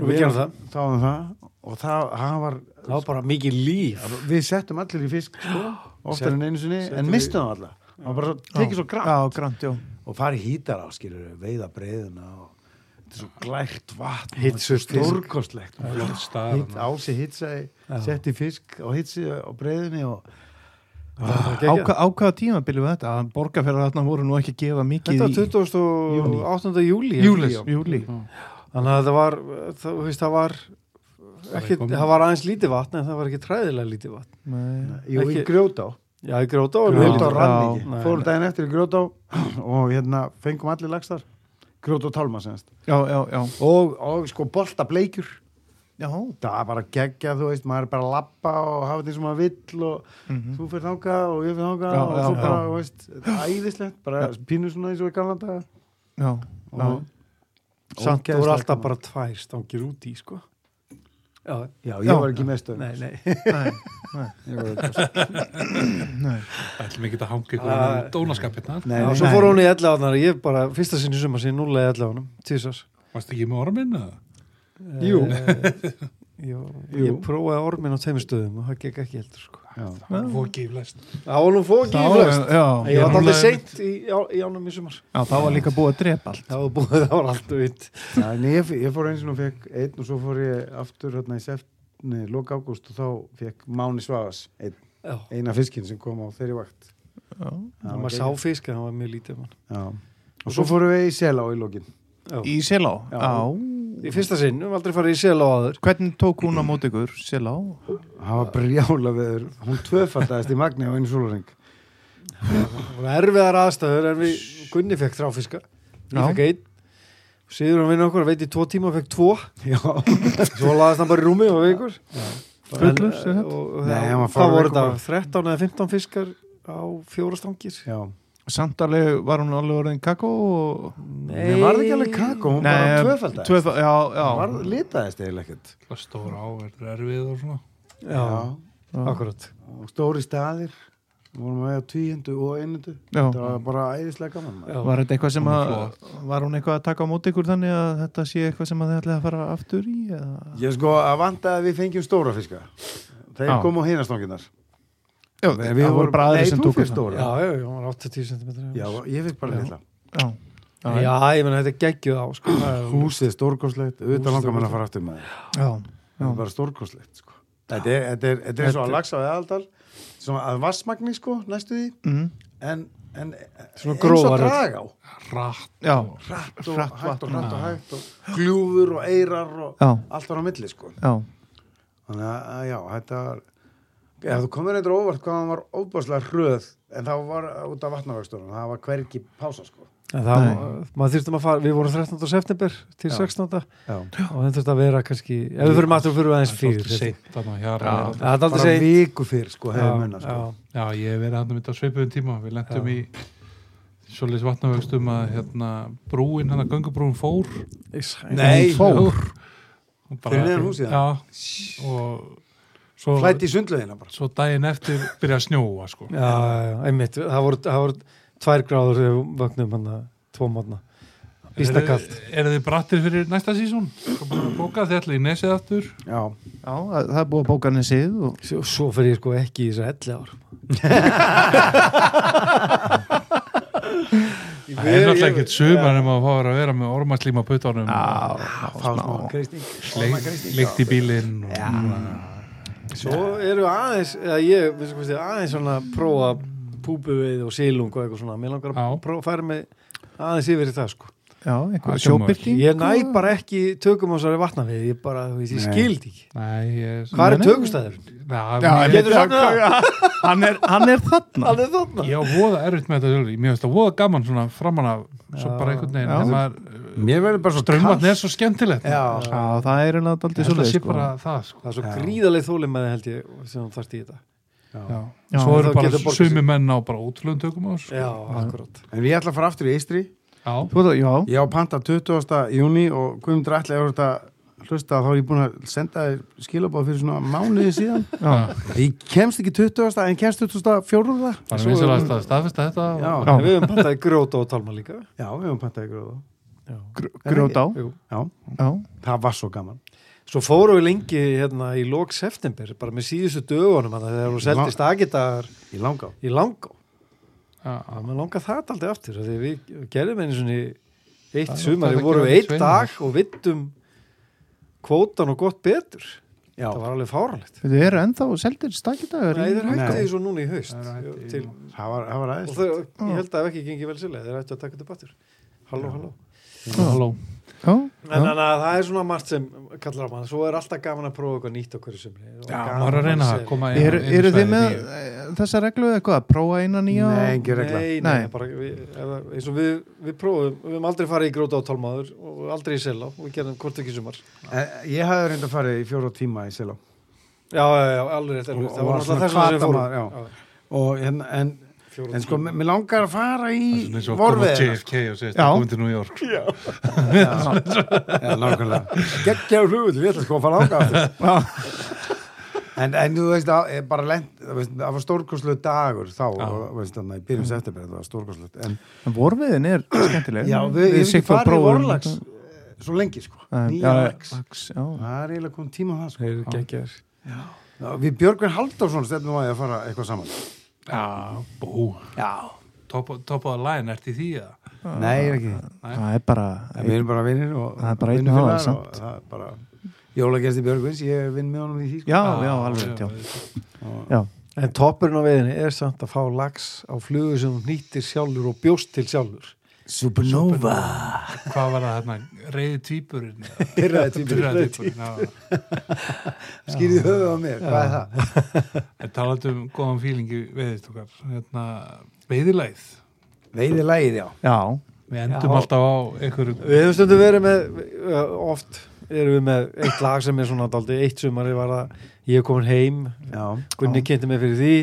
C: Og við gerum það.
D: þá var það og það, það var
C: það var bara mikið líf
D: við settum allir í fisk sko, oftar
C: Sett-
D: en einu sinni
C: settum
D: en
C: við-
D: mistum það alla það var bara svo, tekið svo
B: Já,
D: grann
B: grant, já
D: og farið hítar á skilur veiða breiðuna og þetta er svo glært vatn
C: Hitt
D: og þetta er
C: surtið.
D: stórkostlegt
A: Flott staðar,
D: Hitt-
A: maður.
D: ási hitsaði, setti fisk á hitsi á breiðinni og
B: Á hva- á hvaða tíma byrjuðu þetta? Að borgarferðar þarna voru nú ekki að gefa mikið
C: Þetta
B: í-
C: var 28. júli
B: Júlis, júli
C: Þannig að það var, það, þú veist, það var ekki,
A: komið.
C: það var aðeins lítið vatn en það var ekki træðilega lítið vatn
B: Nei.
D: jú,
C: Ekki-
D: í grjótá
C: Já, í gróta var mjög
D: grjótá
C: lítið
D: rann
B: Já.
D: ekki,
C: Nei,
D: fórum
C: nei.
D: daginn eftir í grjótá og hérna fengum allir lagstar grjótá tálma semst
B: Já, já, já
D: og, og sko bolta bleikjur
B: Já,
D: það er bara geggja, þú veist, maður er bara að lappa og hafa því sem maður vill og
B: Mhm.
D: þú fyrir þangað og ég fyrir þangað
B: Já,
D: og
B: já,
D: þú bara,
B: já.
D: þú veist, æðislegt bara pínu svona eins og í galanda
B: já, já.
D: og,
C: Samt
D: Ógeðslega
C: voru alltaf
D: gaman.
C: bara tvær stangir úti, sko Já,
D: já, ég
B: Já.
D: var ekki mestu
C: nei, nei
B: Nei,
A: ætlum ekki að hanga ykkur
C: Ah.
A: uh, dónaskap hérna
D: nei,
C: Já,
D: nei,
C: svo fór hún í 11 átnar Ég bara, fyrsta sinni sumar sinni, núlega í 11 átnum Tísas
A: varstu ekki með ormin eða?
C: Jú Eh, Jú,
D: Jú.
C: ég prófaði ormin á tveimur stöðum og það gekk ekki heldur, sko
D: Já.
A: það var ekki flest
C: Það var nú fókið
B: Þá,
C: í flest
B: já,
C: Ég var
A: núna-
C: alltaf seint í, á- í ánum í sumar
B: já, þá var líka búið að drepa allt
C: Það var búið, það var alltaf vitt
D: Já, en ég, ég fór eins og nú fekk einn og svo fór ég aftur hérna í seft Nei, loka ágúst og þá fekk Máni Svavas ein,
C: Já,
D: eina fiskinn sem kom á þeirri vakt
B: já.
D: Það
C: maður sá
D: geggjað.
C: fisk en það var mjög lítið mann
D: Já. og svo fórum við í Selá í lokin
C: Já.
B: Í Selá,
D: Já.
B: já
C: Í fyrsta sinn, við höfum aldrei farið í sel á aður
B: Hvernig tók hún á móti ykkur, Selá?
D: það var brjála veður hún tvöfaldast í magni á einu súlaring
C: Það voru erfiðar aðstæður en við Gunni fekk þráfiska Ég
B: Já.
C: fekk einn Sigur hann vinna okkur að veit í tvo tíma og fekk tvo
D: já,
C: Svo laðast hann bara í rúmi og veikur
B: Fullur, sem sagt?
D: Nei, hann
C: Nei,
D: var
C: Það
D: farinn
C: voru
D: veikur
C: þetta 13
D: bara.
C: eða 15 fiskar á fjóra stangir
D: já.
B: Samtalið var hún alveg orðin kakó og...
D: Nei, var það ekki alveg kakó, hún bara tvöfaldast
B: tvöfa- Já,
D: var,
B: já
D: litaðist eiginlega ekkert
A: stóra á, þetta er erfið og svona
C: Já, akkurat
D: og stóri staðir við vorum að vega tvíhundu og einundu
B: Já.
D: það var bara æðislega gaman maður.
C: Já.
B: Var þetta eitthvað sem
A: Hún er
B: að, var hún eitthvað að taka á móti ykkur þannig að þetta sé eitthvað sem að þið ætlaði að fara aftur í? Eða?
D: ég sko að vanta að við fengjum stóra fiska þeir
B: Já.
D: komu á hinastanginar
B: Já,
D: Nei,
B: það voru bara aðrir
D: nei,
B: sem
D: þú
B: tóku
D: fékkst
B: það.
C: Já,
D: stóra
C: já, já, hann var 80 cm
D: já, ég fikk bara litla
B: Já, já,
C: Já, ég menn þetta er geggjuð á sko.
D: húsið stórkoslegt, auðvitað langar mann að fara aftur með
B: já,
D: það er bara stórkoslegt sko. þetta er- þetta er þetta er eins og að lagsa á eðaldal svona að vassmagni sko, næstu því
B: mm,
D: en, en
C: Svona
D: eins og
C: grófara.
D: draga á
A: rætt
B: já,
D: hratt og
B: Hratt
D: hægt og
B: vatn.
D: hratt og hægt og gljúfur og eirar og
B: Já.
D: allt var á milli sko
B: já,
D: þannig að að já, þetta var Já, þú komir eitthvað óvart hvað hann var óbáslega hröð en það var út af vatnavöxtunum það var hvergi pása sko
C: En það,
B: Nei.
C: maður þýrstum að fara, við vorum 13. september til
D: Já.
C: 16.
D: Já.
C: og það þurfti að vera kannski, ef við fyrir matur fyrir við aðeins fyrir
A: svolítið seint þarna hér já.
B: Já.
C: Það er aldrei
D: bara
C: seint
D: viku fyrr sko
C: Já,
D: hefði munna sko
C: já.
A: já, ég hef verið hann mitt á sveipuðum tíma við lentum í svolítið vatnavöxtum að hérna brúin, hann að göngubrúin fór
D: Nei,
A: fór Og bara-
D: Fyrir neðan húsið,
A: já, og svo,
D: flætt í sundlaugina bara
A: svo daginn eftir byrja að snjóa sko.
C: Já, já, einmitt, það voru, það voru tvær gráður þegar við vögnum hann tvo mótna, býsta kallt
A: Er þið brattir fyrir næsta sísón? Bóka þið allir í nesið aftur
D: Já,
B: já, það það er búið að bóka henni sið og...
C: Svo, svo fer ég sko ekki í þessu 11 ár
A: Það er náttúrulega ekkert sumar en maður fáir að vera með ormaslíma puttunum
B: Já,
D: fá smá kristning
A: leikt í bílinn og,
C: Svo eru aðeins, eða ég, við sko, aðeins svona að prófa púpuveið og sílung og eitthvað svona, mér langar að
A: Já.
C: prófa, færa mig aðeins yfir í það sko
B: já,
A: Það
B: einhver
A: kemur.
B: sjóbyrting
C: Ég næ bara ekki tökum á þessari vatnavið Ég bara, þú veist, ég
D: Nei.
C: skildi ekki
A: Nei, ég
C: Hvað er
B: Nei, nei.
C: tökustæðurinn?
A: Já,
B: Já,
A: ég,
B: ég-
C: Getur sagt það?
B: hann, er, hann er þarna
C: Það er þarna
A: ég á voða erfitt með þetta sjóli Mér finnst það voða gaman svona framan af Svo
C: Já.
A: bara einhvern veginn
B: Já.
A: en maður-
D: Mér verður bara svo
A: Draumvatn sko. er svo skemmtilegt
D: Já,
B: Já, það er alveg aldrei
A: Það
B: svolítið
A: sé bara það sko.
C: Það er svo
D: Já.
C: gríðarlega þólimaði held ég sem þú þarft í þetta
A: Já.
B: Já,
A: Svo eru
C: þá
A: bara
C: getur borgað sig.
A: sumi menn á bara ótrúlega tökum á þessu.
C: Já, akkurát
D: en ég ætla að fara aftur í Eistri
A: Já,
B: Þú veit að, já,
D: Ég á panta 20. júni og Guðmundur ætla að hlusta þá er ég búin að senda þér skilabóð fyrir svona mánuði síðan
B: Já.
D: ég kemst ekki 20. en kemst 24.
A: Þannig vinsalast að staðfesta þetta
D: Já,
A: og-
D: já,
C: Við höfum pantaði gróta og talma líka
D: við höfum pantað ykkur á það
B: Gr- Grjótá
C: Jú.
D: Já,
B: Já.
D: það var svo gaman
C: Svo fórum við lengi hérna í lok september bara með síðustu dögunum þannig að þegar hún seldist aðgitaðar
D: í langa á
C: í langá
A: Já.
C: Já, maður langar það aldrei aftur af því að við gerðum einu svona
A: Það
C: eitt
A: er
C: sumar,
A: oft
C: við
A: að
C: vorum
A: gera
C: eitt
A: eitt
C: dag og vittum kvótan og gott betur
D: Já.
C: það var alveg fáralegt
B: Þau eru ennþá seldir stakkidagar
C: Nei, þeir hættu
D: Nei.
C: því svo núna í haust
A: Það er hægt í-
C: til,
D: það var, það var
C: og
D: aðeins
C: þau, ég held að það hef ekki gengið vel sérlega, þeir ættu að taka þetta aftur Halló, halló
A: Halló.
B: Já,
C: En þannig að það er svona margt sem kallar á mann, svo er alltaf gaman að prófa eitthvað nýtt okkur sem
A: Já, maður er að reyna að koma inn-
B: eru
A: inn
B: eru þið
A: svæðið
B: með
A: nýju.
B: eh, þessa reglu eitthvað að prófa eina nýja
D: Nei,
B: og-
D: engin regla
C: Nei, nei,
B: Nei.
C: bara við, eða, eins og við, við prófum, við höfum aldrei farið í gróta á tólmaður og aldrei í selá, við gerðum hvort ekki í sumar
D: Eh, Ég hafði reynda að fara í fjóra tíma í Selá
C: Já, já, já, alveg rétt
D: Og-
C: erfitt.
D: og
C: Það
D: var
C: var
D: svona
C: náttúrulega þess að við
D: hvata
C: fórum.
D: maður, já. og, en, en,
C: Fjórum
D: en sko,
C: tímum.
D: mér mér langar að fara í
A: Svona eins og að koma á
D: vorveðina
A: JFK og segist
B: Já.
A: að komin til New York
D: Já, nákvæmlega. Gekkjaður hlugull, við ætlum sko að fara ákvæða. en, en þú veist, að, eh, bara lent, þú veist, það var stórkoslu dagur þá,
A: Já.
D: og, þú veist, þannig að í byrjum september, það var stórkoslu. En,
B: En vorviðin er skemmtileg
D: já, við, ég hef ekki
B: Sigþór
D: farið í
B: prófuðum
D: vorlags
B: þetta.
D: eh, svo lengi, sko.
B: Nei,
D: Nýja
B: já,
D: lags.
B: lax, já.
D: Það er eiginlega komið tíma á það, sko.
C: Þeir geggjaður.
D: Já, við Björgvin Halldórsson stefnum að ég að fara eitthvað saman.
A: Já, bú
D: Já.
A: Top top of the line, ert í því að
D: Nei, ég er ekki.
B: Það er bara
D: En Við erum bara vinnir og
B: Ah, Það er bara einn
D: vinnufélagar
B: aðal
D: og það er bara... Jólagjæsti Björgvins, ég vinn með honum í því, sko.
B: Já,
A: Ah,
B: já, alveg rétt, já. já
C: En toppurinn á veðinni er samt að fá lags á flugu sem hún nýttir sjálfur og bjóst til sjálfur.
D: Supernova.
A: Hvað var það hérna, reyði tvíburinn
D: Pirraði tvíburinn.
A: Pirraði tvíburinn, já
D: Skýrði höfuð á mér, hvað er það?
A: En talandi um góðan fílingi veiðist okkar hérna, Veiðilæð
D: Veiði lægið, já.
B: Já,
A: Við endum alltaf á einhverju
C: Við hefum stundum verið með, ö, oft erum við með eitt lag sem er svona daldi, eitt sumari var að ég er komin heim,
D: já.
C: Gunni kynnti mig fyrir því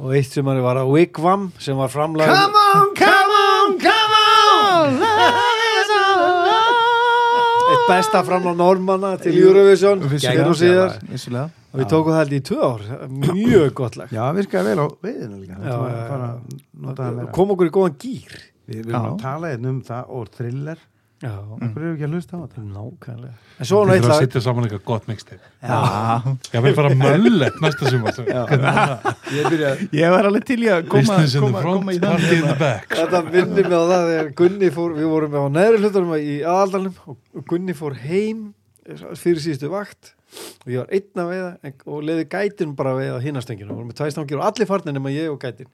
C: og eitt sumari var að Wigwam sem var framlag
D: on, come on, come on, love is all alone.
C: eitt besta framlag normanna til Eurovision,
B: Vissulega.
C: gerð og síðar.
B: vissulega
C: Og við tókum það held í tvö ár, mjög gott lag.
D: Já, virkaði vel á veiðinu líka.
C: Já,
D: Það var
C: já,
D: bara að nota það meira.
C: Kom okkur í góðan gýr.
D: Við við
B: Já.
D: erum að tala einn um það og thriller.
C: Já,
D: Akkur eru ekki að hlusta á þetta?
C: nákvæmlega. En svo hann
A: Við
C: eitt
A: þurfum að
C: lag
A: sitja saman eitthvað gott mixtape Ég vil fara möllet næsta sumar
D: Ég byrja að...
B: Ég var alveg til í að koma,
A: Business in the
B: koma,
A: front,
B: koma í það
A: party in the back
C: Þetta vinnir mig á það þegar Gunni fór, við vorum á neðri hlutunum í aðaldalum og Gunni fór heim eh, fyrir síðustu vakt og ég var einn að veiða en- og leiði gætin bara að veiða hinnastöngjuna, vorum með tvæstangir og allir farnir nema ég og gætin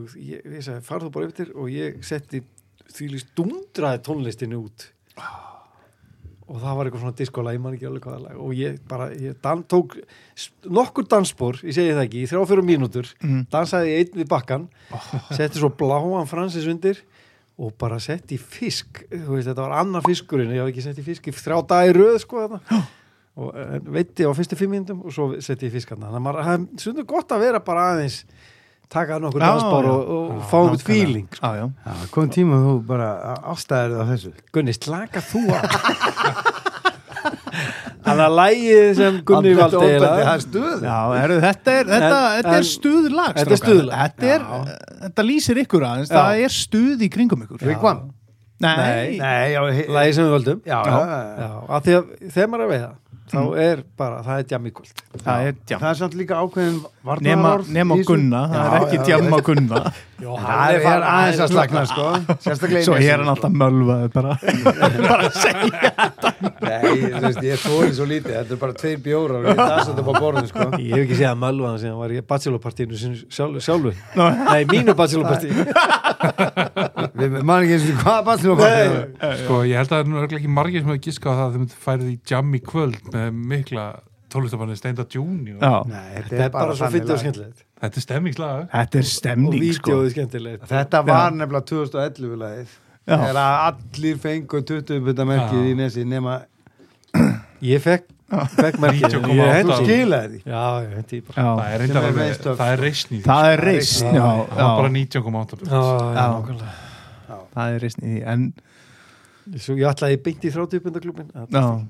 C: og ég, ég sagði, farðu bara yfir til og ég setti því líst dundraði tónlistinu út og það var eitthvað svona diskolag, ég man ekki alveg hvaða lag og ég bara, ég dan, tók s- nokkur dansspor, ég segi það ekki, í þrjá fyrir mínútur
B: Mhm.
C: dansaði ég einn við bakkan
B: Oh.
C: setti svo bláan fransis undir og bara setti í fisk þú veist, þetta var annar fiskurinn, ég hafði ekki sett í fisk í þrjá dagi í röð, sko þarna og eh, veitti á fyrstu fimm mínútum og svo setti ég fiskarna, þannig að maður, það er stundu gott að vera bara aðeins taka nokkur
B: Já,
C: dansspor
B: já.
C: og, og fá um
B: nákvæmlega.
C: feeling
B: Já, já
D: Já, komum tíma að þú bara ástæðir það þessu.
C: Gunni, slaka þú á Þannig að lægið sem Gunni
D: Andlegt
C: valdi
D: ofbeldi,
C: eiginlega-
D: Það er stuð.
B: Já, heru, þetta er, þetta,
C: En-
B: þetta
C: en-
B: er stuðlag
C: Þetta er
B: strákar.
C: stuðlag.
B: þetta, er, þetta lýsir ykkur aðeins
C: Já.
B: Það er stuð í kringum ykkur
D: Vigvam.
B: Nei,
D: Nei, já, he-
C: Lægið sem við valdum
D: já, já, já. Mm.
C: Já, af því að þegar maður er að veiða þá er bara, það er djamíkvöld
B: það er djám
D: Það er samt líka ákveðin
B: Nema,
D: varnaðarorð.
B: nema Gunna, það er ekki djám á Gunna
D: Það er er aðeins að slagna, sko. Sérstaklega í
B: Svo
D: nesinu,
B: er hann
D: sko.
B: alltaf mölvað bara Bara að segja
D: Nei, þú veist, ég þóri svo lítið, þetta er bara tveir bjórar og ég dasa þetta upp á borðinu, sko.
C: Ég hef ekki segjað að mölva hann síðan var ég bachelorpartínu sinni sjálfu, sjálfu. Nei, mínu bachelorpartínu
D: Við mann ekki eins og hvaða ballinu var það.
A: Sko, ég held að það er nú örugglega ekki margir sem hefur giskað á það að þau myndu færið í jam í kvöld með mikla tónlistamanni Steinda Junior.
B: Já,
D: Nei,
C: Það er bara svo
D: þannig
C: fyndið og
D: lag.
C: skemmtilegt
A: Þetta er stemmingslag.
B: þetta er
C: og
B: stemning sko
C: vídeoðið skemmtilegt
D: Þetta var nefnilega 2011 lagið.
B: Já.
D: Þegar að allir fengu 20 butta merkið
A: Já.
D: í nesi nema
C: Ég fekk, fekk merkið
A: 90,8.
C: Ég
D: þú
C: hendi-
D: skilaði því.
C: Já, ég hendi í bara
B: Já,
A: Það er reyndar
D: Sem er
A: alveg,
D: reistöf.
A: það er reisn í því.
B: það er reisn Já,
A: Það var bara
B: já,
A: 19,8
C: Já, já,
B: Já.
C: nákvæmlega.
B: það er reisn í því En
C: Svo ég ætlaði beint í 30 punda klubin
B: Já,
D: en,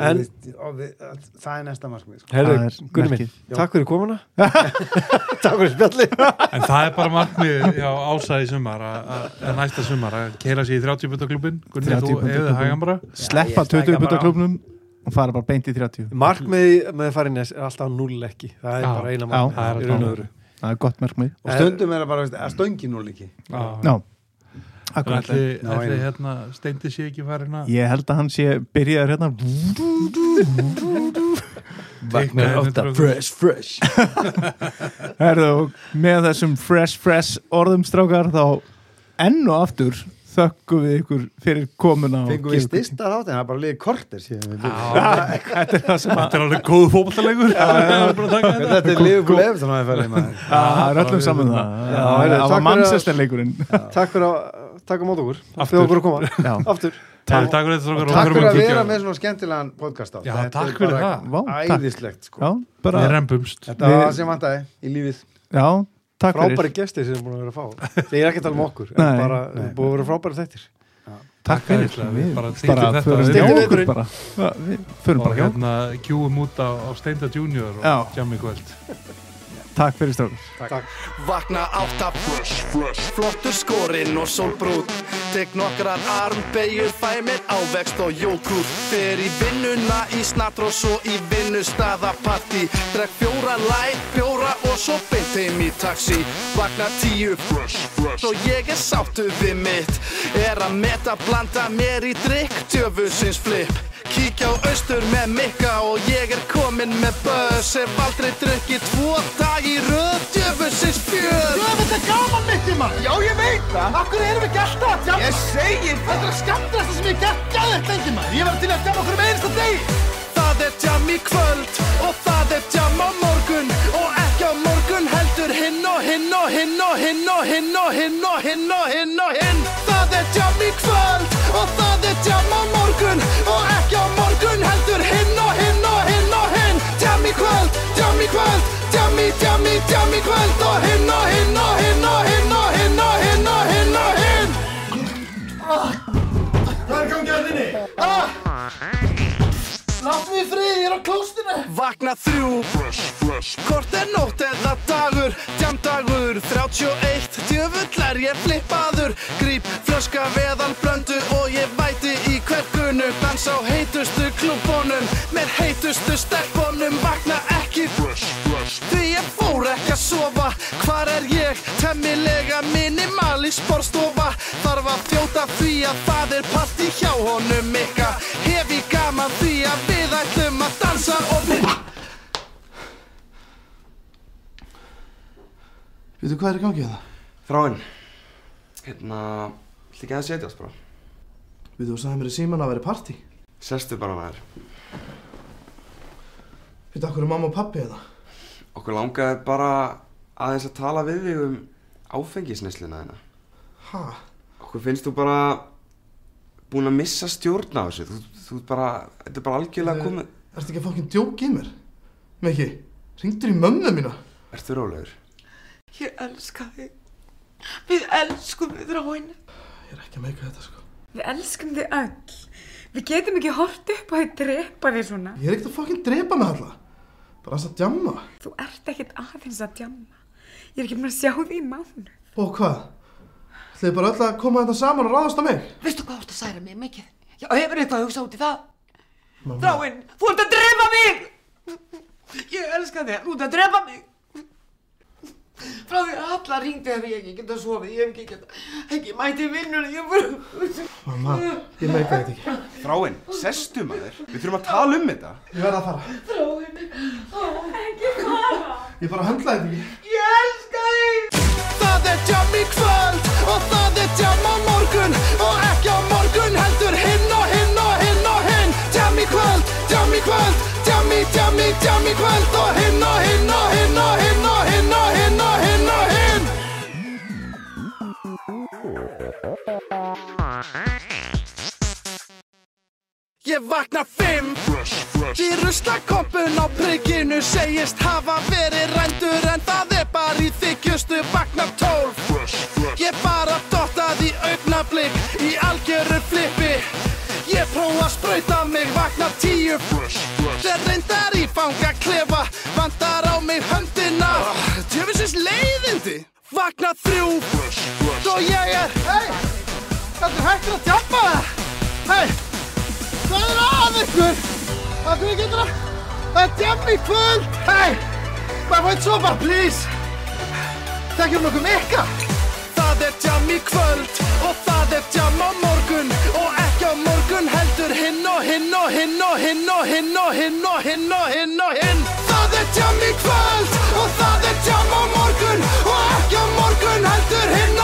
C: En-
D: við, og við, það er næsta markmið sko.
B: það
C: Herðu,
B: er
C: Gunni minn,
B: merkið.
D: Já.
C: takk fyrir komuna Takk fyrir spjalli
A: en það er bara markmið hjá ása í sumar að- að að næsta sumar að keira sér í 30 búta klubin Gunni,
B: 30
A: þú
B: punda
A: eða
B: klúbbinn.
A: hægambra
D: ég
B: sleppa
D: stækka
B: 20
D: bara á.
B: búta klubnum og fara bara beint í 30
C: Markmið með farinnes er alltaf null ekki Það er
A: Já.
C: bara eina
B: Já.
A: Það er
C: markmið í raun
A: alltaf-
C: og veru.
B: það er gott merkmið
D: og
A: Eh,
D: stundum er það bara veist, að stöngi nú líki
B: Já,
A: Það
B: akkurat
D: Ná,
A: er
D: einmitt.
A: hérna, steindi sé ekki farin að
B: Ég held að hann sé byrjaður hérna
A: Vaknaði upp þetta
D: fresh, fresh
B: Herðu, og með þessum fresh fresh orðum strákar þá enn og aftur þökkum við ykkur fyrir komuna og
D: fengum við
B: gefum-
D: stista þátt en það er bara liðið kortir síðan við
A: Ah.
D: byrjuðum.
B: Þetta er það sem að
A: Þetta er alveg góð fótballalegur Þetta
D: þetta er liðið gúl eftir þannig að fæli maður
B: Já, það er öllum saman það
C: Já,
B: Það
C: heyrðu,
B: var
C: takk fyrir að-
B: mannsestarleikurinn
C: Takk fyrir að taka mót okkur Takk
A: Aftur.
C: fyrir okkur að koma
B: Já,
C: Aftur
A: Takk fyrir þetta strákar, og
D: takk
A: förum
D: fyrir
A: að
D: að
A: kíkja.
D: vera með svona skemmtilegan podcast á
A: Já, takk fyrir það
B: Vá, takk.
D: æðislegt sko
B: já, bara,
A: Við rempumst
D: þetta var
B: Við-
D: það sem vantaði í lífið
B: já, takk
C: Frábæri
B: fyrir
C: gestir sem er búin að vera að fá Þegar ég er ekki að tala um okkur en
B: Nei.
C: bara,
D: Nei.
C: Búið að vera frábæri þettir
B: Takk fyrir
A: Æðislega,
B: Við
A: við bara
B: bara
A: styttum þetta
B: förum
A: upp.
B: hjá
C: Styttum
B: okkur
C: veturinn.
B: bara Já, Við förum
A: og
B: bara hjá okkur
A: hérna kjúum út á, á Steinda Junior
B: Já.
A: og jammi kvöld
B: hérna. Takk fyrir strákar
C: Takk
E: Vakna átta fresh, fresh Flottur skorinn og sólbrúð Tek nokkrar armbeigur Fæ mér ávext og jógúr Fer í vinnuna í snatr og svo í vinnustaðapartí Dreg fjóra læg, fjóra og svo beint heim í taxi Vakna tíu fresh, fresh Og ég er sáttu við mitt Er að meta blanda mér í drikk Djöfusins flip Kíkja á austur með Mikka og ég er komin með börs Hef aldrei drukkið tvo dag í röð Djöfusins fjör Djöfus er gaman mitt í mann Já ég veit það Af hverju erum við gæsta að djama Ég segi Þetta er að skamdrasta sem ég gætt gæðið lengi mann Ég var til að djama okkur með einasta deg Það er djam í kvöld og það er djam á morgun Og ekki á morgun heldur hinn og hinn og hinn og hinn og hinn og hinn og hinn og hinn og hinn Það er djam í kvöld og það er djam á morgun Og ekki á morgun heldur hinn og hinn og hinn og hinn Djam í kvöld, djam í kvöld, djam í, djam í, djam í kvöld Og hinn og hinn og hinn og hinn og hinn og hinn og hinn og hinn Látt mig í friði, ég er á klóstinu Vakna þrjú Fresh, fresh Hvort er nótt eða dagur Djamdagur 31 Djöfull er ég flippaður Gríp flöska veðan blöndu Og ég væti í hverkunu Dans á heitustu klúbónum Með heitustu stelpónum Vakna ekki Fresh, fresh Því ég fór ekki að sofa Hvar er ég? Temmilega minimal í sporstofa Þarf að þjóta því að það er partí hjá honum Mikka Hef ég gaman því að við ætlum að dansa og við
F: Veitu hvað er í gangi það?
G: Þráinn, hérna, vilt ekki að setjast bara?
F: Veitu þú sagði mér í síman að vera partí
G: Sestu bara maður.
F: Veitu okkur er mamma og pappi eða?
G: Okkur langaði bara aðeins að tala við þig um áfengisneslina þína.
F: Ha?
G: Okkur finnst þú bara búin að missa stjórn á þessu. Þú, þú ert bara, þetta er bara algjörlega komið.
F: Ertu ekki að fokkin djók í mér? Mikki, ringdur í mömmu mína
G: Ertu rólegur?
H: Ég elska þig. Við elskum þig, Þráin.
F: Ég er ekki að meika þetta sko
H: Við elskum þig öll. Við getum ekki hort upp á því drepa þig svona.
F: Ég er ekkert að fokkin drepa mig alla Bara hans að djamma
H: Þú ert ekkit aðeins að djamma. Ég er ekki búin að sjá þig í mánu.
F: Og hvað? Ætlaði bara öll að koma þetta saman og ráðast á mig
I: Veistu hvað þú ert að særa mig mikið? Já, hefur eitthvað að hugsa út í það? Þráinn, þú ert að drepa mig! Ég elska þig, þú ert að drepa mig! Frá því að alla ringdi hefur ég ekki getað sofið, ég hef ekki getað ekki mæti vinnunni, ég bara...
F: Mamma, ég meika þetta ekki
G: Þráinn, sestu maður. Við þurfum að tala um þetta.
F: Ég verð að fara
I: Þráinn,
F: Ég bara höndla þetta ekki
I: ég elska þig!
E: Það er jam í kvöld og það er jam á morgun og ekki á morgun heldur hinn og hinn og hinn og hinn Jam í kvöld, jam í kvöld, jam í, jam í, jam í kvöld og hinn og hinn og hinn og hinn og hinn og hinn og hinn og hinn Ég vakna fimm Í ruslakoppun á prikinu segist hafa verið rændur En það er bara í þykjustu vakna tólf Ég bara dottað í augnablík Í algjöru flipi mjög fresh, fresh Þeir reyndar í fanga klefa Vandar á mig höndina Tjöfisins leiðindi Vakna þrjú fresh, fresh Og ég er Hei, þetta er hættur að tjapa Hei, hvað er að ykkur? Af hverju getur að Það er djammi í kvöld Hei, maður fætt svo bara please Þekkjum nokkuð mikka Það er djam í kvöld og það er djam á morgun og ekki á morgun heldur hinn og hinn og hinn og hinn og hinn og hinn og hinn og hinn og hinn Það er djam í kvöld og það er djam á morgun og ekki á morgun heldur hinn og